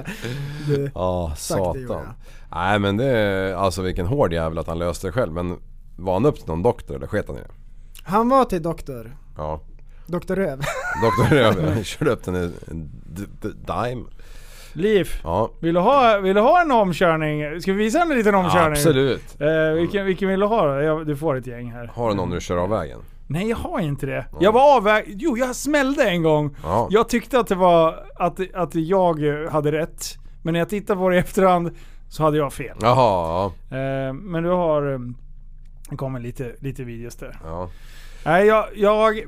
[SPEAKER 3] Ja,
[SPEAKER 2] det gjorde jag.
[SPEAKER 3] satan. Nej men det är, alltså vilken hård jävel att han löste det själv. Men var han upp till någon doktor eller sket han i det?
[SPEAKER 2] Han var till doktor,
[SPEAKER 3] Ja.
[SPEAKER 2] doktor Röv.
[SPEAKER 3] Doktor Röve körde upp den i en d- d- dime.
[SPEAKER 6] Liv,
[SPEAKER 3] Ja.
[SPEAKER 6] vill du, ha, vill du ha en omkörning? Ska vi visa en liten omkörning?
[SPEAKER 3] Absolut.
[SPEAKER 6] Eh, vilken, vilken vill du ha då? Jag, du får ett gäng här.
[SPEAKER 3] Har du någon du kör av vägen?
[SPEAKER 6] Nej jag har inte det. Jag var avväg... Jo jag smällde en gång.
[SPEAKER 3] Ja.
[SPEAKER 6] Jag tyckte att det var... Att, att jag eh, hade rätt. Men när jag tittar på det i efterhand så hade jag fel.
[SPEAKER 3] Jaha, ja.
[SPEAKER 6] Eh, men du har... eh, Det kommer lite, lite videos där.
[SPEAKER 3] ja.
[SPEAKER 6] Nej, jag... jag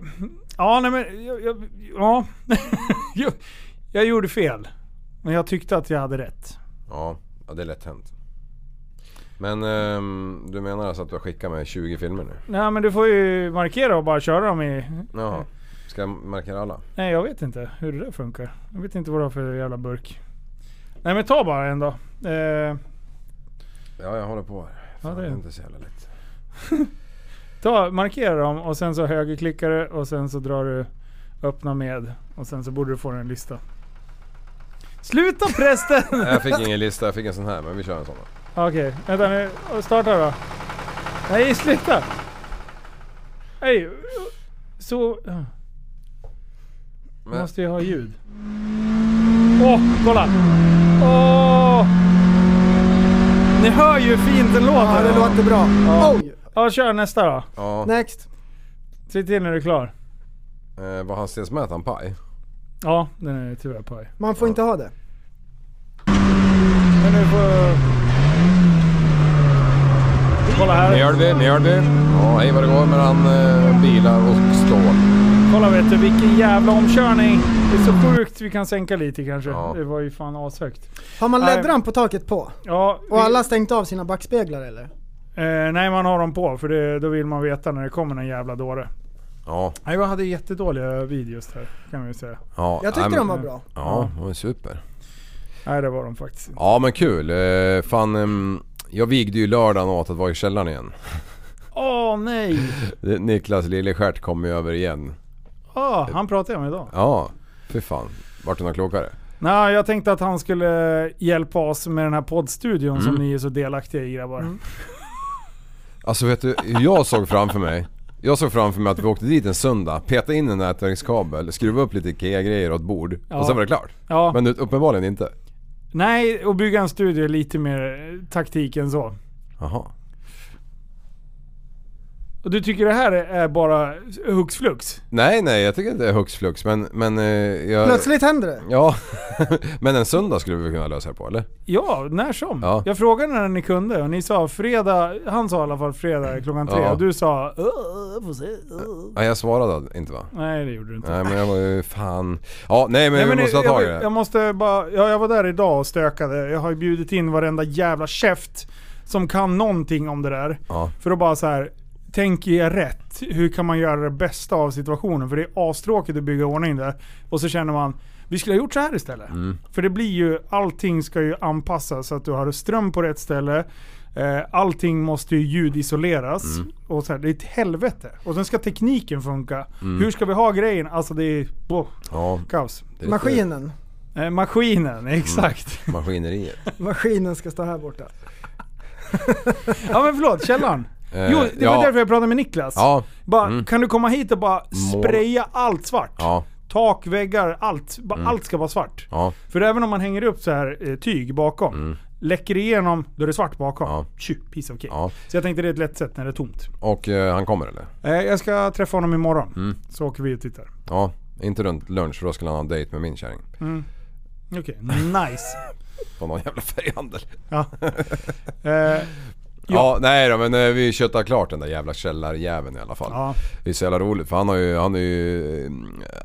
[SPEAKER 6] ja, nej men... Jag, jag, ja. jag, jag gjorde fel. Men jag tyckte att jag hade rätt.
[SPEAKER 3] Ja, ja det är lätt hänt. Men ehm, du menar alltså att du har skickat med 20 filmer nu?
[SPEAKER 6] Nej men du får ju markera och bara köra dem i...
[SPEAKER 3] Jaha. Ska jag markera alla?
[SPEAKER 6] Nej jag vet inte hur det där funkar. Jag vet inte vad du har för jävla burk. Nej men ta bara en då. Eh,
[SPEAKER 3] Ja, jag håller på här. Fan,
[SPEAKER 6] Ja, det
[SPEAKER 3] det
[SPEAKER 6] är-
[SPEAKER 3] är inte så jävla lätt.
[SPEAKER 6] ta, markera dem och sen så högerklickar du och sen så drar du öppna med. Och sen så borde du få en lista. Sluta prästen!
[SPEAKER 3] Jag fick ingen lista, jag fick en sån här men vi kör en sån då.
[SPEAKER 6] Okej, vänta nu. Starta då. Nej, sluta! Nej, så... Vi måste ju ha ljud. Åh, kolla! Åh! Ni hör ju hur fint den låter.
[SPEAKER 2] Ja, det låter bra.
[SPEAKER 6] Ja.
[SPEAKER 2] Oj!
[SPEAKER 6] Ja, kör nästa då.
[SPEAKER 3] Ja.
[SPEAKER 2] Next.
[SPEAKER 6] Se till när du är klar.
[SPEAKER 3] Eh, var hastighetsmätaren paj?
[SPEAKER 6] Ja, den är tyvärr paj.
[SPEAKER 2] Man får inte ha det.
[SPEAKER 6] Men nu får... Kolla här.
[SPEAKER 3] Mjölby, Mjölby. Ja, hej vad det går mellan eh, bilar och stål.
[SPEAKER 6] Kolla vet du, vilken jävla omkörning. Det är så sjukt vi kan sänka lite kanske.
[SPEAKER 3] Ja.
[SPEAKER 6] Det var ju fan ashögt.
[SPEAKER 2] Har man
[SPEAKER 6] Nej.
[SPEAKER 2] läddran på taket på?
[SPEAKER 6] Ja, vi,
[SPEAKER 2] Och alla stängt av sina backspeglar eller?
[SPEAKER 6] eh, nej, man har dem på för det, då vill man veta när det kommer en jävla dåre.
[SPEAKER 3] Ja,
[SPEAKER 6] Nej, jag hade jättedåliga videos där kan vi ju säga.
[SPEAKER 3] ja.
[SPEAKER 2] Jag tyckte
[SPEAKER 3] nej,
[SPEAKER 2] de
[SPEAKER 3] men-
[SPEAKER 2] var bra.
[SPEAKER 3] Ja, de var super.
[SPEAKER 6] Nej, det var de faktiskt inte.
[SPEAKER 3] Ja men kul. Eh, fan, ehm, jag vigde ju lördagen åt att vara i källaren igen.
[SPEAKER 6] Åh nej!
[SPEAKER 3] Det- Niklas Lillestjärt kom ju över igen.
[SPEAKER 6] Ah, han pratade jag med idag.
[SPEAKER 3] Ja, fy fan. Vart du något klokare?
[SPEAKER 6] Nej, jag tänkte att han skulle hjälpa oss med den här poddstudion som ni är så delaktiga i grabbar.
[SPEAKER 3] Alltså vet du, jag såg framför mig jag såg framför mig att vi åkte dit en söndag, petade in en nätverkskabel, skruva upp lite IKEA-grejer och ett bord
[SPEAKER 6] Ja.
[SPEAKER 3] och sen var det klart.
[SPEAKER 6] Ja.
[SPEAKER 3] Men uppenbarligen inte.
[SPEAKER 6] Nej, och bygga en studio är lite mer eh, taktik än så.
[SPEAKER 3] Jaha.
[SPEAKER 6] Och du tycker det här är bara hux flux?
[SPEAKER 3] Nej, nej jag tycker inte det är hux flux men... men eh, jag,
[SPEAKER 2] Plötsligt händer det.
[SPEAKER 3] Ja. men en söndag skulle vi kunna lösa det på eller?
[SPEAKER 6] Ja, när som.
[SPEAKER 3] Ja.
[SPEAKER 6] Jag frågade när ni kunde och ni sa fredag, han sa i alla fall fredag klockan tre
[SPEAKER 3] Mm. Ja.
[SPEAKER 6] och du sa "Åh, får se. åh."
[SPEAKER 3] Nej jag svarade inte va?
[SPEAKER 6] Nej det gjorde du inte.
[SPEAKER 3] Nej men jag var ju fan... Ja nej men,
[SPEAKER 6] Nej,
[SPEAKER 3] vi måste
[SPEAKER 6] jag,
[SPEAKER 3] ta tag i
[SPEAKER 6] jag,
[SPEAKER 3] det.
[SPEAKER 6] jag måste bara, ja, jag var där idag och stökade. Jag har ju bjudit in varenda jävla käft som kan någonting om det där.
[SPEAKER 3] Ja.
[SPEAKER 6] För att bara så här. tänker jag rätt? Hur kan man göra det bästa av situationen? För det är astråkigt att bygga ordning där. Och så känner man, vi skulle ha gjort så här istället.
[SPEAKER 3] Mm.
[SPEAKER 6] För det blir ju, allting ska ju anpassas så att du har ström på rätt ställe. Eh, Allting måste ju ljudisoleras.
[SPEAKER 3] Mm.
[SPEAKER 6] Och så här, det är ett helvete. Och sen ska tekniken funka.
[SPEAKER 3] Mm.
[SPEAKER 6] Hur ska vi ha grejen? Alltså det är boh,
[SPEAKER 3] Ja,
[SPEAKER 6] kaos.
[SPEAKER 3] det är lite
[SPEAKER 2] Maskinen.
[SPEAKER 6] Eh, maskinen,
[SPEAKER 3] Mm.
[SPEAKER 6] exakt.
[SPEAKER 3] Maskineriet.
[SPEAKER 2] Maskinen ska stå här borta.
[SPEAKER 6] Ja men förlåt, källaren.
[SPEAKER 3] Eh,
[SPEAKER 6] Jo, det var
[SPEAKER 3] ja.
[SPEAKER 6] därför jag pratade med Niklas.
[SPEAKER 3] Ja,
[SPEAKER 6] Bara,
[SPEAKER 3] Mm.
[SPEAKER 6] Kan du komma hit och bara
[SPEAKER 3] Måla.
[SPEAKER 6] spraya allt svart?
[SPEAKER 3] ja, Mm.
[SPEAKER 6] Tak, väggar, allt. Bara Allt ska vara svart.
[SPEAKER 3] ja.
[SPEAKER 6] För även om man hänger upp så här eh, tyg bakom, läcker igenom, då är det svart bakom.
[SPEAKER 3] Mm. Ja.
[SPEAKER 6] Tju, piece of cake.
[SPEAKER 3] Ja.
[SPEAKER 6] Så jag tänkte det är ett lätt sätt när det är tomt.
[SPEAKER 3] Och eh, han kommer eller?
[SPEAKER 6] Eh, jag ska träffa honom imorgon.
[SPEAKER 3] Mm.
[SPEAKER 6] Så åker vi och tittar.
[SPEAKER 3] Ja, inte runt lunch för då skulle han ha en dejt med min kärring.
[SPEAKER 6] Mm. Okej, nice.
[SPEAKER 3] På någon jävla färghandel.
[SPEAKER 6] ja. Eh,
[SPEAKER 3] Ja, nej då men eh, vi köttar klart den där jävla källarjäveln i alla fall.
[SPEAKER 6] ja.
[SPEAKER 3] Det är så jävla roligt för han har ju, han är ju,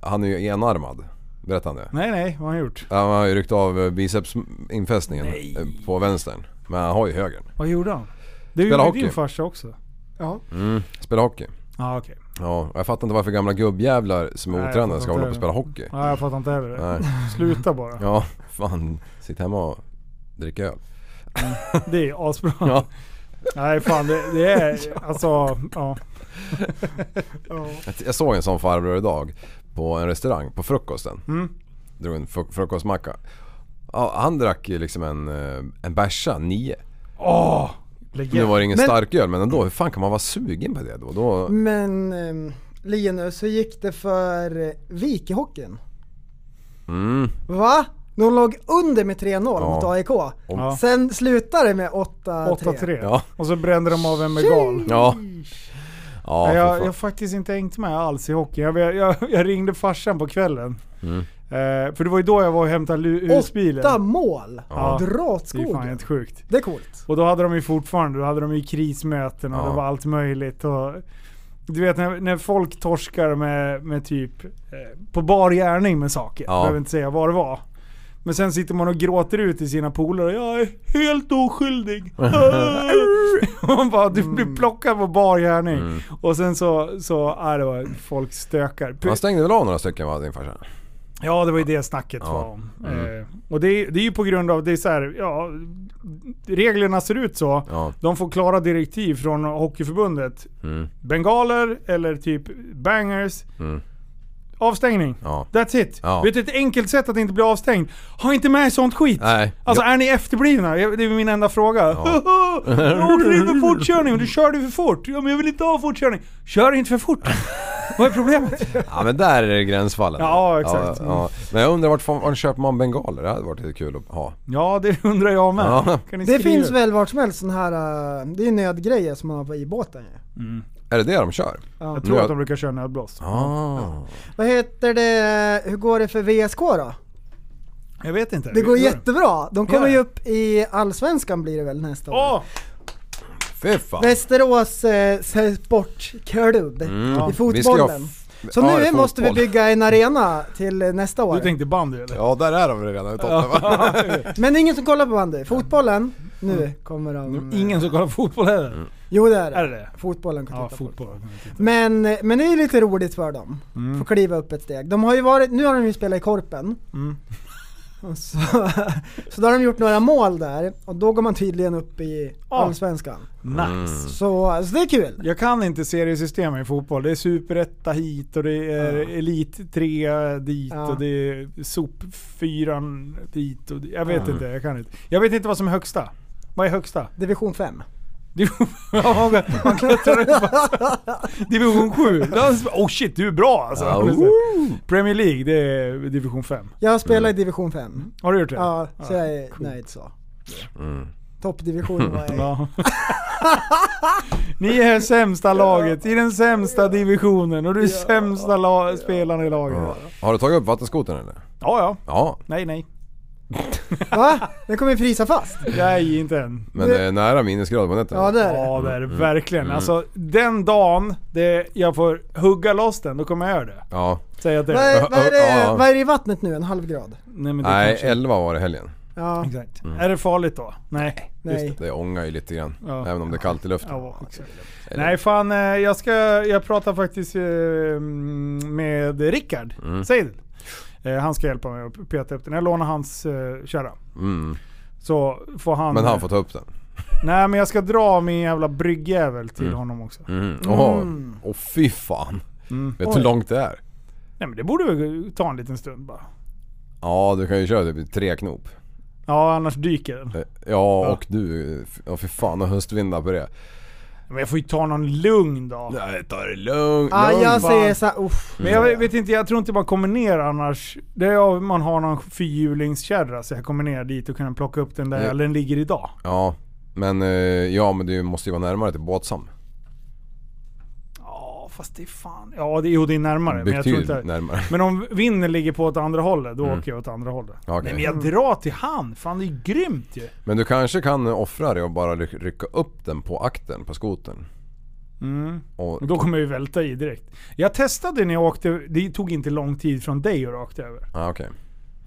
[SPEAKER 3] han är ju enarmad. Berätta om det.
[SPEAKER 6] Nej nej, vad har han gjort?
[SPEAKER 3] Han har ju ryckt av eh, bicepsinfästningen eh, på vänstern. Men han har ju högern.
[SPEAKER 6] Vad gjorde han? Det
[SPEAKER 3] Spela
[SPEAKER 6] gjorde din
[SPEAKER 3] hockey.
[SPEAKER 6] farsa också.
[SPEAKER 3] Spelar hockey.
[SPEAKER 6] Ja okej.
[SPEAKER 3] Ja, och jag fattar inte varför gamla gubbjävlar som
[SPEAKER 6] Nej,
[SPEAKER 3] är
[SPEAKER 6] jag
[SPEAKER 3] otränade ska
[SPEAKER 6] fattar
[SPEAKER 3] hålla på och
[SPEAKER 6] inte
[SPEAKER 3] spela hockey.
[SPEAKER 6] Nej, jag fattar inte heller det.
[SPEAKER 3] Nej.
[SPEAKER 6] Sluta bara.
[SPEAKER 3] Ja, fan. Sitt hemma och drick öl.
[SPEAKER 6] Det är asbra.
[SPEAKER 3] Ja.
[SPEAKER 6] Nej fan det, det är alltså, ja.
[SPEAKER 3] Jag såg en sån farbror idag på en restaurang på frukosten.
[SPEAKER 6] Mm.
[SPEAKER 3] Drog en fru- frukostmacka. Ja, han drack ju liksom en, eh, en bärsa, nio.
[SPEAKER 6] Åh!
[SPEAKER 3] Nu
[SPEAKER 6] Legend.
[SPEAKER 3] var det ingen
[SPEAKER 2] Men-
[SPEAKER 3] starköl men ändå, hur fan kan man vara sugen på det då? då
[SPEAKER 2] Men ehm, Linus, hur gick det för eh, Vikehockeyn?
[SPEAKER 3] mm.
[SPEAKER 2] Va? De låg under med 3-0 mot
[SPEAKER 3] Ja.
[SPEAKER 2] AIK.
[SPEAKER 6] Ja.
[SPEAKER 2] Sen slutade det med 8-3.
[SPEAKER 6] 8-3.
[SPEAKER 3] Ja.
[SPEAKER 6] Och så brände de av en med gal.
[SPEAKER 3] Ja. Ja, för
[SPEAKER 6] Nej, jag, jag har
[SPEAKER 3] fan.
[SPEAKER 6] faktiskt inte hängt med alls i hockey. Jag, jag, jag ringde farsan på kvällen.
[SPEAKER 3] Mm.
[SPEAKER 6] Eh, för det var ju då jag var och hämtade lu- husbilen.
[SPEAKER 2] Åtta mål!
[SPEAKER 6] Ja.
[SPEAKER 2] Dra åt
[SPEAKER 6] Det är fan
[SPEAKER 2] skogen.
[SPEAKER 6] helt sjukt.
[SPEAKER 2] Det är coolt.
[SPEAKER 6] Och då hade de ju fortfarande, då hade de ju krismöten och
[SPEAKER 3] Ja.
[SPEAKER 6] det var allt möjligt. Och, du vet när, när folk torskar med, med typ eh, på bar gärning med saker.
[SPEAKER 3] Ja.
[SPEAKER 6] Behöver inte säga vad det var. Men sen sitter man och gråter ut i sina polare. Jag är helt oskyldig. Man bara, du blir
[SPEAKER 3] Mm.
[SPEAKER 6] plockad på bar gärning. Och sen så, så är det var, folk stökar.
[SPEAKER 3] Han stängde väl av några stycken va, din farsa?
[SPEAKER 6] Ja, det var ju det snacket
[SPEAKER 3] Ja. Mm.
[SPEAKER 6] var om. Eh, och det, är- det är ju på grund av, det är så här, ja, reglerna ser ut så.
[SPEAKER 3] Ja.
[SPEAKER 6] De får klara direktiv från Hockeyförbundet.
[SPEAKER 3] Mm.
[SPEAKER 6] Bengaler eller typ bangers.
[SPEAKER 3] Mm.
[SPEAKER 6] Avstängning.
[SPEAKER 3] Ja.
[SPEAKER 6] That's it.
[SPEAKER 3] Ja.
[SPEAKER 6] Vet du ett enkelt sätt att inte bli avstängd? Ha inte med sånt skit.
[SPEAKER 3] Nej.
[SPEAKER 6] Alltså
[SPEAKER 3] ja.
[SPEAKER 6] är ni efterblivna? Jag- Det är min enda fråga. jag åkte dit för fortkörning och du körde för fort. Ja, men jag vill inte ha fortkörning. Kör inte för fort. Vad är problemet?
[SPEAKER 3] Ja men där är det gränsfallen.
[SPEAKER 6] Ja, exakt.
[SPEAKER 3] ja. Men jag undrar vart fan vart köper man bengaler? Det hade varit lite kul att ha.
[SPEAKER 6] Ja, det undrar jag med.
[SPEAKER 3] Ja.
[SPEAKER 6] Kan ni
[SPEAKER 2] Det
[SPEAKER 6] skriva?
[SPEAKER 2] finns väl vart som helst sån här, eh, det är nödgrejer som man har på i båten ju.
[SPEAKER 3] Är det det de kör?
[SPEAKER 6] Jag tror att de brukar köra nödblås.
[SPEAKER 3] Ah.
[SPEAKER 2] Vad heter det, hur går det för VSK då?
[SPEAKER 6] Jag vet inte.
[SPEAKER 2] Det går
[SPEAKER 6] Hur
[SPEAKER 2] jättebra. De
[SPEAKER 6] Gör
[SPEAKER 2] kommer
[SPEAKER 6] det?
[SPEAKER 2] ju upp i Allsvenskan blir det väl nästa år.
[SPEAKER 6] Åh!
[SPEAKER 3] Fy fan.
[SPEAKER 2] Västerås eh, sportklubb i
[SPEAKER 3] Vi ska Mm. ha
[SPEAKER 2] fotbollen.
[SPEAKER 3] f-
[SPEAKER 2] Så
[SPEAKER 3] ja, det
[SPEAKER 2] nu
[SPEAKER 3] är
[SPEAKER 2] måste vi
[SPEAKER 3] fotboll.
[SPEAKER 2] bygga en arena till eh, nästa år.
[SPEAKER 6] Du tänkte bandy eller?
[SPEAKER 3] Ja där är de redan i toppen va?
[SPEAKER 2] Men det är ingen som kollar på bandy. Fotbollen, nu kommer de... eh,
[SPEAKER 6] Ingen som kollar fotboll heller?
[SPEAKER 2] Jo det är
[SPEAKER 6] Är
[SPEAKER 2] det.
[SPEAKER 6] det det?
[SPEAKER 2] Fotbollen kan
[SPEAKER 6] Ja,
[SPEAKER 2] titta på.
[SPEAKER 6] fotboll. Mm.
[SPEAKER 2] Men, eh, men det är ju lite roligt för dem. Får kliva upp ett steg. De har ju varit, nu har de ju spelat i Korpen.
[SPEAKER 6] Mm.
[SPEAKER 2] Och Så, så då har de gjort några mål där och då går man tydligen upp i
[SPEAKER 6] Ah.
[SPEAKER 2] Allsvenskan.
[SPEAKER 3] Mm.
[SPEAKER 6] Nice.
[SPEAKER 2] Så, så det är kul.
[SPEAKER 6] Jag kan inte seriesystemen i fotboll. Det är superetta hit och det är
[SPEAKER 2] Ja.
[SPEAKER 6] elit 3 dit
[SPEAKER 2] Ja.
[SPEAKER 6] och det är sop 4 dit och dit. Jag vet inte, jag kan inte. Jag vet inte vad som är högsta. Vad är högsta?
[SPEAKER 2] Division 5.
[SPEAKER 6] Division- Ja, man, man klättrar upp alltså. Division 7. Oh shit, du är bra alltså.
[SPEAKER 3] Ja, oh.
[SPEAKER 6] Premier League, det är division 5.
[SPEAKER 2] Jag spelar i division 5.
[SPEAKER 6] Har du gjort det?
[SPEAKER 2] Ja, så
[SPEAKER 6] Mm. Ja,
[SPEAKER 2] jag är nöjd så.
[SPEAKER 3] Mm.
[SPEAKER 2] Toppdivisionen var jag i.
[SPEAKER 6] Ja. Ni är sämsta laget i den sämsta divisionen och du är sämsta la- spelaren i laget.
[SPEAKER 3] Ja.
[SPEAKER 6] Ja,
[SPEAKER 3] Har du tagit upp vattenskotern eller?
[SPEAKER 6] ja.
[SPEAKER 3] Ja,
[SPEAKER 6] Nej, nej.
[SPEAKER 2] Va? Den kommer ju frysa fast.
[SPEAKER 6] Nej, inte än.
[SPEAKER 3] men det är nära minusgrad på nätterna.
[SPEAKER 2] Ja det är det.
[SPEAKER 6] Ja, det är det verkligen. Alltså, den dagen det jag får hugga loss den, då kommer jag göra det.
[SPEAKER 3] Ja.
[SPEAKER 6] Säg att det
[SPEAKER 2] Vad är, vad, är det,
[SPEAKER 3] Ja.
[SPEAKER 2] vad är det i vattnet nu? En halv grad?
[SPEAKER 6] Nej, Mm. men det
[SPEAKER 3] Nej,
[SPEAKER 6] kanske-
[SPEAKER 3] 11 var det i helgen.
[SPEAKER 2] Ja,
[SPEAKER 6] Exakt. Är det farligt då? Nej. Just
[SPEAKER 2] nej.
[SPEAKER 3] Det ångar ju lite grann.
[SPEAKER 6] Ja.
[SPEAKER 3] Även om det är kallt i luften.
[SPEAKER 6] Ja, exakt. Nej fan, eh, jag ska... Jag pratar faktiskt eh, mm, med Rickard
[SPEAKER 3] Mm.
[SPEAKER 6] Seidel. Eh, Han ska hjälpa mig att peta upp den. Jag lånar hans eh, kärra.
[SPEAKER 3] Mm.
[SPEAKER 6] Så får han...
[SPEAKER 3] Men han får ta upp den.
[SPEAKER 6] Nej men jag ska dra min jävla bryggjävel till honom också. Mm.
[SPEAKER 3] Mm. Åh, Åh, fy fan. Vet du hur långt det är?
[SPEAKER 6] Nej men det borde väl ta en liten stund bara.
[SPEAKER 3] Ja, du kan ju köra typ i tre knop.
[SPEAKER 6] Ja annars dyker den.
[SPEAKER 3] Eh, Ja, och du... Ja, fy fan och höstvindar på det.
[SPEAKER 6] Men jag får ju ta någon lugn dag.
[SPEAKER 3] Nej, ta det lugnt.
[SPEAKER 2] Ah,
[SPEAKER 3] lugnt.
[SPEAKER 2] jag säger såhär, uff.
[SPEAKER 6] Men
[SPEAKER 3] Mm.
[SPEAKER 6] jag vet inte, jag tror inte man kommer ner annars. Det är om man har någon fyrhjulingskärra så jag kommer ner dit och kan plocka upp den där
[SPEAKER 3] Ja.
[SPEAKER 6] eller den ligger idag.
[SPEAKER 3] Ja, men, eh, ja, men du måste ju vara närmare till Båtsam.
[SPEAKER 6] Ja, fast det är fan... Ja, det, jo, det är typ- närmare. Men, jag tror
[SPEAKER 3] Betydligt
[SPEAKER 6] inte,
[SPEAKER 3] närmare.
[SPEAKER 6] men om vinden ligger på åt andra hållet, då åker jag åt andra hållet.
[SPEAKER 3] Ja, okej.
[SPEAKER 6] Nej, men jag drar till hand. Fan, det är ju grymt ju.
[SPEAKER 3] Men du kanske kan offra dig och bara ry- rycka upp den på akten på skotern. Och,
[SPEAKER 6] Och då kommer jag ju välta i direkt. Jag testade när jag åkte, det tog inte lång tid från dig och rakt över.
[SPEAKER 3] ja, okej.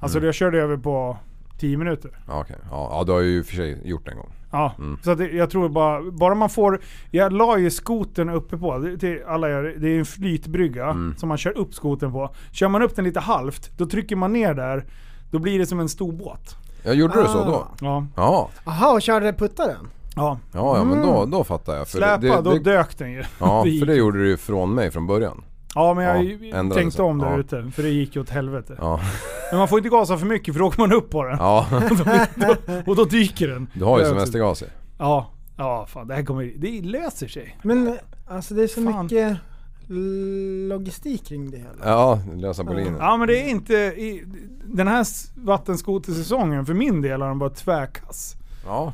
[SPEAKER 6] Alltså jag körde över på 10 minuter.
[SPEAKER 3] Ja, okej. Ja, ja, du har ju i och för sig gjort det en gång.
[SPEAKER 6] Ja, så att det, jag tror bara, bara man får... Jag la ju skoten uppe på, det, till alla gör, det är en flytbrygga som man kör upp skoten på. Kör man upp den lite halvt, då trycker man ner där, då blir det som en stor båt.
[SPEAKER 3] Ja, gjorde du så då?
[SPEAKER 6] Ja,
[SPEAKER 3] Ja,
[SPEAKER 2] Aha, och körde puttaren?
[SPEAKER 6] ja.
[SPEAKER 3] ja, ja men då, då fattar jag. För
[SPEAKER 6] Mm. Släpa,
[SPEAKER 3] det,
[SPEAKER 6] då
[SPEAKER 3] det,
[SPEAKER 6] dök den ju.
[SPEAKER 3] Ja,
[SPEAKER 6] Det gick.
[SPEAKER 3] för det gjorde du ju från mig från början.
[SPEAKER 6] ja men jag
[SPEAKER 3] Ja, ändrade
[SPEAKER 6] tänkte
[SPEAKER 3] sig.
[SPEAKER 6] om där
[SPEAKER 3] Ja.
[SPEAKER 6] ute, för det gick ju åt helvete.
[SPEAKER 3] Ja,
[SPEAKER 6] Men man får inte gasa för mycket för då åker man upp på den.
[SPEAKER 3] ja
[SPEAKER 6] Och då dyker den.
[SPEAKER 3] du har ju
[SPEAKER 6] Ja,
[SPEAKER 3] semestergas i.
[SPEAKER 6] Ja, ja fan det här kommer Det löser sig.
[SPEAKER 2] Men alltså det är så
[SPEAKER 6] Fan.
[SPEAKER 2] mycket logistik kring det hela.
[SPEAKER 3] Ja, lösa boliner.
[SPEAKER 6] Ja men det är inte... I, den här s- vattenskotersäsongen för min del har den bara tvärkass.
[SPEAKER 3] Ja,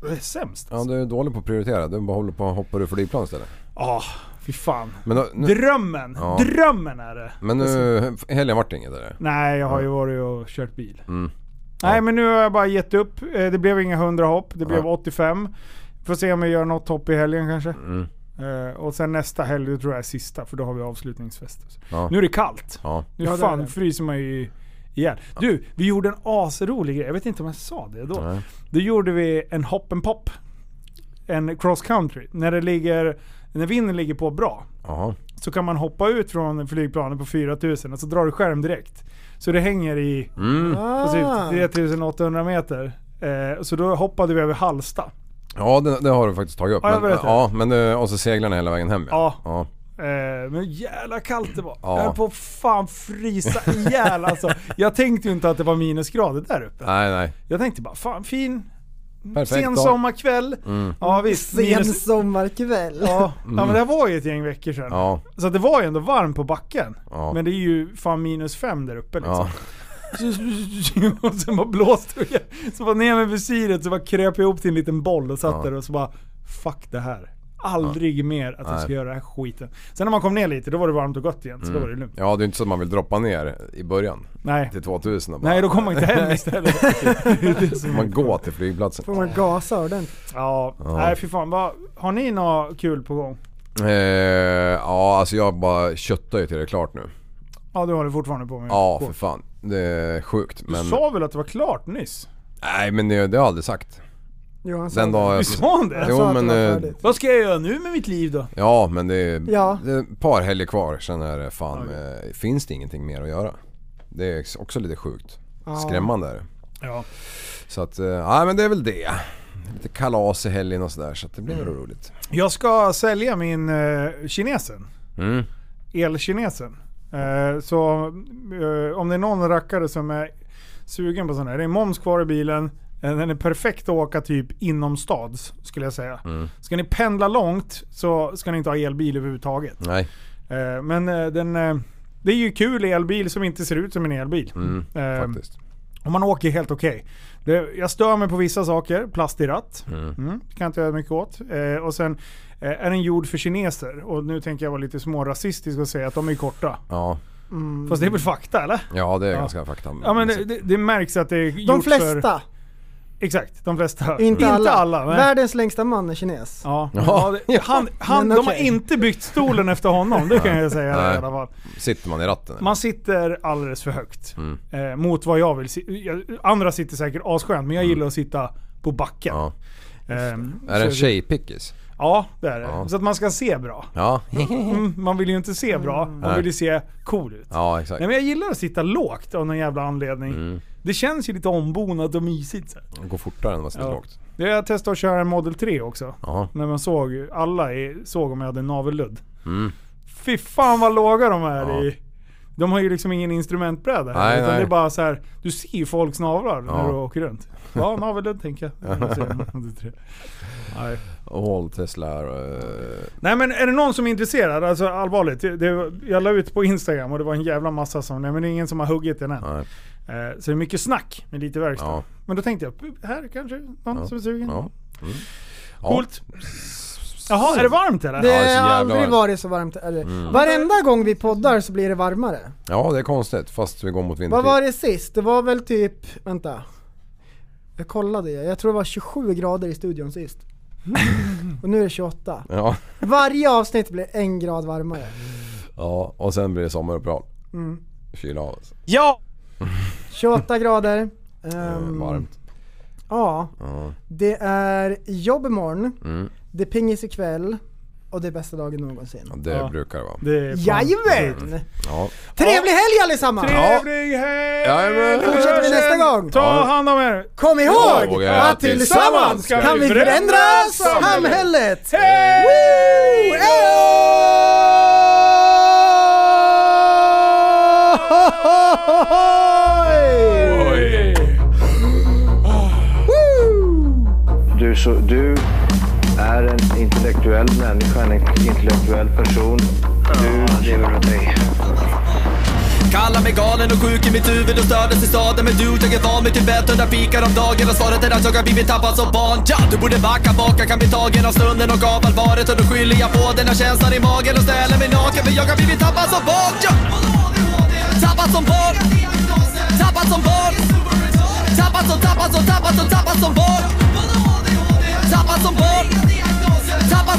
[SPEAKER 6] Det är sämst
[SPEAKER 3] ja
[SPEAKER 6] alltså.
[SPEAKER 3] du är dålig på att prioritera. Du bara håller på att hoppa ur flygplan istället.
[SPEAKER 6] Ja, Ah, fy fan.
[SPEAKER 3] Men, då, nu,
[SPEAKER 6] Drömmen!
[SPEAKER 3] Ja.
[SPEAKER 6] Drömmen är det!
[SPEAKER 3] men nu, helgen vart det inget eller?
[SPEAKER 6] Nej, jag har ju varit och kört bil.
[SPEAKER 3] Mm.
[SPEAKER 6] Nej men nu har jag bara gett upp. Eh, Det blev inga 100 hopp, det blev
[SPEAKER 3] Ja.
[SPEAKER 6] 85. Får se om jag gör något hopp i helgen kanske.
[SPEAKER 3] Mm.
[SPEAKER 6] Eh, Och sen nästa helg då tror jag är sista, för då har vi avslutningsfest.
[SPEAKER 3] Ja.
[SPEAKER 6] Nu är det kallt.
[SPEAKER 3] Ja.
[SPEAKER 6] Nu
[SPEAKER 2] Ja, det
[SPEAKER 6] fan
[SPEAKER 2] är det.
[SPEAKER 6] fryser man ju igen. Du, vi gjorde en asrolig grej. Jag vet inte om jag sa det då.
[SPEAKER 3] Nej.
[SPEAKER 6] Då gjorde vi en hop and pop. En cross country. När, det ligger, när vinden ligger på bra
[SPEAKER 3] Jaha.
[SPEAKER 6] så kan man hoppa ut från flygplanet på 4000 och så drar du skärm direkt. Så det hänger i
[SPEAKER 3] Mm.
[SPEAKER 6] på
[SPEAKER 2] Ah.
[SPEAKER 6] typ 3800 meter. Eh, så då hoppade vi över Halsta.
[SPEAKER 3] Ja, det, det har du faktiskt tagit upp.
[SPEAKER 6] Ja, jag
[SPEAKER 3] men,
[SPEAKER 6] vet det.
[SPEAKER 3] ja, men, eh, och så seglarna hela vägen hem
[SPEAKER 6] Ja.
[SPEAKER 3] ja.
[SPEAKER 6] Eh, men jävla kallt det var.
[SPEAKER 3] Ja.
[SPEAKER 6] Jag höll på att fan frysa ihjäl alltså. Jag tänkte ju inte att det var minusgrader där uppe.
[SPEAKER 3] Nej, nej.
[SPEAKER 6] Jag tänkte bara, fan fin
[SPEAKER 3] Perfekt
[SPEAKER 6] sen
[SPEAKER 3] dag.
[SPEAKER 6] sommarkväll.
[SPEAKER 3] Mm.
[SPEAKER 6] Ja visst.
[SPEAKER 2] Ah, Sen
[SPEAKER 6] Minus,
[SPEAKER 2] sommarkväll.
[SPEAKER 6] ja, ja men
[SPEAKER 3] Mm.
[SPEAKER 6] det var ju ett gäng veckor sedan.
[SPEAKER 3] Ja,
[SPEAKER 6] Så att det var ju ändå varmt på backen.
[SPEAKER 3] ja.
[SPEAKER 6] Men det är ju fan minus fem där uppe liksom.
[SPEAKER 3] ja.
[SPEAKER 6] och sen bara blåste det. Så bara ner med visiret, så bara kröp jag ihop till en liten boll och satt
[SPEAKER 3] Ja.
[SPEAKER 6] där och så bara Fuck det här. Aldrig mer att jag ska
[SPEAKER 3] Nej. Mm.
[SPEAKER 6] göra den här skiten. Sen när man kom ner lite, då var det varmt och gott igen. Så då var det lugnt.
[SPEAKER 3] ja, det är inte så att man vill droppa ner i början
[SPEAKER 6] Nej.
[SPEAKER 3] till 2000 och bara,
[SPEAKER 6] Nej, då kom man inte hem istället. Det är det som-
[SPEAKER 3] Man går till flygplatsen.
[SPEAKER 2] Får man gasa ordentligt.
[SPEAKER 6] Ja,
[SPEAKER 3] Ja.
[SPEAKER 6] nej fy fan. Vad- Har ni något kul på gång?
[SPEAKER 3] Eh, ja, alltså jag bara köttar ju till det är klart nu.
[SPEAKER 6] Ja, du håller fortfarande på med
[SPEAKER 3] Ja,
[SPEAKER 6] kår.
[SPEAKER 3] för fan. Det är sjukt
[SPEAKER 6] Du
[SPEAKER 3] men...
[SPEAKER 6] sa väl att det var klart nyss?
[SPEAKER 3] Nej men det, det har jag aldrig sagt.
[SPEAKER 2] Johan sa
[SPEAKER 3] Den dagen
[SPEAKER 6] Du
[SPEAKER 3] jag...
[SPEAKER 6] sa han det?
[SPEAKER 2] Jag sa
[SPEAKER 3] Jo
[SPEAKER 2] att det
[SPEAKER 3] men...
[SPEAKER 2] var
[SPEAKER 3] eh,
[SPEAKER 2] färdigt.
[SPEAKER 6] Vad ska jag göra nu med mitt liv då?
[SPEAKER 3] Ja men det är,
[SPEAKER 2] Ja.
[SPEAKER 3] det är ett par helger kvar sen är det fan, eh, finns det ingenting mer att göra. Det är också lite sjukt.
[SPEAKER 2] Ja.
[SPEAKER 3] Skrämmande är det.
[SPEAKER 6] Ja.
[SPEAKER 3] Så att, eh, ja men det är väl det. Lite kalas i helgen och sådär så att det blir mm. roligt.
[SPEAKER 6] Jag ska sälja min eh, kinesen.
[SPEAKER 3] Mm.
[SPEAKER 6] elkinesen. Eh, så eh, om det är någon rackare som är sugen på sån här. Det är moms kvar i bilen. Eh, Den är perfekt att åka typ inomstads skulle jag säga.
[SPEAKER 3] Mm.
[SPEAKER 6] Ska ni pendla långt så ska ni inte ha elbil överhuvudtaget.
[SPEAKER 3] Nej. Mm.
[SPEAKER 6] Eh, men eh, den, eh, det är ju kul elbil som inte ser ut som en elbil.
[SPEAKER 3] Mm.
[SPEAKER 6] Eh,
[SPEAKER 3] Faktiskt.
[SPEAKER 6] och man åker helt okej. Det- Jag stör mig på vissa saker. Plast i ratt.
[SPEAKER 3] Mm.
[SPEAKER 6] Mm, det kan jag inte göra mycket åt. Eh, och sen eh, är den gjord för kineser. Och nu tänker jag vara lite smårasistisk och säga att de är korta.
[SPEAKER 3] Ja.
[SPEAKER 6] Fast det är väl fakta eller?
[SPEAKER 3] ja det är
[SPEAKER 6] Ja.
[SPEAKER 3] ganska fakta.
[SPEAKER 6] Ja men det, det- det märks att det är gjort
[SPEAKER 2] De
[SPEAKER 6] För,
[SPEAKER 2] flesta,
[SPEAKER 6] exakt, de flesta.
[SPEAKER 2] inte alla.
[SPEAKER 6] nej.
[SPEAKER 2] Världens längsta man är kines.
[SPEAKER 6] Ja.
[SPEAKER 3] Ja.
[SPEAKER 6] Ja, det- han, han,
[SPEAKER 2] Men
[SPEAKER 6] de har
[SPEAKER 2] okej.
[SPEAKER 6] inte byggt stolen efter honom, det kan jag säga
[SPEAKER 3] Nej.
[SPEAKER 6] i alla fall.
[SPEAKER 3] Sitter man i ratten eller?
[SPEAKER 6] Man sitter alldeles för högt.
[SPEAKER 3] Mm.
[SPEAKER 6] Eh, mot vad jag vill si- jag, Andra sitter säkert asskönt, men jag gillar att sitta på backen.
[SPEAKER 3] Mm. Ja.
[SPEAKER 6] Ehm,
[SPEAKER 3] Är det en
[SPEAKER 6] så-
[SPEAKER 3] tjejpickis?
[SPEAKER 6] Ja, det är det.
[SPEAKER 3] Ja.
[SPEAKER 6] Så att man ska se bra.
[SPEAKER 3] Ja.
[SPEAKER 6] Mm, man vill ju inte se bra, man
[SPEAKER 3] Nej.
[SPEAKER 6] vill ju se cool ut.
[SPEAKER 3] Ja exakt.
[SPEAKER 6] Nej, men jag gillar att sitta lågt av någon jävla anledning.
[SPEAKER 3] Mm.
[SPEAKER 6] Det känns ju lite ombonat och mysigt. Så här.
[SPEAKER 3] Det går fortare än man sitter
[SPEAKER 6] Ja.
[SPEAKER 3] lågt.
[SPEAKER 6] Det- Jag testade att köra en Model 3 också.
[SPEAKER 3] Ja.
[SPEAKER 6] När man såg, alla i, såg om jag hade navelludd.
[SPEAKER 3] Mm.
[SPEAKER 6] Fy fan vad låga de är
[SPEAKER 3] Ja.
[SPEAKER 6] i... De har ju liksom ingen instrumentbräda här,
[SPEAKER 3] Nej,
[SPEAKER 6] utan
[SPEAKER 3] nej.
[SPEAKER 6] det är bara så här. du ser ju folks navlar när
[SPEAKER 3] Ja.
[SPEAKER 6] du åker runt. Ja, navelludd tänker jag. Jag ser en Model 3. Nej.
[SPEAKER 3] All Tesla eh,
[SPEAKER 6] Nej men är det någon som är intresserad, alltså allvarligt. Det, det, jag la ut på Instagram och det var en jävla massa som, nej men det är ingen som har huggit den än.
[SPEAKER 3] Nej.
[SPEAKER 6] Eh, Så det är mycket snack med lite verkstad.
[SPEAKER 3] Ja.
[SPEAKER 6] Men då tänkte jag, här kanske någon som är sugen.
[SPEAKER 3] Ja. Mm. Ja.
[SPEAKER 6] Coolt. Jaha, är det varmt eller?
[SPEAKER 2] Det
[SPEAKER 3] Ja, det är så
[SPEAKER 2] har
[SPEAKER 3] jävla
[SPEAKER 2] aldrig
[SPEAKER 3] varmt. Mm.
[SPEAKER 2] varit så varmt. Eller, Varenda gång vi poddar så blir det varmare.
[SPEAKER 3] Ja, det är konstigt fast vi går mot vintertid.
[SPEAKER 2] Vad var det sist? Det var väl typ, vänta. Jag kollade jag, jag tror det var 27 grader i studion sist. Och nu är det 28.
[SPEAKER 3] Ja.
[SPEAKER 2] Varje avsnitt blir en grad varmare.
[SPEAKER 3] ja, och sen blir det sommaruppehåll.
[SPEAKER 6] Mm.
[SPEAKER 3] alltså. Kyla av oss.
[SPEAKER 9] Ja!
[SPEAKER 2] 28 grader.
[SPEAKER 3] Eh,
[SPEAKER 6] Mm.
[SPEAKER 2] Ehm,
[SPEAKER 3] Varmt.
[SPEAKER 2] Ja,
[SPEAKER 3] Ja.
[SPEAKER 2] det är jobb imorgon,
[SPEAKER 3] Mm.
[SPEAKER 2] det är pingis ikväll och det är bästa dagen någonsin.
[SPEAKER 3] Ja, det
[SPEAKER 6] Ja.
[SPEAKER 3] brukar det vara.
[SPEAKER 6] Det är fan-
[SPEAKER 2] Jajamän!
[SPEAKER 3] Ja.
[SPEAKER 2] Trevlig helg allesammans!
[SPEAKER 6] Trevlig helg!
[SPEAKER 3] Jajamän.
[SPEAKER 2] Fortsätter vi nästa gång!
[SPEAKER 6] Ta
[SPEAKER 3] Ja.
[SPEAKER 6] hand om er!
[SPEAKER 2] Kom ihåg
[SPEAKER 3] Ihåg
[SPEAKER 2] att tillsammans kan vi förändra samhället!
[SPEAKER 6] Hej!
[SPEAKER 2] Woo! Ey!
[SPEAKER 1] Du, så, du är en intellektuell människa, en intellektuell person. Du lever av dig.
[SPEAKER 10] Kallar mig galen och sjuk i mitt huvud och stördes i staden Men du, jag är van vid Tibet och där fikar om dagen Och svaret är att jag har blivit tappad som barn ja! Du borde backa baka, kan bli tagen av stunden och av allvaret Och då skyller jag på den här känslan i magen och ställer mig naken För jag har blivit tappad som barn ja! Tappad som barn Tappad som barn Tappad som, tappad som, tappad som, tappad som barn Tappad som barn Tappad